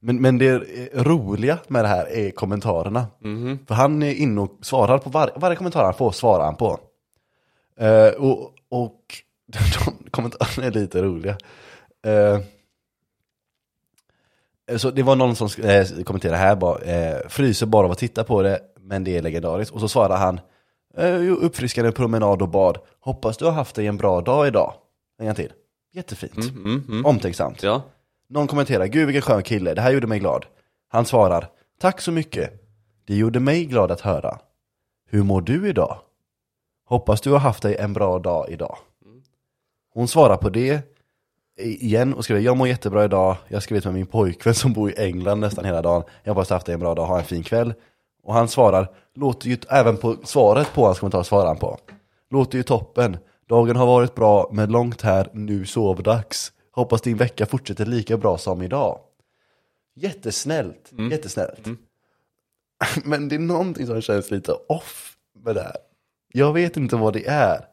Speaker 2: Men, men det eh, roliga med det här är kommentarerna. För han är inne och svarar på var, varje kommentar han får, svarar han på. Eh, och och de kommentarerna är lite roliga. Eh, så det var någon som sk- eh, kommenterade här, bara, eh, fryser bara av att titta på det, men det är legendariskt. Och så svarar han, eh, jo, uppfriskande promenad och bad, hoppas du har haft dig en bra dag idag. En gång till. Jättefint. Omtänksamt.
Speaker 1: ja.
Speaker 2: Någon kommenterar, gud vilken skön kille, det här gjorde mig glad. Han svarar, tack så mycket. Det gjorde mig glad att höra. Hur mår du idag? Hoppas du har haft dig en bra dag idag. Hon svarar på det i- igen och skriver, jag mår jättebra idag. Jag har skrivit med min pojkvän som bor i England nästan hela dagen. Jag hoppas du har haft dig en bra dag, ha en fin kväll. Och han svarar, låter ju, även på svaret på hans kommentar svarar han på. Låter ju toppen. Dagen har varit bra, men långt här, nu sovdags. Hoppas din vecka fortsätter lika bra som idag. Jättesnällt, jättesnällt. Men det är någonting som känns lite off med det här. Jag vet inte vad det är.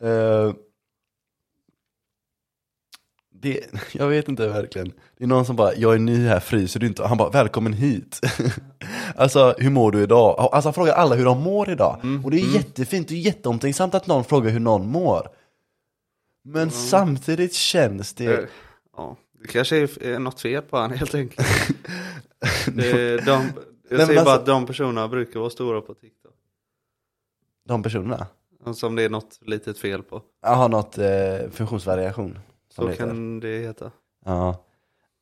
Speaker 2: Eh, det, jag vet inte verkligen. Det är någon som bara, jag är ny här, fryser du inte? Och Han bara, välkommen hit. alltså, hur mår du idag? Alltså han frågar alla hur de mår idag. Och det är jättefint, det är jätteomtänksamt att någon frågar hur någon mår. Men samtidigt känns det...
Speaker 1: Eh, ja. Det kanske är är något fel på han helt enkelt. det, de, jag säger
Speaker 2: men
Speaker 1: bara
Speaker 2: alltså-
Speaker 1: att de personerna brukar vara stora på TikTok.
Speaker 2: De personerna?
Speaker 1: Alltså om det är något litet fel på.
Speaker 2: Jag har något eh, funktionsvariation. Som
Speaker 1: Så
Speaker 2: det heter.
Speaker 1: kan det heta.
Speaker 2: Ja.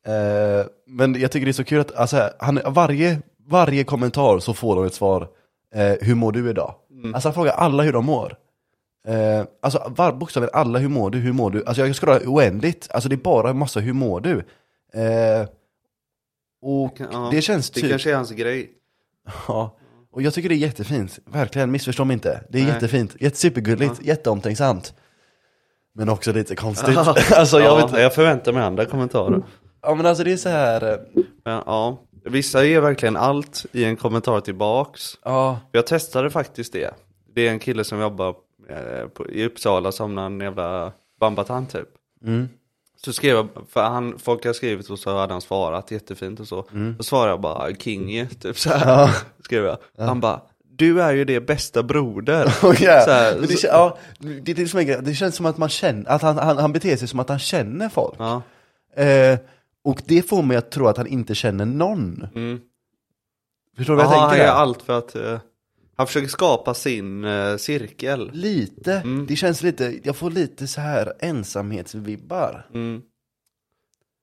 Speaker 2: Eh, men jag tycker det är så kul att alltså, här, han, varje, varje kommentar så får de ett svar. Eh, hur mår du idag?
Speaker 1: Mm.
Speaker 2: Alltså han frågar alla hur de mår. Eh, alltså var, bokstavligen alla, hur mår du, hur mår du? Alltså jag skulle ha oändligt, alltså det är bara en massa hur mår du? Eh, och
Speaker 1: Ja,
Speaker 2: det känns
Speaker 1: Det
Speaker 2: typ...
Speaker 1: kanske är hans grej.
Speaker 2: Ja. Och jag tycker det är jättefint, verkligen, missförstå mig inte. Det är
Speaker 1: Nej.
Speaker 2: jättefint, Jätte- supergulligt, jätteomtänksamt. Men också lite konstigt. alltså jag vet
Speaker 1: jag förväntar mig andra kommentarer.
Speaker 2: Ja men alltså det är så här... eh,
Speaker 1: Men, ja. Vissa ger verkligen allt i en kommentar tillbaks.
Speaker 2: Ja.
Speaker 1: Jag testade faktiskt det. Det är en kille som jobbar eh, på, i Uppsala som någon jävla bambatant typ.
Speaker 2: Mm.
Speaker 1: Så skrev jag, för han, folk har skrivit och så hade han svarat jättefint och så.
Speaker 2: Mm.
Speaker 1: Då svarade jag bara Kingy, typ så här. Skrev jag. Han bara, du är ju det bästa broder.
Speaker 2: Oh,
Speaker 1: så
Speaker 2: yeah.
Speaker 1: här,
Speaker 2: Men det,
Speaker 1: så,
Speaker 2: kän- ja, det, det, är som en grej. det känns som att man känner, att han, han, han beter sig som att han känner folk.
Speaker 1: ja.
Speaker 2: Eh, och det får mig att tro att han inte känner någon.
Speaker 1: Mm.
Speaker 2: Förstår du vad
Speaker 1: Jaha,
Speaker 2: jag
Speaker 1: han
Speaker 2: tänker?
Speaker 1: gör
Speaker 2: där?
Speaker 1: allt för att eh, han försöker skapa sin eh, cirkel.
Speaker 2: Lite,
Speaker 1: Mm.
Speaker 2: det känns lite, jag får lite så här ensamhetsvibbar.
Speaker 1: Mm,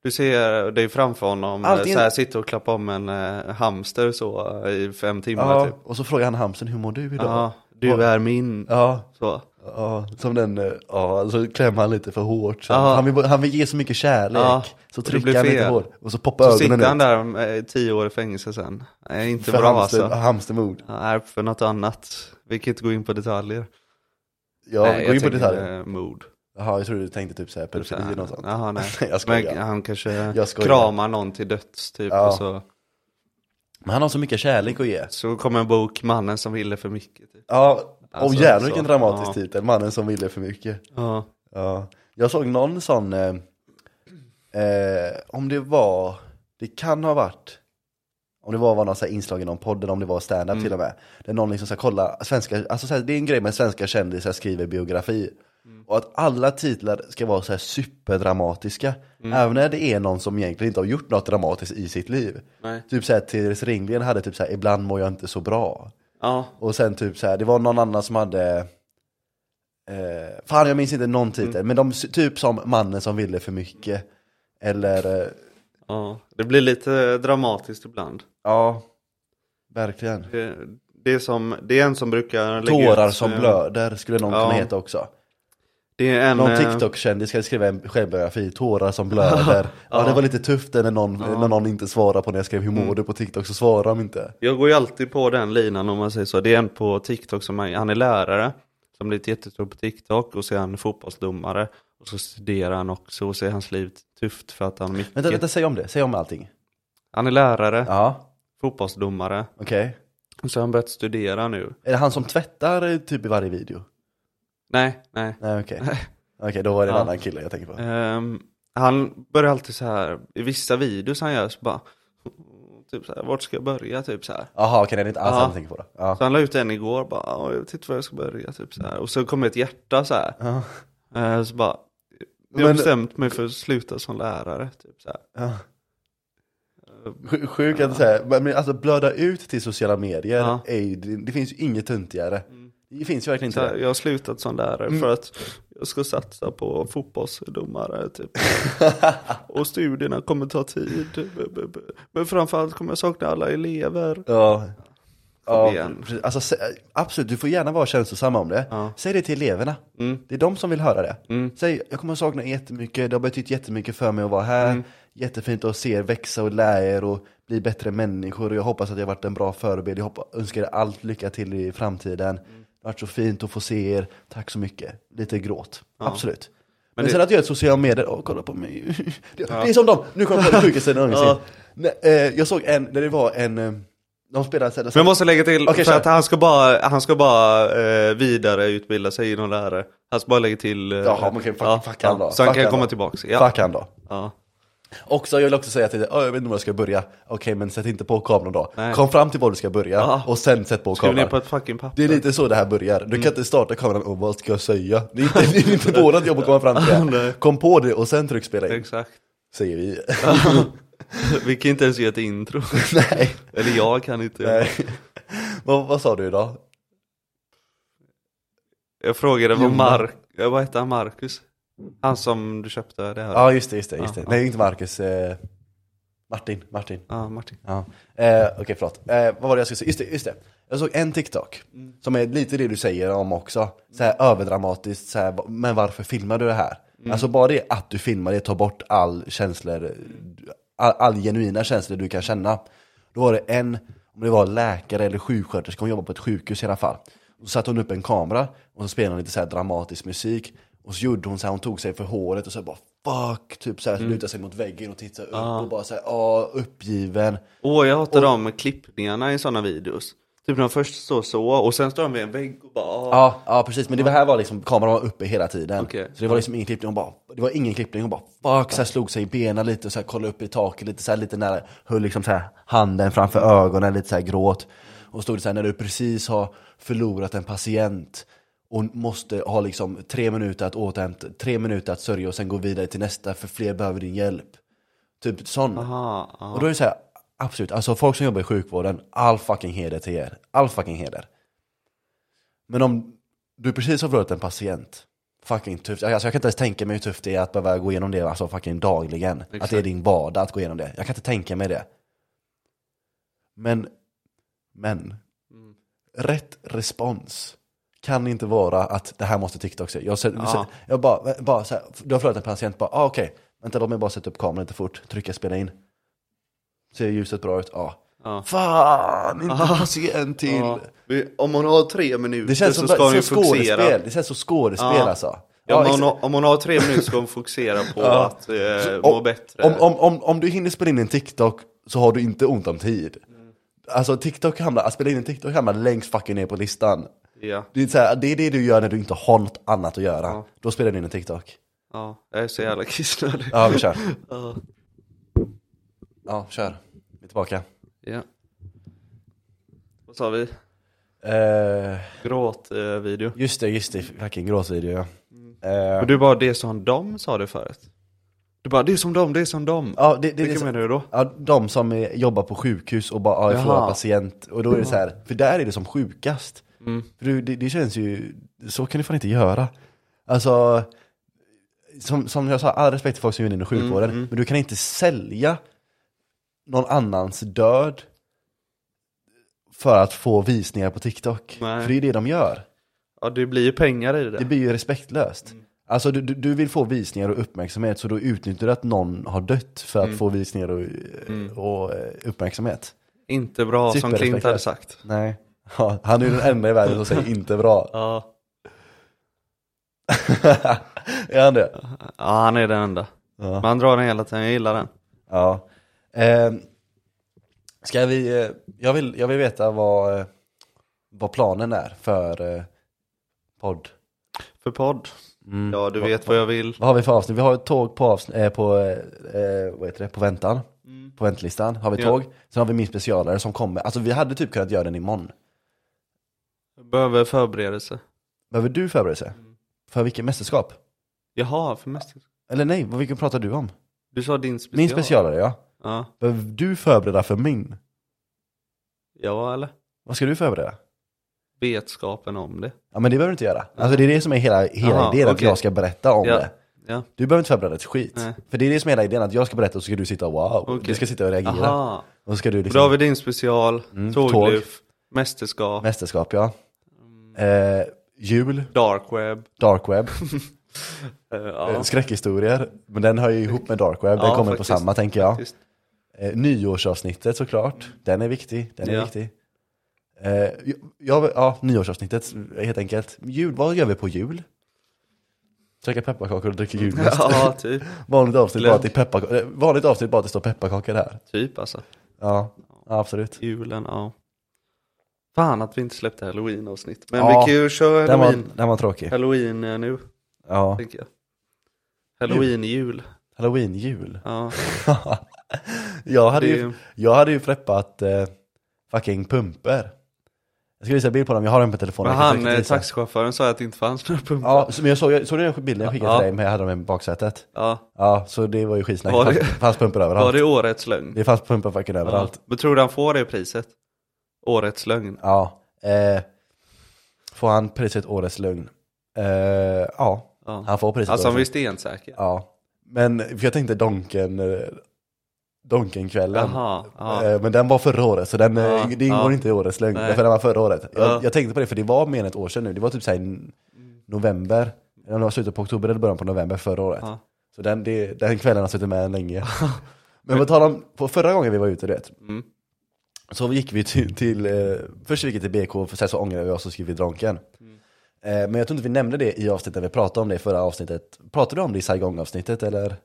Speaker 1: Du ser dig framför honom, eh,
Speaker 2: Allting-
Speaker 1: så här, sitter och klappar om en eh, hamster så eh, i fem timmar
Speaker 2: Ja,
Speaker 1: typ.
Speaker 2: och så frågar han hamsen, hur mår du idag?
Speaker 1: Ja, du är min.
Speaker 2: Ja,
Speaker 1: Så.
Speaker 2: ja, som den, eh, ja, så klämmer han lite för hårt. Så.
Speaker 1: Ja.
Speaker 2: Han, vill, bara- han vill ge så mycket kärlek,
Speaker 1: Ja,
Speaker 2: så
Speaker 1: och det blir
Speaker 2: trycker han lite
Speaker 1: fel.
Speaker 2: hårt. Och så poppar
Speaker 1: Så
Speaker 2: ögonen
Speaker 1: sitter han
Speaker 2: ut.
Speaker 1: där med tio år i fängelse sen. Nej, inte
Speaker 2: För
Speaker 1: bra
Speaker 2: hamster,
Speaker 1: alltså.
Speaker 2: hamstermord.
Speaker 1: Han är för något annat. Vi kan inte gå in på detaljer.
Speaker 2: Ja,
Speaker 1: Nej,
Speaker 2: gå in
Speaker 1: jag
Speaker 2: på
Speaker 1: tänker,
Speaker 2: detaljer.
Speaker 1: eh, Mord.
Speaker 2: Jaha, jag trodde du tänkte typ såhär pedofili eller något sånt.
Speaker 1: Jaha, nej.
Speaker 2: Jag skojar.
Speaker 1: Men han kanske
Speaker 2: Jag skojar.
Speaker 1: kramar någon till döds typ.
Speaker 2: Ja.
Speaker 1: Och så,
Speaker 2: Men han har så mycket kärlek att ge.
Speaker 1: så kommer en bok, Mannen som ville för mycket. Typ.
Speaker 2: Ja, och
Speaker 1: Alltså,
Speaker 2: jävlar vilken
Speaker 1: så.
Speaker 2: dramatisk
Speaker 1: Ja.
Speaker 2: titel, mannen som ville för mycket.
Speaker 1: Ja.
Speaker 2: Ja. Jag såg någon sån, eh, eh, om det var, det kan ha varit, om det var, var någon så här inslag i någon podd eller om det var stand-up till och med. Där någon liksom ska kolla, svenska, alltså så här, det är en grej med svenska kändisar skriver biografi. Och att alla titlar ska vara så här superdramatiska. Även när det är någon som egentligen inte har gjort något dramatiskt i sitt liv.
Speaker 1: Nej.
Speaker 2: Typ såhär Therese Ringgren hade typ såhär, ibland mår jag inte så bra.
Speaker 1: ja.
Speaker 2: Och sen typ så här, det var någon annan som hade eh, Fan jag minns inte någon titel, men de s- typ som mannen som ville för mycket Eller, eh,
Speaker 1: Ja, det blir lite dramatiskt ibland.
Speaker 2: ja Verkligen
Speaker 1: Det, det, är, som, det är en som brukar lägga
Speaker 2: Tårar
Speaker 1: ut,
Speaker 2: som
Speaker 1: eh,
Speaker 2: blöder skulle någon kunna
Speaker 1: ja.
Speaker 2: heta också
Speaker 1: Det är en,
Speaker 2: Någon
Speaker 1: eh,
Speaker 2: TikTok-kändis ska skriva en självbiografi, tårar som blöder Ja det var lite tufft där när någon, när någon inte svarade på när jag skrev hur mår du på TikTok så svarade de inte
Speaker 1: Jag går ju alltid på den linan om man säger så. Det är en på TikTok som är, han är lärare, som blivit jättestor på TikTok och så är han fotbollsdomare. Och så studerar han också och så är hans liv tufft för att han har mycket.
Speaker 2: Vänta, vänta, säg om det, säg om allting
Speaker 1: Han är lärare,
Speaker 2: Ja,
Speaker 1: fotbollsdomare.
Speaker 2: okej
Speaker 1: Och så har han börjat studera nu.
Speaker 2: Är det han som tvättar eh, typ i varje video?
Speaker 1: Nej, nej.
Speaker 2: Nej okej Okej, då var det en
Speaker 1: Ja.
Speaker 2: annan kille jag tänker på
Speaker 1: Ehm, han börjar alltid så här, i vissa videos han gör så bara, typ så här, vart ska jag börja typ så här.
Speaker 2: Jaha, okej det är inte alls
Speaker 1: Ja.
Speaker 2: han som tänker på det. Ja.
Speaker 1: Så han la ut en igår bara, "Ja, jag tittar var jag ska börja typ så här. Och så kom ett hjärta så här.
Speaker 2: Ja.
Speaker 1: Eh, Så bara, jag har
Speaker 2: Men-
Speaker 1: bestämt mig för att sluta som lärare. Typ så här.
Speaker 2: Sj- Sjukt att säga, men men alltså blöda ut till sociala medier,
Speaker 1: Ja.
Speaker 2: är ju, det, det finns ju inget tuntigare. Det finns ju verkligen
Speaker 1: Så
Speaker 2: inte
Speaker 1: här,
Speaker 2: det.
Speaker 1: jag har slutat som lärare för att jag ska satsa på fotbollsdomare typ. Och studierna kommer ta tid. Men framförallt kommer jag sakna alla elever.
Speaker 2: Ja.
Speaker 1: Kom
Speaker 2: Ja,
Speaker 1: igen.
Speaker 2: precis. alltså, sä- absolut, du får gärna vara känslosam om det.
Speaker 1: Ja. Mm.
Speaker 2: Säg det till eleverna. Det är de som vill höra det. Säg, jag kommer att sakna er jättemycket, det har betytt jättemycket för mig att vara här.
Speaker 1: Mm.
Speaker 2: Jättefint att se er växa och lära er och bli bättre människor. Och jag hoppas att jag har varit en bra förebild. Jag hoppas, önskar er allt lycka till i framtiden.
Speaker 1: Mm.
Speaker 2: Det har varit så fint att få se er. Tack så mycket. Lite gråt, absolut. Men,
Speaker 1: det-
Speaker 2: sen att göra ett sociala medier, åh kolla på mig. Det, det är som dem, nu kommer jag på det sjukaste någonsin.
Speaker 1: Ja.
Speaker 2: Nej, eh, Jag såg en, när det var en, eh, de spelade så här-
Speaker 1: Men jag måste lägga till,
Speaker 2: Okej,
Speaker 1: för
Speaker 2: kör.
Speaker 1: att han ska bara, han ska bara eh, vidareutbilda sig inom lärare. Han ska bara lägga till... Eh,
Speaker 2: Jaha, men okej, fuck, fuck han då.
Speaker 1: Så han
Speaker 2: fuck
Speaker 1: kan komma
Speaker 2: då.
Speaker 1: tillbaks. Ja.
Speaker 2: Fuck han då.
Speaker 1: Ja.
Speaker 2: Också, jag vill också säga till dig, "Åh, jag vet inte var jag ska börja. Okej, men sätt inte på kameran då.
Speaker 1: Nej.
Speaker 2: Kom fram till var du ska börja
Speaker 1: Ja.
Speaker 2: och sen sätt på
Speaker 1: Skriv ner
Speaker 2: kameran.
Speaker 1: på ett Mm. fucking papper.
Speaker 2: Det är lite så det här börjar. Du kan inte starta kameran och vad ska jag säga? Det är inte, det är inte vårat jobb att komma fram till det.
Speaker 1: Nej.
Speaker 2: Kom på det och sen tryck spela in,
Speaker 1: Exakt.
Speaker 2: säger vi.
Speaker 1: Vi kan inte ens göra ett intro.
Speaker 2: Nej.
Speaker 1: Eller jag kan inte.
Speaker 2: Nej. vad, vad sa du idag?
Speaker 1: Jag frågade vad
Speaker 2: Jonas.
Speaker 1: Mark, eh, vad hette han Marcus? Han som du köpte det här?
Speaker 2: Ja, just det, just det. Just det.
Speaker 1: Ja, ja.
Speaker 2: Nej, inte Marcus. Eh, Martin, Martin.
Speaker 1: Ja, Martin.
Speaker 2: Ja. Eh, Okej, förlåt. Eh, vad var det jag skulle säga? Just det, just det. Jag såg en TikTok som är lite det du säger om också. Så här överdramatiskt, så här, va- men varför filmar du det här? Alltså bara det att du filmar det tar bort all känslor, all, all genuina känslor du kan känna. Då var det en, om det var läkare eller sjuksköterska, hon jobbade på ett sjukhus i alla fall. Då satte hon upp en kamera och så spelade hon lite så här dramatisk musik. Och så gjorde hon så här, hon tog sig för håret och så bara fuck, typ så här, lutade sig mot väggen och tittade upp och bara så här, ja, uppgiven.
Speaker 1: Åh, jag hatar de klippningarna i sådana videos. Typ när de först står så och sen står de vid en vägg och bara... ah.
Speaker 2: Ja, ja precis, men det var här var liksom, kameran var uppe hela tiden.
Speaker 1: Okej.
Speaker 2: Så det var liksom ingen klippning, hon bara, det var ingen klippning, hon bara fuck, så här slog sig i benen lite och så här kollade upp i taket lite, så här, lite nära, höll liksom så här handen framför ögonen, lite så här gråt. Och stod det så här, när du precis har förlorat en patient och måste ha liksom tre minuter att återhämta, tre minuter att sörja och sen gå vidare till nästa för fler behöver din hjälp. Typ sån.
Speaker 1: ah,
Speaker 2: Och då är det så här, absolut, alltså folk som jobbar i sjukvården, all fucking heder till er. All fucking heder. Men om du precis har förlorat en patient, fucking tufft. Alltså jag kan inte ens tänka mig hur tufft det är att behöva gå igenom det alltså fucking dagligen. Att det är din vardag att gå igenom det. Jag kan inte tänka mig det. Men, men,
Speaker 1: Mm.
Speaker 2: rätt respons kan inte vara att det här måste TikTok se. Jag, ser,
Speaker 1: Ja.
Speaker 2: jag bara, bara så här, du har förlorat en patient, bara ah, okej, vänta låt mig bara sätta upp kameran lite fort, trycka spela in. Ser ljuset bra ut? Ja.
Speaker 1: Ja.
Speaker 2: Fan, inte patient till!
Speaker 1: Ja. Vi- Om hon har tre minuter
Speaker 2: Det känns
Speaker 1: så
Speaker 2: som,
Speaker 1: ska hon ju
Speaker 2: som skådespel,
Speaker 1: fokusera.
Speaker 2: det känns som skådespel
Speaker 1: Ja.
Speaker 2: alltså. Ja,
Speaker 1: Ja, om,
Speaker 2: exakt.
Speaker 1: hon, har- om hon har tre minuter ska hon fokusera på
Speaker 2: Ja.
Speaker 1: att eh,
Speaker 2: Om-
Speaker 1: må bättre.
Speaker 2: Om, om, om, om du hinner spela in en TikTok så har du inte ont om tid. Alltså TikTok hamnar, att spela in en TikTok hamnar längst fucking ner på listan.
Speaker 1: ja.
Speaker 2: Det är, så här, det är det du gör när du inte har något annat att göra.
Speaker 1: Ja.
Speaker 2: Då spelar du in en TikTok.
Speaker 1: ja, jag är så jävla kissnödig.
Speaker 2: Ja, vi kör.
Speaker 1: Ja.
Speaker 2: Ja, kör. Vi är tillbaka.
Speaker 1: Ja. Vad sa vi?
Speaker 2: Eh,
Speaker 1: Gråtvideo.
Speaker 2: just det, just det. Fucking gråtvideo ja.
Speaker 1: Mm.
Speaker 2: Eh,
Speaker 1: Men du bara, det är som de sa du förut. Du bara, det är som de, det är som de.
Speaker 2: ja, det, det, det,
Speaker 1: Vilka menar du då?
Speaker 2: Ja, de som eh, jobbar på sjukhus och bara ja, jag
Speaker 1: Jaha.
Speaker 2: förlorar patient. Och då är det så här, för där är det som sjukast.
Speaker 1: Mm.
Speaker 2: För du, det, det känns ju, så kan du fan inte göra. Alltså, som, som jag sa, all respekt till folk som jobbar inom
Speaker 1: Mm,
Speaker 2: sjukvården, men du kan inte sälja någon annans död för att få visningar på TikTok.
Speaker 1: Nej.
Speaker 2: För det är det de gör.
Speaker 1: Ja, det blir ju pengar i det.
Speaker 2: Det blir ju respektlöst. Alltså du, du, du vill få visningar och uppmärksamhet så då utnyttjar du att någon har dött för att få visningar och, och eh, uppmärksamhet.
Speaker 1: Inte bra, som
Speaker 2: Superrespekt.
Speaker 1: Klint hade sagt.
Speaker 2: Nej. Ja, han är ju den enda i världen som säger inte bra.
Speaker 1: Ja.
Speaker 2: är han det?
Speaker 1: ja, han är den enda.
Speaker 2: Ja.
Speaker 1: Man drar den hela tiden, jag gillar den.
Speaker 2: Ja. Eh, ska vi, eh, jag, vill, jag vill veta vad, eh, vad planen är för eh, podd.
Speaker 1: För podd.
Speaker 2: Mm.
Speaker 1: Ja, du vet vad jag vill.
Speaker 2: Vad har vi för avsnitt? Vi har ett tåg på, avsnitt, eh, på, eh, eh, vad heter det? på väntan. På väntlistan har vi
Speaker 1: Mm. Ja.
Speaker 2: tåg. Sen har vi min specialare som kommer. Alltså vi hade typ kunnat göra den imorgon.
Speaker 1: Behöver förberedelse.
Speaker 2: Behöver du förberedelse?
Speaker 1: Mm.
Speaker 2: För vilket mästerskap?
Speaker 1: Jaha, för mest.
Speaker 2: Eller nej, vad- vilken pratar du om?
Speaker 1: Du sa din special.
Speaker 2: Min specialare ja.
Speaker 1: Ja,
Speaker 2: Behöver du förbereda för min?
Speaker 1: ja eller?
Speaker 2: Vad ska du förbereda?
Speaker 1: Vetskapen om det.
Speaker 2: Ja men det behöver du inte göra. Alltså det är det som är hela, hela
Speaker 1: Mm. Aha,
Speaker 2: idén att
Speaker 1: okej.
Speaker 2: jag ska berätta om
Speaker 1: Ja.
Speaker 2: det.
Speaker 1: Ja.
Speaker 2: Du behöver inte förbereda ett skit.
Speaker 1: Nej.
Speaker 2: För det är det som är hela idén, att jag ska berätta och så ska du sitta och wow.
Speaker 1: Okej.
Speaker 2: Du ska sitta och reagera.
Speaker 1: Aha.
Speaker 2: Och så ska du
Speaker 1: Då har vi
Speaker 2: liksom,
Speaker 1: din special,
Speaker 2: Mm,
Speaker 1: tågluff, mästerskap,
Speaker 2: mästerskap ja.
Speaker 1: Mm.
Speaker 2: Eh, jul,
Speaker 1: dark web.
Speaker 2: dark web,
Speaker 1: Eh,
Speaker 2: eh,
Speaker 1: ja.
Speaker 2: skräckhistorier. Men den hör ju ihop med dark web, den
Speaker 1: Ja,
Speaker 2: kommer
Speaker 1: faktiskt.
Speaker 2: på samma tänker jag.
Speaker 1: Faktiskt.
Speaker 2: Eh, nyårsavsnittet såklart, den är viktig. Den är
Speaker 1: Ja.
Speaker 2: viktig. Eh, ja, ja, nyårsavsnittet helt enkelt. Jul, vad gör vi på jul? Käkar pepparkakor och dricker julmust.
Speaker 1: Ja, typ.
Speaker 2: Vanligt avsnitt
Speaker 1: Glögg.
Speaker 2: bara till pepparkakor. eh, Vanligt avsnitt bara att det står pepparkakor här.
Speaker 1: Typ alltså.
Speaker 2: Ja, ja, absolut.
Speaker 1: Julen, ja. Fan att vi inte släppte halloween-avsnitt. Men
Speaker 2: Ja,
Speaker 1: vi kan ju köra
Speaker 2: Den var,
Speaker 1: halloween,
Speaker 2: den var tråkig.
Speaker 1: halloween eh, nu,
Speaker 2: Ja.
Speaker 1: tänker jag. Halloween-jul.
Speaker 2: Halloween-jul.
Speaker 1: Ja.
Speaker 2: jag, hade
Speaker 1: Det är
Speaker 2: ju,
Speaker 1: ju-
Speaker 2: jag hade ju preppat eh, fucking pumper. Jag ska visa bild på dem, jag har dem på telefonen.
Speaker 1: Men
Speaker 2: jag kan
Speaker 1: han,
Speaker 2: säkert
Speaker 1: eh,
Speaker 2: visa.
Speaker 1: taxichauffören sa att det inte fanns några pumpar.
Speaker 2: Ja, så- men jag såg, jag såg den här bilden jag skickade
Speaker 1: Ja.
Speaker 2: till dig, men jag hade dem i baksätet.
Speaker 1: Ja.
Speaker 2: Ja, så det var ju skitsnack.
Speaker 1: Var
Speaker 2: Det
Speaker 1: det-
Speaker 2: fanns, fanns pumpor
Speaker 1: Var
Speaker 2: överallt.
Speaker 1: det årets lögn?
Speaker 2: Det fanns pumpor fucking överallt.
Speaker 1: Ja. Men tror du han får det priset? Årets lögn.
Speaker 2: Ja. Eh, får han priset Årets Lugn? Eh, ja,
Speaker 1: Ja.
Speaker 2: han får priset
Speaker 1: Alltså han var ju
Speaker 2: Årets Lugn.
Speaker 1: stensäker.
Speaker 2: Ja. Men för jag tänkte Donken, eh, Donken-kvällen.
Speaker 1: Jaha, ja.
Speaker 2: Eh, men den var förra året, så den eh,
Speaker 1: Ja,
Speaker 2: det
Speaker 1: ja.
Speaker 2: ingår inte i Årets Lugn.
Speaker 1: Nej.
Speaker 2: Därför den var förra året.
Speaker 1: Ja.
Speaker 2: Jag, jag tänkte på det, för det var mer än ett år sedan nu. Det var typ såhär i n- november, eller om det var slutet på oktober eller början på november förra året.
Speaker 1: Ja.
Speaker 2: Så den, det, den kvällen har suttit med länge. Men på tal om, på förra gången vi var ute du vet,
Speaker 1: Mm.
Speaker 2: så gick vi till, till eh, först gick vi till BK, för sen så ångrade vi oss och så gick vi till Dronken.
Speaker 1: Mm.
Speaker 2: Eh, men jag tror inte vi nämnde det i avsnittet, vi pratade om det i förra avsnittet. Pratade du om det i Saigon-avsnittet eller?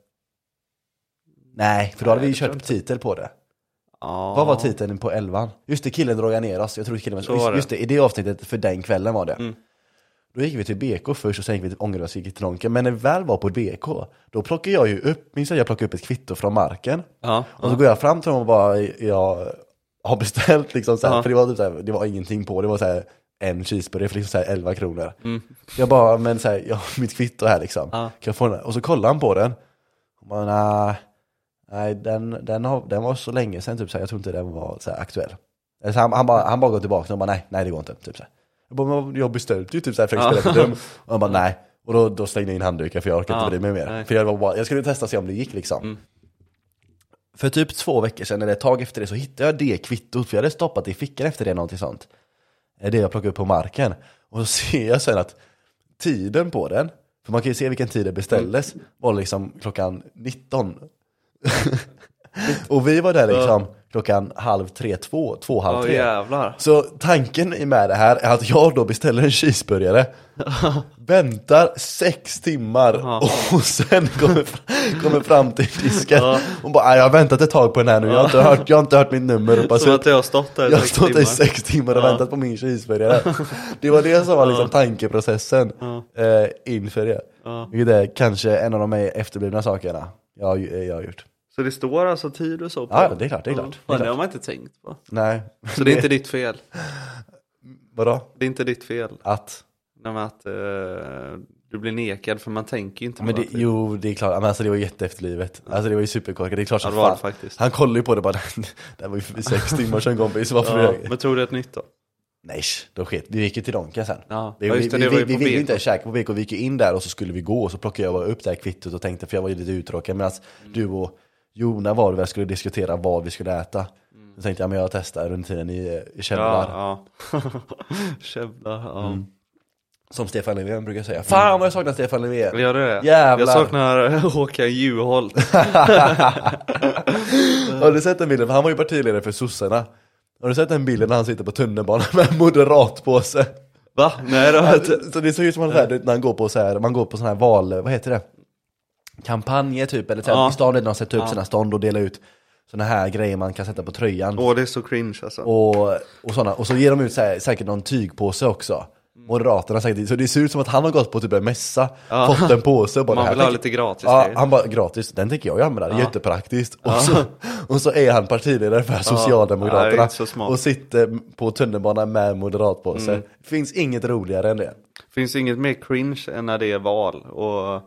Speaker 2: Nej, för då hade vi ju
Speaker 1: det tror jag
Speaker 2: kört titel på det.
Speaker 1: Ja.
Speaker 2: Vad var titeln på elvan? Just det, killen drog ner oss. Jag tror killen
Speaker 1: Så var
Speaker 2: just,
Speaker 1: det. Mm.
Speaker 2: just det, i det avsnittet för den kvällen var det. Då gick vi till BK först och sen gick vi till Ångerös gick till Ronken. Men när vi väl var på BK, då plockade jag ju upp, minns jag att jag plockade upp ett kvitto från marken.
Speaker 1: Ja,
Speaker 2: Och så går jag fram till dem och bara, jag har beställt liksom så här,
Speaker 1: Ja.
Speaker 2: för det var, typ så här, det var ingenting på, det var så här en cheeseburgare för liksom så här 11 kronor. Jag bara, men så här, jag har mitt kvitto här liksom.
Speaker 1: Mm. Ja.
Speaker 2: Kan jag få den? här?" Och så kollar han på den. Och bara, "Nej, nej, den, den, har, den var så länge sedan, typ så här, jag tror inte den var så här, aktuell. Eller Så han, han, bara, han bara går tillbaka och bara, nej, nej det går inte. Typ så här. Jag bara, "Men jag beställde ju typ så här, för att spela för dum. Och han bara, nej. Och då, då slängde jag in handduken för jag orkade
Speaker 1: Ja,
Speaker 2: inte bry mig mer.
Speaker 1: nej. Mm.
Speaker 2: För jag, var bara, jag skulle testa och se om det gick liksom. För typ två veckor sedan, eller ett tag efter det, så hittade jag det kvittot, för jag hade stoppat det i fickan efter det, någonting sånt. Eh, Det jag plockade upp på marken. Och så ser jag sen att tiden på den, för man kan ju se vilken tid det beställdes, var liksom klockan 19. Och vi var där liksom klockan halv tre, två, två, halv
Speaker 1: Ja,
Speaker 2: tre.
Speaker 1: jävlar.
Speaker 2: Så tanken i med det här är att jag då beställer en cheeseburgare, väntar sex timmar
Speaker 1: Ja.
Speaker 2: och sen kommer, kommer fram till disken och bara "Nej, jag har väntat ett tag på den här nu, jag har inte hört, jag har inte hört mitt nummer ropas
Speaker 1: Som
Speaker 2: ut.
Speaker 1: att jag har stått där i
Speaker 2: Jag har
Speaker 1: sex
Speaker 2: stått i
Speaker 1: timmar.
Speaker 2: sex timmar och väntat på min cheeseburgare. Det var det som var liksom tankeprocessen eh, inför det. Vilket är kanske en av de mer efterblivna sakerna jag, har ju- jag har gjort.
Speaker 1: Så det står alltså tid och så på?
Speaker 2: Ja, ja, det är klart, det är klart, det är
Speaker 1: Fan, det
Speaker 2: klart.
Speaker 1: har man inte tänkt på.
Speaker 2: Nej,
Speaker 1: Så det är inte ditt fel?
Speaker 2: vadå?
Speaker 1: Det är inte ditt fel?
Speaker 2: Att?
Speaker 1: Nej, men att eh, du blir nekad för man tänker ju inte
Speaker 2: Men
Speaker 1: på
Speaker 2: det,
Speaker 1: att-
Speaker 2: jo, det är klart. Men alltså det var jätteefterlivet. Alltså det var ju superkorkat. Det är klart
Speaker 1: Ja,
Speaker 2: som
Speaker 1: det var
Speaker 2: fan.
Speaker 1: det faktiskt.
Speaker 2: Han kollade ju på det bara. Det var ju för sex timmar sedan kompis. Varför
Speaker 1: Ja,
Speaker 2: jag...
Speaker 1: men tog du ett nytt då?
Speaker 2: Nej, sh, då sket Vi gick ju till Donken sen.
Speaker 1: Ja,
Speaker 2: vi
Speaker 1: ja,
Speaker 2: vi,
Speaker 1: just det, det
Speaker 2: vi,
Speaker 1: var
Speaker 2: vi,
Speaker 1: ju
Speaker 2: vi
Speaker 1: på
Speaker 2: ville
Speaker 1: BK.
Speaker 2: inte käka på BK. Vi gick ju in där och så skulle vi gå och så plockade jag bara upp det här kvittot och tänkte, för jag var ju lite uttråkad. Medan du
Speaker 1: Mm.
Speaker 2: och Jona var det väl skulle diskutera vad vi skulle äta. Då tänkte jag, men jag testar under tiden i, eh, i källaren.
Speaker 1: Mm. Ja, ja. Kävlar, ja.
Speaker 2: Mm. Som Stefan Löfven brukar säga. Fan vad jag saknar Stefan Löfven!
Speaker 1: Gör du det?
Speaker 2: Jävlar.
Speaker 1: Jag saknar Håkan Juholt.
Speaker 2: Har du sett den bilden? För han var ju partiledare för sossarna. Har du sett den bilden när han sitter på tunnelbanan med en moderatpåse? Alltså,
Speaker 1: Va? Nej då.
Speaker 2: Så det ser ut som att han, när han går på så här, man går på sån här val, vad heter det? Kampanjer typ, eller så här,
Speaker 1: Ja.
Speaker 2: i stan när de sätter upp sina stånd och delar ut såna här grejer man kan sätta på tröjan.
Speaker 1: Åh det är så cringe alltså.
Speaker 2: Och, och, såna. och så ger de ut så här, säkert någon tygpåse också. Moderaterna säkert, så det ser ut som att han har gått på typ en mässa,
Speaker 1: Ja.
Speaker 2: fått en påse och bara
Speaker 1: Man
Speaker 2: "Det här
Speaker 1: vill ha
Speaker 2: tänker-
Speaker 1: lite gratis
Speaker 2: Ja,
Speaker 1: grejer."
Speaker 2: han bara gratis, den tänker jag ju använda, det är jättepraktiskt. Och, så, och så är han partiledare för
Speaker 1: Ja, det är
Speaker 2: Socialdemokraterna
Speaker 1: inte så smart. Mm.
Speaker 2: och sitter på tunnelbanan med moderatpåse. Finns inget roligare än det.
Speaker 1: Finns inget mer cringe än när det är val och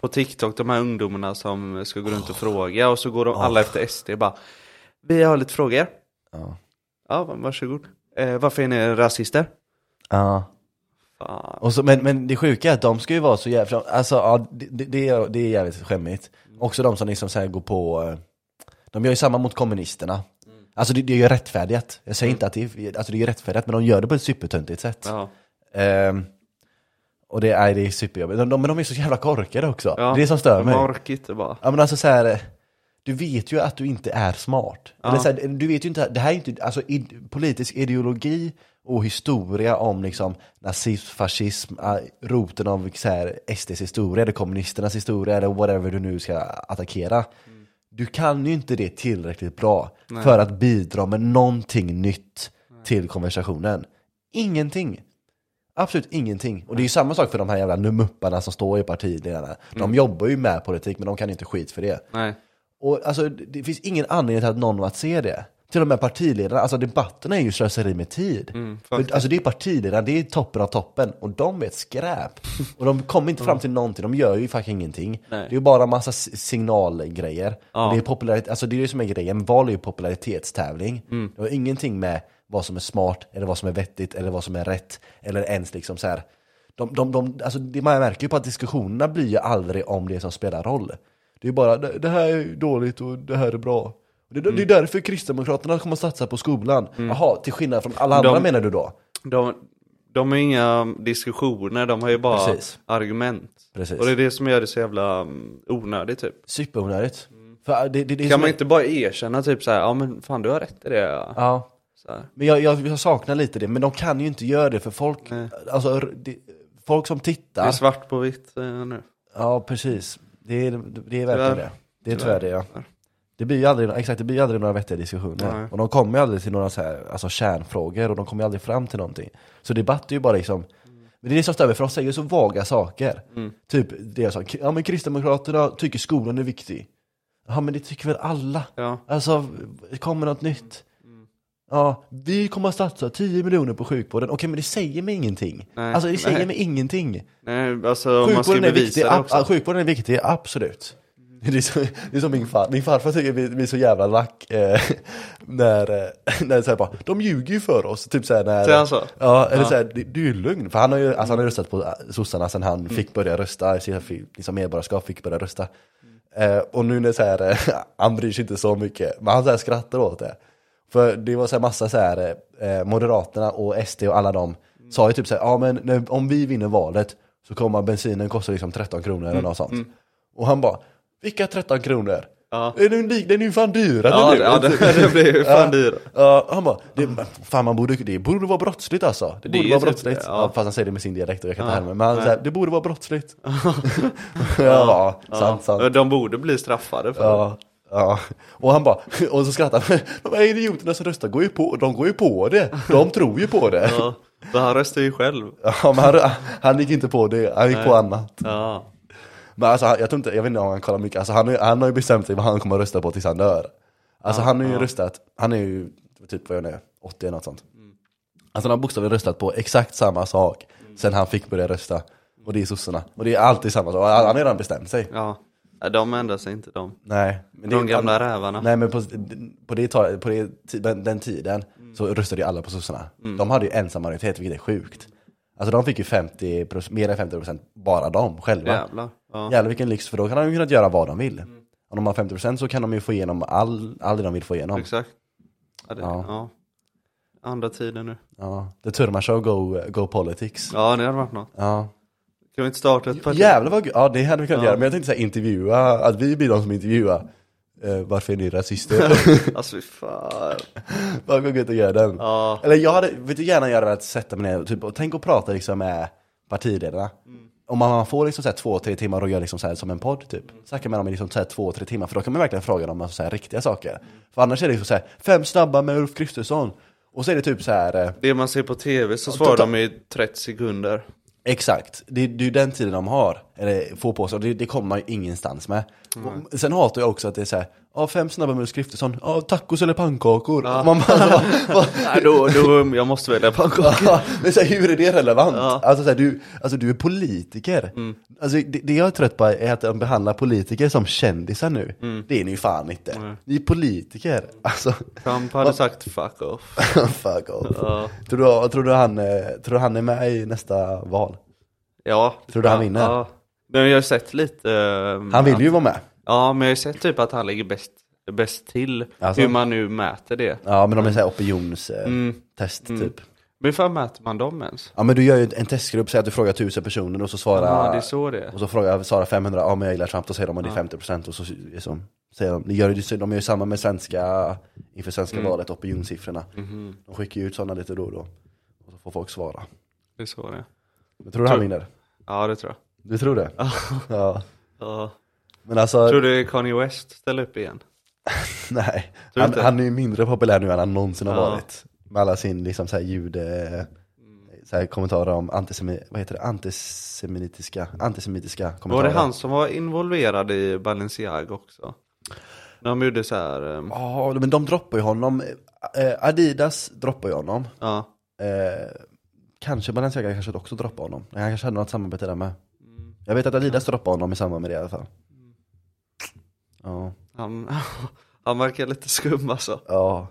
Speaker 1: på TikTok de här ungdomarna som ska gå runt och fråga och så går de alla efter SD bara Vi har lite frågor.
Speaker 2: Ja.
Speaker 1: Ja, va- varsågod. Eh, varför är ni rasister?
Speaker 2: Ja.
Speaker 1: Fan.
Speaker 2: Och så, men, men det sjuka är att de ska ju vara så jävla, alltså ja, det, det- det, är, det är jävligt skämmigt.
Speaker 1: Mm.
Speaker 2: Också de som liksom så här går på, eh, de gör ju samma mot kommunisterna.
Speaker 1: Mm.
Speaker 2: Alltså det, det är ju rättfärdigat. Jag säger inte att det, är- alltså det är ju rättfärdigat, men de gör det på ett supertöntigt sätt.
Speaker 1: Ja.
Speaker 2: Ehm, och det, nej, det är superjobbigt. De, de, men de är så jävla korkade också.
Speaker 1: Ja,
Speaker 2: Det är det som stör
Speaker 1: de
Speaker 2: mig.
Speaker 1: orkar inte bara.
Speaker 2: Ja men alltså så här, du vet ju att du inte är smart. Eller så här, du vet ju inte, det här är inte, alltså i, politisk ideologi och historia om liksom nazism, fascism, ah, roten av så här, SDs historia, eller kommunisternas historia eller whatever du nu ska attackera. Du kan ju inte det tillräckligt bra för att bidra med någonting nytt till konversationen. Ingenting. Absolut ingenting. Och det är ju samma sak för de här jävla numupparna som står i partiledarna. De jobbar ju med politik men de kan inte skit för det.
Speaker 1: Nej.
Speaker 2: Och alltså, det finns ingen anledning till att någon var att se det. Till och med partiledarna, alltså debatterna är ju slöseri med tid.
Speaker 1: Mm,
Speaker 2: För, alltså det är partiledarna, det är toppen av toppen. Och de är ett skräp. Och de kommer inte fram till någonting, de gör ju fucking ingenting.
Speaker 1: Nej.
Speaker 2: Det är ju bara massa s- signalgrejer.
Speaker 1: Ja.
Speaker 2: Det är popularitet, alltså det är det som är grejen, val är ju popularitetstävling.
Speaker 1: Mm.
Speaker 2: Det har ingenting med vad som är smart, eller vad som är vettigt, eller vad som är rätt. Eller ens liksom så här. De, de, de, alltså det, man märker ju på att diskussionerna blir ju aldrig om det som spelar roll. Det är bara, det, det här är dåligt och det här är bra. Det, det
Speaker 1: Mm.
Speaker 2: är därför Kristdemokraterna kommer att satsa på skolan. Jaha, till skillnad från alla andra
Speaker 1: De-
Speaker 2: menar du då?
Speaker 1: De, de har inga diskussioner, de har ju bara
Speaker 2: Precis.
Speaker 1: argument.
Speaker 2: Precis.
Speaker 1: Och det är det som gör det så jävla mm, onödigt typ.
Speaker 2: Superonödigt. För äh, det, det, det är
Speaker 1: Mm. Kan
Speaker 2: som-
Speaker 1: man inte bara erkänna typ så här, ja men fan du har rätt i det.
Speaker 2: Ja.
Speaker 1: Så här.
Speaker 2: Men jag, jag, jag saknar lite det, men de kan ju inte göra det för folk, alltså, r- det, folk som
Speaker 1: Det är
Speaker 2: tittar.
Speaker 1: svart på vitt eh, nu.
Speaker 2: ja, precis. Det är, det är verkligen
Speaker 1: Tyvärr.
Speaker 2: det. Det är tyvärr det, ja. Det blir ju aldrig, exakt, det blir ju aldrig några vettiga diskussioner.
Speaker 1: Nej.
Speaker 2: Och de kommer ju aldrig till några så här, alltså, kärnfrågor och de kommer ju aldrig fram till någonting. Så debatt är ju bara liksom, Men det är det som stör mig, för de säger så vaga saker.
Speaker 1: Mm.
Speaker 2: Typ det som, ja men Kristdemokraterna tycker skolan är viktig. Ja men det tycker väl alla?
Speaker 1: Ja.
Speaker 2: Alltså, det kommer något nytt.
Speaker 1: Mm.
Speaker 2: Ja, vi kommer att satsa 10 miljoner på sjukvården. Okej men det säger mig ingenting.
Speaker 1: Nej,
Speaker 2: Alltså det säger
Speaker 1: nej.
Speaker 2: mig ingenting.
Speaker 1: Nej, alltså om man ska
Speaker 2: Sjukvården är, viktig,
Speaker 1: bevisa det
Speaker 2: ab- ja,
Speaker 1: också.
Speaker 2: sjukvården är viktig, absolut. Det är, så, det är som min, far, min farfar tycker vi, vi är så jävla lack eh, när, eh, när så här bara, de ljuger ju för oss. Typ så här när,
Speaker 1: Säger han så?
Speaker 2: Ja, eller så här, det, det är ju lögn. För han har ju alltså, han har röstat på eh, sossarna sedan
Speaker 1: Mm.
Speaker 2: han fick börja rösta, så jag fick- liksom medborgarskap fick börja rösta. Eh, och nu när så här, eh, han bryr sig inte så mycket, men han så här skrattar åt det. För det var så här massa så här, eh, Moderaterna och SD och alla de sa ju typ så här, ja men när, om vi vinner valet så kommer bensinen kosta liksom 13 kronor
Speaker 1: Mm,
Speaker 2: eller något sånt. Och han bara, vilka 13 kronor?
Speaker 1: Ja.
Speaker 2: Är Den, den är ju fan dyrare
Speaker 1: Ja,
Speaker 2: nu.
Speaker 1: det- ja, det- det blir ju fan dyrare.
Speaker 2: Ja, han bara, det, fan man borde, det borde vara brottsligt alltså.
Speaker 1: Det
Speaker 2: Det
Speaker 1: är
Speaker 2: borde
Speaker 1: ju
Speaker 2: vara
Speaker 1: typ
Speaker 2: brottsligt.
Speaker 1: det,
Speaker 2: ja.
Speaker 1: ja.
Speaker 2: fast han säger det med sin dialekt och jag kan inte
Speaker 1: Ja,
Speaker 2: härma. Men han
Speaker 1: nej.
Speaker 2: säger, det borde vara brottsligt. ja, sant, sant.
Speaker 1: Ja, De borde bli straffade för det.
Speaker 2: Ja, ja. Och han bara, och så skrattar han. De här idioterna som röstar, går ju på, de går ju på det. De tror ju på det.
Speaker 1: Ja. Men han röstar ju själv.
Speaker 2: Ja, men han, han gick inte på det, han gick på annat.
Speaker 1: Ja.
Speaker 2: Men alltså, han- jag tror inte, jag vet inte om han kollar mycket. Alltså, han, är, han har ju bestämt sig vad han kommer att rösta på tills han dör. Alltså han har ju röstat, han är ju typ vad jag nu 80 eller något sånt. Alltså han har bokstavligen röstat på exakt samma sak sen han fick börja rösta. Och det är sossarna. Och det är alltid samma sak. Han han har redan bestämt sig.
Speaker 1: ja. Nej, De ändrar sig inte de.
Speaker 2: Nej. Men
Speaker 1: De gamla rävarna.
Speaker 2: Nej men på, på, det, ta- på det, ti- den, den tiden så röstade ju alla på sossarna.
Speaker 1: Mm.
Speaker 2: De hade ju ensam majoritet, vilket är sjukt. Alltså de fick ju 50 mer än 50% bara de själva.
Speaker 1: Jävlar. Ja.
Speaker 2: Jävlar vilken lyx, för då kan de ju kunnat göra vad de vill. Om de har 50% så kan de ju få igenom all, all det de vill få igenom.
Speaker 1: Exakt. Ja, det,
Speaker 2: Ja.
Speaker 1: ja. Andra tiden nu.
Speaker 2: Ja. The Turman Show Go, go Politics. Ja.
Speaker 1: Ja, det hade varit något. Kan vi inte starta ett parti?
Speaker 2: Jävlar vad gu- Ja det hade vi kunnat
Speaker 1: Ja.
Speaker 2: göra, men jag tänkte såhär intervjua, att vi blir de som intervjuar. Eh, varför är ni rasister?
Speaker 1: Alltså fy fan.
Speaker 2: Vad går gött att göra den?
Speaker 1: Ja.
Speaker 2: Eller jag hade, vet du gärna jag hade velat sätta mig ner och typ, och tänk och prata liksom med partiledarna.
Speaker 1: Mm.
Speaker 2: Om man, man får liksom så här två, tre timmar och gör liksom så här som en podd typ.
Speaker 1: Mm.
Speaker 2: Snacka med dem i liksom så här två, tre timmar för då kan man verkligen fråga dem om så här riktiga saker. För annars är det liksom så här, fem snabba med Ulf Kristersson. Och så är det typ så här, eh,
Speaker 1: Det man ser på tv så svarar
Speaker 2: ta-
Speaker 1: de i 30 sekunder.
Speaker 2: Exakt, det, det är ju den tiden de har, eller får på sig, och det, det kommer man ju ingenstans med. Och, sen hatar jag också att det är såhär, ja fem snabba med Ulf Kristersson, ja tacos eller pannkakor. Man bara, alltså, vad-
Speaker 1: Nej, då, då, jag måste välja pannkaka.
Speaker 2: Ja, men så här, hur är det relevant?
Speaker 1: Ja. Mm.
Speaker 2: Alltså, så här, du, alltså du är politiker. Alltså, det, det jag är trött på är att de behandlar politiker som kändisar nu.
Speaker 1: Mm.
Speaker 2: Det är ni ju fan inte. Ni är politiker. Alltså,
Speaker 1: Trump hade sagt fuck off.
Speaker 2: fuck off.
Speaker 1: Ja.
Speaker 2: Tror, du, tror, du han, eh, tror du han är med i nästa val?
Speaker 1: Ja.
Speaker 2: Tror du han vinner?
Speaker 1: Ja. Nej, men jag har sett lite. ehm,
Speaker 2: Han vill ju vara med.
Speaker 1: Ja, men jag har sett typ att han ligger bäst, bäst till.
Speaker 2: Alltså.
Speaker 1: Hur man nu mäter det.
Speaker 2: Ja, men de är såhär
Speaker 1: Mm.
Speaker 2: opinionstest typ.
Speaker 1: Men hur fan mäter man dem ens?
Speaker 2: Ja, men du gör ju en testgrupp, säg att du frågar tusen personer och så svarar...
Speaker 1: Ja, det är så det är.
Speaker 2: Och så frågar Sara 500, ja men jag gillar Trump, då säger de att det är 50% och så liksom, säger de, de gör, ju- de gör ju samma med svenska, inför svenska
Speaker 1: Mm.
Speaker 2: valet, opinionssiffrorna.
Speaker 1: Mhm.
Speaker 2: De skickar ju ut sådana lite då och då. Och så får folk svara.
Speaker 1: Det är så det är.
Speaker 2: Men tror du han vinner?
Speaker 1: Ja, det tror jag.
Speaker 2: Du tror det? ja.
Speaker 1: Ja.
Speaker 2: Men alltså,
Speaker 1: Tror du Kanye West ställer upp igen?
Speaker 2: nej.
Speaker 1: du
Speaker 2: Han,
Speaker 1: inte?
Speaker 2: han är ju mindre populär nu än han någonsin har
Speaker 1: Ja.
Speaker 2: varit. Med alla sin liksom så här jude...
Speaker 1: Mm.
Speaker 2: Så här kommentarer om antisemi, vad heter det? antisemitiska, antisemitiska
Speaker 1: Var
Speaker 2: kommentarer.
Speaker 1: det han som var involverad i Balenciaga också? När de gjorde så här, ehm,
Speaker 2: Ja, men de droppar ju honom. Eh, Adidas droppar ju honom.
Speaker 1: ja.
Speaker 2: Eh, kanske Balenciaga kanske också droppar honom. Han kanske hade något samarbete där med.
Speaker 1: Mm.
Speaker 2: Jag vet att Adidas droppar honom i samband med det i alla fall. Ja,
Speaker 1: Han, han verkar lite skum alltså.
Speaker 2: ja.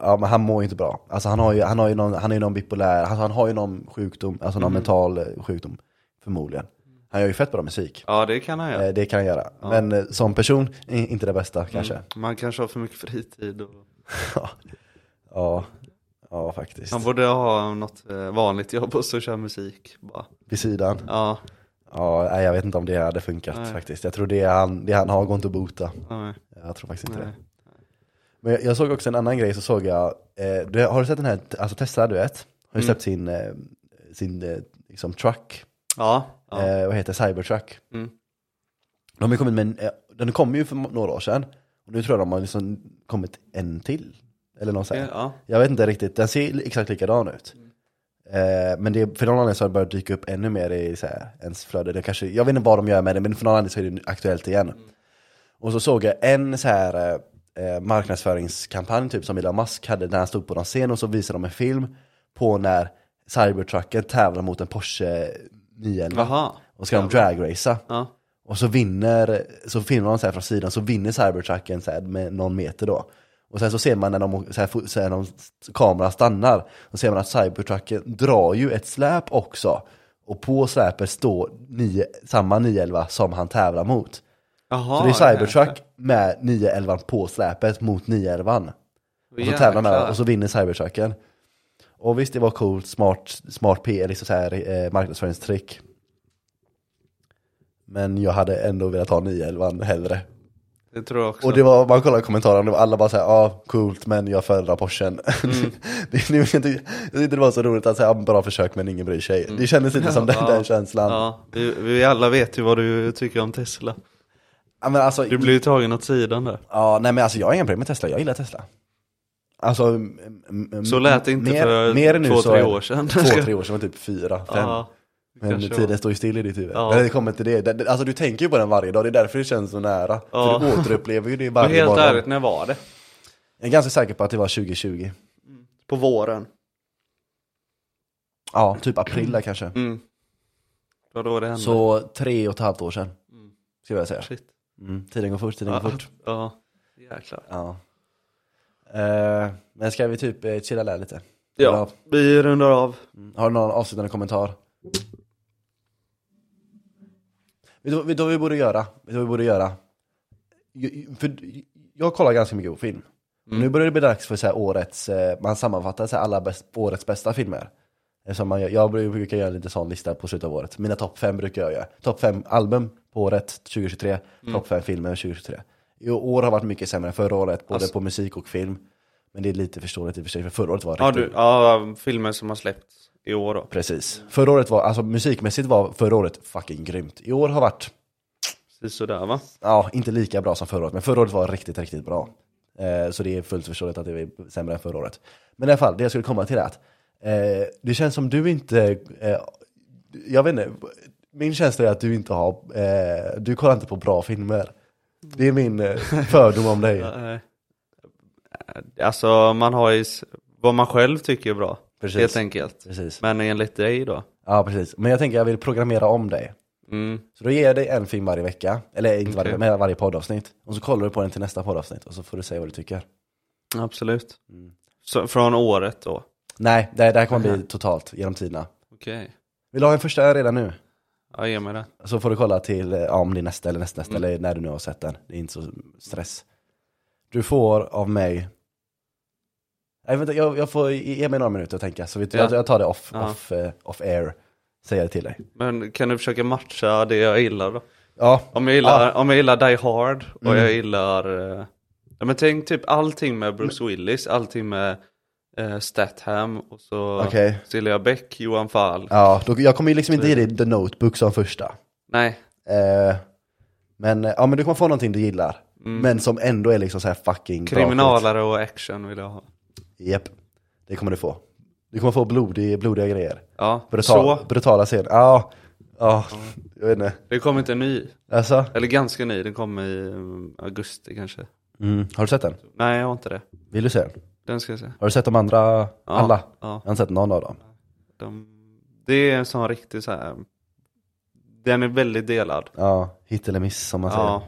Speaker 2: Ja men han mår ju inte bra. Alltså han har ju, han har ju någon, han är ju någon bipolär, alltså, han har ju någon sjukdom, alltså
Speaker 1: Mm.
Speaker 2: någon mental eh, sjukdom. Förmodligen. Han gör ju fett bra musik.
Speaker 1: Ja, Mm. det kan han göra.
Speaker 2: Eh, det kan han göra. Men eh, som person, eh, inte det bästa kanske.
Speaker 1: Man kanske har för mycket fritid. Och...
Speaker 2: Ja, ja faktiskt.
Speaker 1: Han borde ha något eh, vanligt jobb och så köra musik. Bara.
Speaker 2: Vid sidan.
Speaker 1: Ja,
Speaker 2: Ja, nej, jag vet inte om det hade funkat
Speaker 1: Nej.
Speaker 2: faktiskt. Jag tror det han, det han har går inte att bota.
Speaker 1: nej.
Speaker 2: Jag tror faktiskt inte
Speaker 1: Nej.
Speaker 2: det. Men jag, jag såg också en annan grej, så såg jag, eh, du, har du sett den här, alltså Tesla du vet, har ju
Speaker 1: Mm.
Speaker 2: släppt sin, eh, sin eh, liksom truck,
Speaker 1: ja, ja.
Speaker 2: eh, vad heter det? Cybertruck.
Speaker 1: Mm.
Speaker 2: De har ju kommit med en, eh, den kom ju för några år sedan, och nu tror jag de har liksom kommit en till. Eller någon så här.
Speaker 1: ja. Mm.
Speaker 2: Jag vet inte riktigt, den ser exakt likadan ut. Eh, men det, för någon anledning så har det börjat dyka upp ännu mer i så här, ens flöde. Det kanske, jag vet inte vad de gör med det, men för någon anledning så är det aktuellt igen.
Speaker 1: Mm.
Speaker 2: Och så såg jag en så här eh, marknadsföringskampanj typ som Elon Musk hade när han stod på någon scen och så visade de en film på när Cybertrucken tävlar mot en Porsche 911.
Speaker 1: Jaha.
Speaker 2: Och ska de dragracea.
Speaker 1: Ja.
Speaker 2: Och så vinner, så filmar de så här från sidan, så vinner Cybertrucken så här med någon meter då. Och sen så ser man när de, så här, fo- så här, när de kameran stannar, så ser man att Cybertrucken drar ju ett släp också. Och på släpet står nio, samma 911 som han tävlar mot.
Speaker 1: Jaha.
Speaker 2: Så det är Cybertruck med 911 på släpet mot 911. Och så tävlar man och så vinner Cybertrucken. Och visst, det var coolt, smart, smart PR, liksom så här, eh, marknadsföringstrick. Men jag hade ändå velat ha 911 hellre.
Speaker 1: Det tror jag också.
Speaker 2: Och det var, man kollade kommentarerna, det var alla bara såhär, ja ah, coolt men jag föredrar Porschen. det, det, jag tyckte jag tyckte det var så roligt att säga, ah, bra försök men ingen bryr sig. Det kändes lite som den, den känslan. Mm. Ja.
Speaker 1: Ja, vi, vi alla vet ju vad du tycker om Tesla.
Speaker 2: men alltså,
Speaker 1: Du blir ju tagen åt sidan där.
Speaker 2: ja, nej men alltså jag har inga problem med Tesla, jag gillar Tesla. Alltså, m- m- m-
Speaker 1: Så lät det inte för
Speaker 2: nu
Speaker 1: två,
Speaker 2: så
Speaker 1: tre
Speaker 2: är-
Speaker 1: år sedan.
Speaker 2: Två, tre år sedan, typ fyra, fem.
Speaker 1: Ja, det
Speaker 2: Men
Speaker 1: kanske
Speaker 2: tiden
Speaker 1: var.
Speaker 2: står ju still i ditt huvud.
Speaker 1: Ja.
Speaker 2: När det kommer till det, det- det, alltså du tänker ju på den varje dag, det är därför det känns så nära.
Speaker 1: Ja.
Speaker 2: För du återupplever ju det
Speaker 1: Men
Speaker 2: varje
Speaker 1: helt
Speaker 2: morgon.
Speaker 1: ärligt, när var det?
Speaker 2: Jag är ganska säker på att det var 2020.
Speaker 1: På våren.
Speaker 2: Ja, typ april där kanske.
Speaker 1: Mm. Det var då det hände.
Speaker 2: Så tre och ett halvt år sedan, skulle jag säga.
Speaker 1: Shit.
Speaker 2: Mm. Tiden går fort, tiden går
Speaker 1: Ja,
Speaker 2: fort.
Speaker 1: ja. Jäklar.
Speaker 2: Ja. Eh, men ska vi typ eh, chilla där lite?
Speaker 1: Ja, vi rundar av.
Speaker 2: Mm. Har du någon avslutande kommentar? Vet du, vet du vad vi borde göra? Vet du vad vi borde göra? Jag, för, jag kollar ganska mycket på film.
Speaker 1: Mm.
Speaker 2: Och Nu börjar det bli dags för så här årets, eh, man sammanfattar så här alla bäst, årets bästa filmer. Eftersom man, gör- jag brukar göra en liten sån lista på slutet av året. Mina topp fem brukar jag göra. Topp fem album på året 2023,
Speaker 1: Mm.
Speaker 2: topp fem filmer 2023. I år har varit mycket sämre än förra året, både
Speaker 1: Alltså-
Speaker 2: på musik och film. Men det är lite förståeligt i och för sig, för förra året var
Speaker 1: Ja,
Speaker 2: riktigt
Speaker 1: du, ja, filmer som har släppts i år då.
Speaker 2: Precis. Förra året var, alltså musikmässigt var förra året fucking grymt. I år har varit,
Speaker 1: Precis sådär va?
Speaker 2: ja, inte lika bra som förra året, men förra året var riktigt, riktigt bra. Eh, så det är fullt förståeligt att det är sämre än förra året. Men i alla fall, det jag skulle komma till är att eh, det känns som du inte, eh, jag vet inte, min känsla är att du inte har, eh, du kollar inte på bra filmer. Det är min eh, fördom om dig.
Speaker 1: Nej. Alltså man har ju s- vad man själv tycker är bra.
Speaker 2: Precis.
Speaker 1: Helt enkelt.
Speaker 2: Precis.
Speaker 1: Men enligt dig då?
Speaker 2: Ja, precis. Men jag tänker jag vill programmera om dig.
Speaker 1: Mm.
Speaker 2: Så då ger jag dig en film varje vecka, eller inte varje
Speaker 1: Okej.
Speaker 2: vecka, men varje poddavsnitt. Och så kollar du på den till nästa poddavsnitt och så får du säga vad du tycker.
Speaker 1: Absolut. Mm. Så, från året då?
Speaker 2: Nej, det, det här kommer bli totalt genom tiderna.
Speaker 1: Okej.
Speaker 2: Vill du ha en första redan nu?
Speaker 1: Ja, ge mig det.
Speaker 2: Så får du kolla till eh, ja, om det är nästa eller nästa, nästa
Speaker 1: Mm.
Speaker 2: eller när du nu har sett den. Det är inte så stress. Du får av mig... Nej, vänta, jag, jag får ge mig några minuter att tänka, så vi,
Speaker 1: Ja.
Speaker 2: jag, jag tar det off,
Speaker 1: Ja.
Speaker 2: off, eh, off air. Säger jag till dig.
Speaker 1: Men kan du försöka matcha det jag gillar då?
Speaker 2: Ja,
Speaker 1: Om jag gillar,
Speaker 2: Ja.
Speaker 1: om jag gillar Die Hard och jag gillar... eh, Ja, men tänk typ allting med Bruce Willis, allting med eh, Statham och så
Speaker 2: Okej.
Speaker 1: Silja Bäck, Johan Falk.
Speaker 2: ja då, jag kommer ju liksom inte ge dig The Notebook som första.
Speaker 1: Nej,
Speaker 2: Eh, men, eh, ja, men du kommer få någonting du gillar.
Speaker 1: Mm.
Speaker 2: Men som ändå är liksom så här fucking bra skit.
Speaker 1: kriminalare och action vill jag ha.
Speaker 2: Japp, det kommer du få. Du kommer få blodig, blodiga grejer.
Speaker 1: Ja,
Speaker 2: Brutal,
Speaker 1: så.
Speaker 2: brutala scener. Ja, ja, jag vet inte.
Speaker 1: Det kom inte en ny.
Speaker 2: Alltså,
Speaker 1: Eller ganska ny, den kom i mm, augusti kanske.
Speaker 2: Mm. har du sett den?
Speaker 1: Nej, jag har inte det.
Speaker 2: Vill du se den?
Speaker 1: Den ska jag se.
Speaker 2: Har du sett de andra? Alla?
Speaker 1: ja.
Speaker 2: Jag har inte sett någon av dem.
Speaker 1: De, det är en sån riktig så här. Den är väldigt delad.
Speaker 2: Ja, hit eller miss som man säger.
Speaker 1: Ja.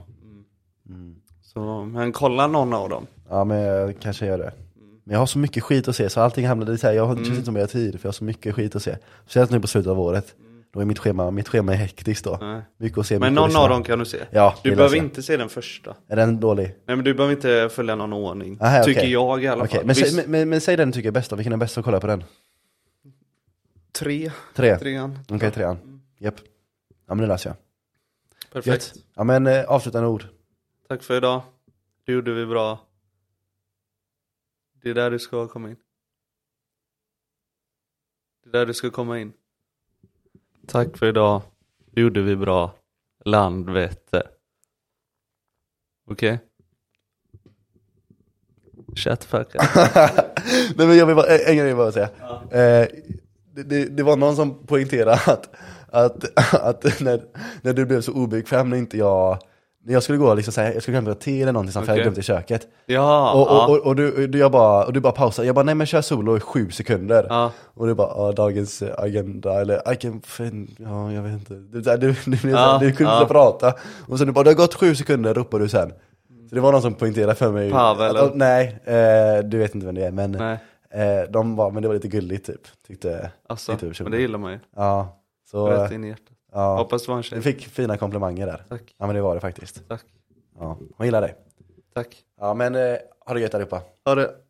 Speaker 2: Mm.
Speaker 1: Så, men kolla någon av dem.
Speaker 2: Ja, men jag kanske gör det. Men jag har så mycket skit att se, så allting hamnade i så här, jag har
Speaker 1: Mm.
Speaker 2: det känns inte som jag har tid, för jag har så mycket skit att se. Speciellt nu på slutet av året. Då är mitt schema, mitt schema är hektiskt då.
Speaker 1: Mm. Nej.
Speaker 2: Mycket att se,
Speaker 1: Men
Speaker 2: mycket att
Speaker 1: någon
Speaker 2: lyssna.
Speaker 1: av dem kan du se.
Speaker 2: Ja, det
Speaker 1: du
Speaker 2: vill
Speaker 1: behöver
Speaker 2: jag se.
Speaker 1: inte se den första.
Speaker 2: Är den dålig?
Speaker 1: Nej men du behöver inte följa någon ordning.
Speaker 2: Aha,
Speaker 1: tycker
Speaker 2: okej.
Speaker 1: jag i alla
Speaker 2: Okej,
Speaker 1: fall.
Speaker 2: Men, säg,
Speaker 1: Visst,
Speaker 2: men, men, men säg den du tycker är bäst då, vilken är bäst att kolla på den?
Speaker 1: Tre. Mm.
Speaker 2: Tre?
Speaker 1: Trean.
Speaker 2: Okej, trean. Japp. Ja men det löser jag.
Speaker 1: Perfekt.
Speaker 2: Gött. Ja men eh, avslutande ord.
Speaker 1: Tack för idag. Det gjorde vi bra. Det är där du ska komma in. Det är där du ska komma in. Tack för idag. Det gjorde vi bra. Landvetter. Okej? Shut fuck up.
Speaker 2: Nej men jag vill bara, en en grej vill jag bara säga. Eh, det, det, det var någon som poängterade att, att, att när, när du blev så obekväm när inte jag när jag skulle gå och liksom säga, jag skulle hämta te eller någonting som jag
Speaker 1: Okej.
Speaker 2: hade glömt i köket.
Speaker 1: Ja,
Speaker 2: och,
Speaker 1: ja.
Speaker 2: och, och, och, du, du, jag bara, och du bara pausade, jag bara nej men kör solo i sju sekunder.
Speaker 1: Ja.
Speaker 2: Och du bara, ja, dagens eh, agenda eller I can, fin- ja jag vet inte. Du, du, du, du, du,
Speaker 1: Ja,
Speaker 2: du kunde
Speaker 1: ja.
Speaker 2: inte prata. Och sen du bara, det har gått sju sekunder ropar du sen. Så det var någon som poängterade för mig.
Speaker 1: Mm. Pavel,
Speaker 2: att,
Speaker 1: eller?
Speaker 2: nej, eh, du vet inte vem det är men
Speaker 1: Nej.
Speaker 2: eh, de var, men det var lite gulligt typ. Tyckte,
Speaker 1: Alltså,
Speaker 2: tyckte personen.
Speaker 1: men det gillar man ju.
Speaker 2: Ja, så
Speaker 1: Rätt in i hjärtat.
Speaker 2: typ ja.
Speaker 1: Hoppas det var en
Speaker 2: du
Speaker 1: tjej.
Speaker 2: fick fina komplimanger där.
Speaker 1: Tack.
Speaker 2: Ja men det var det faktiskt.
Speaker 1: Tack.
Speaker 2: Ja, hon gillar dig.
Speaker 1: Tack.
Speaker 2: Ja men eh, ha det gött allihopa.
Speaker 1: Ha det.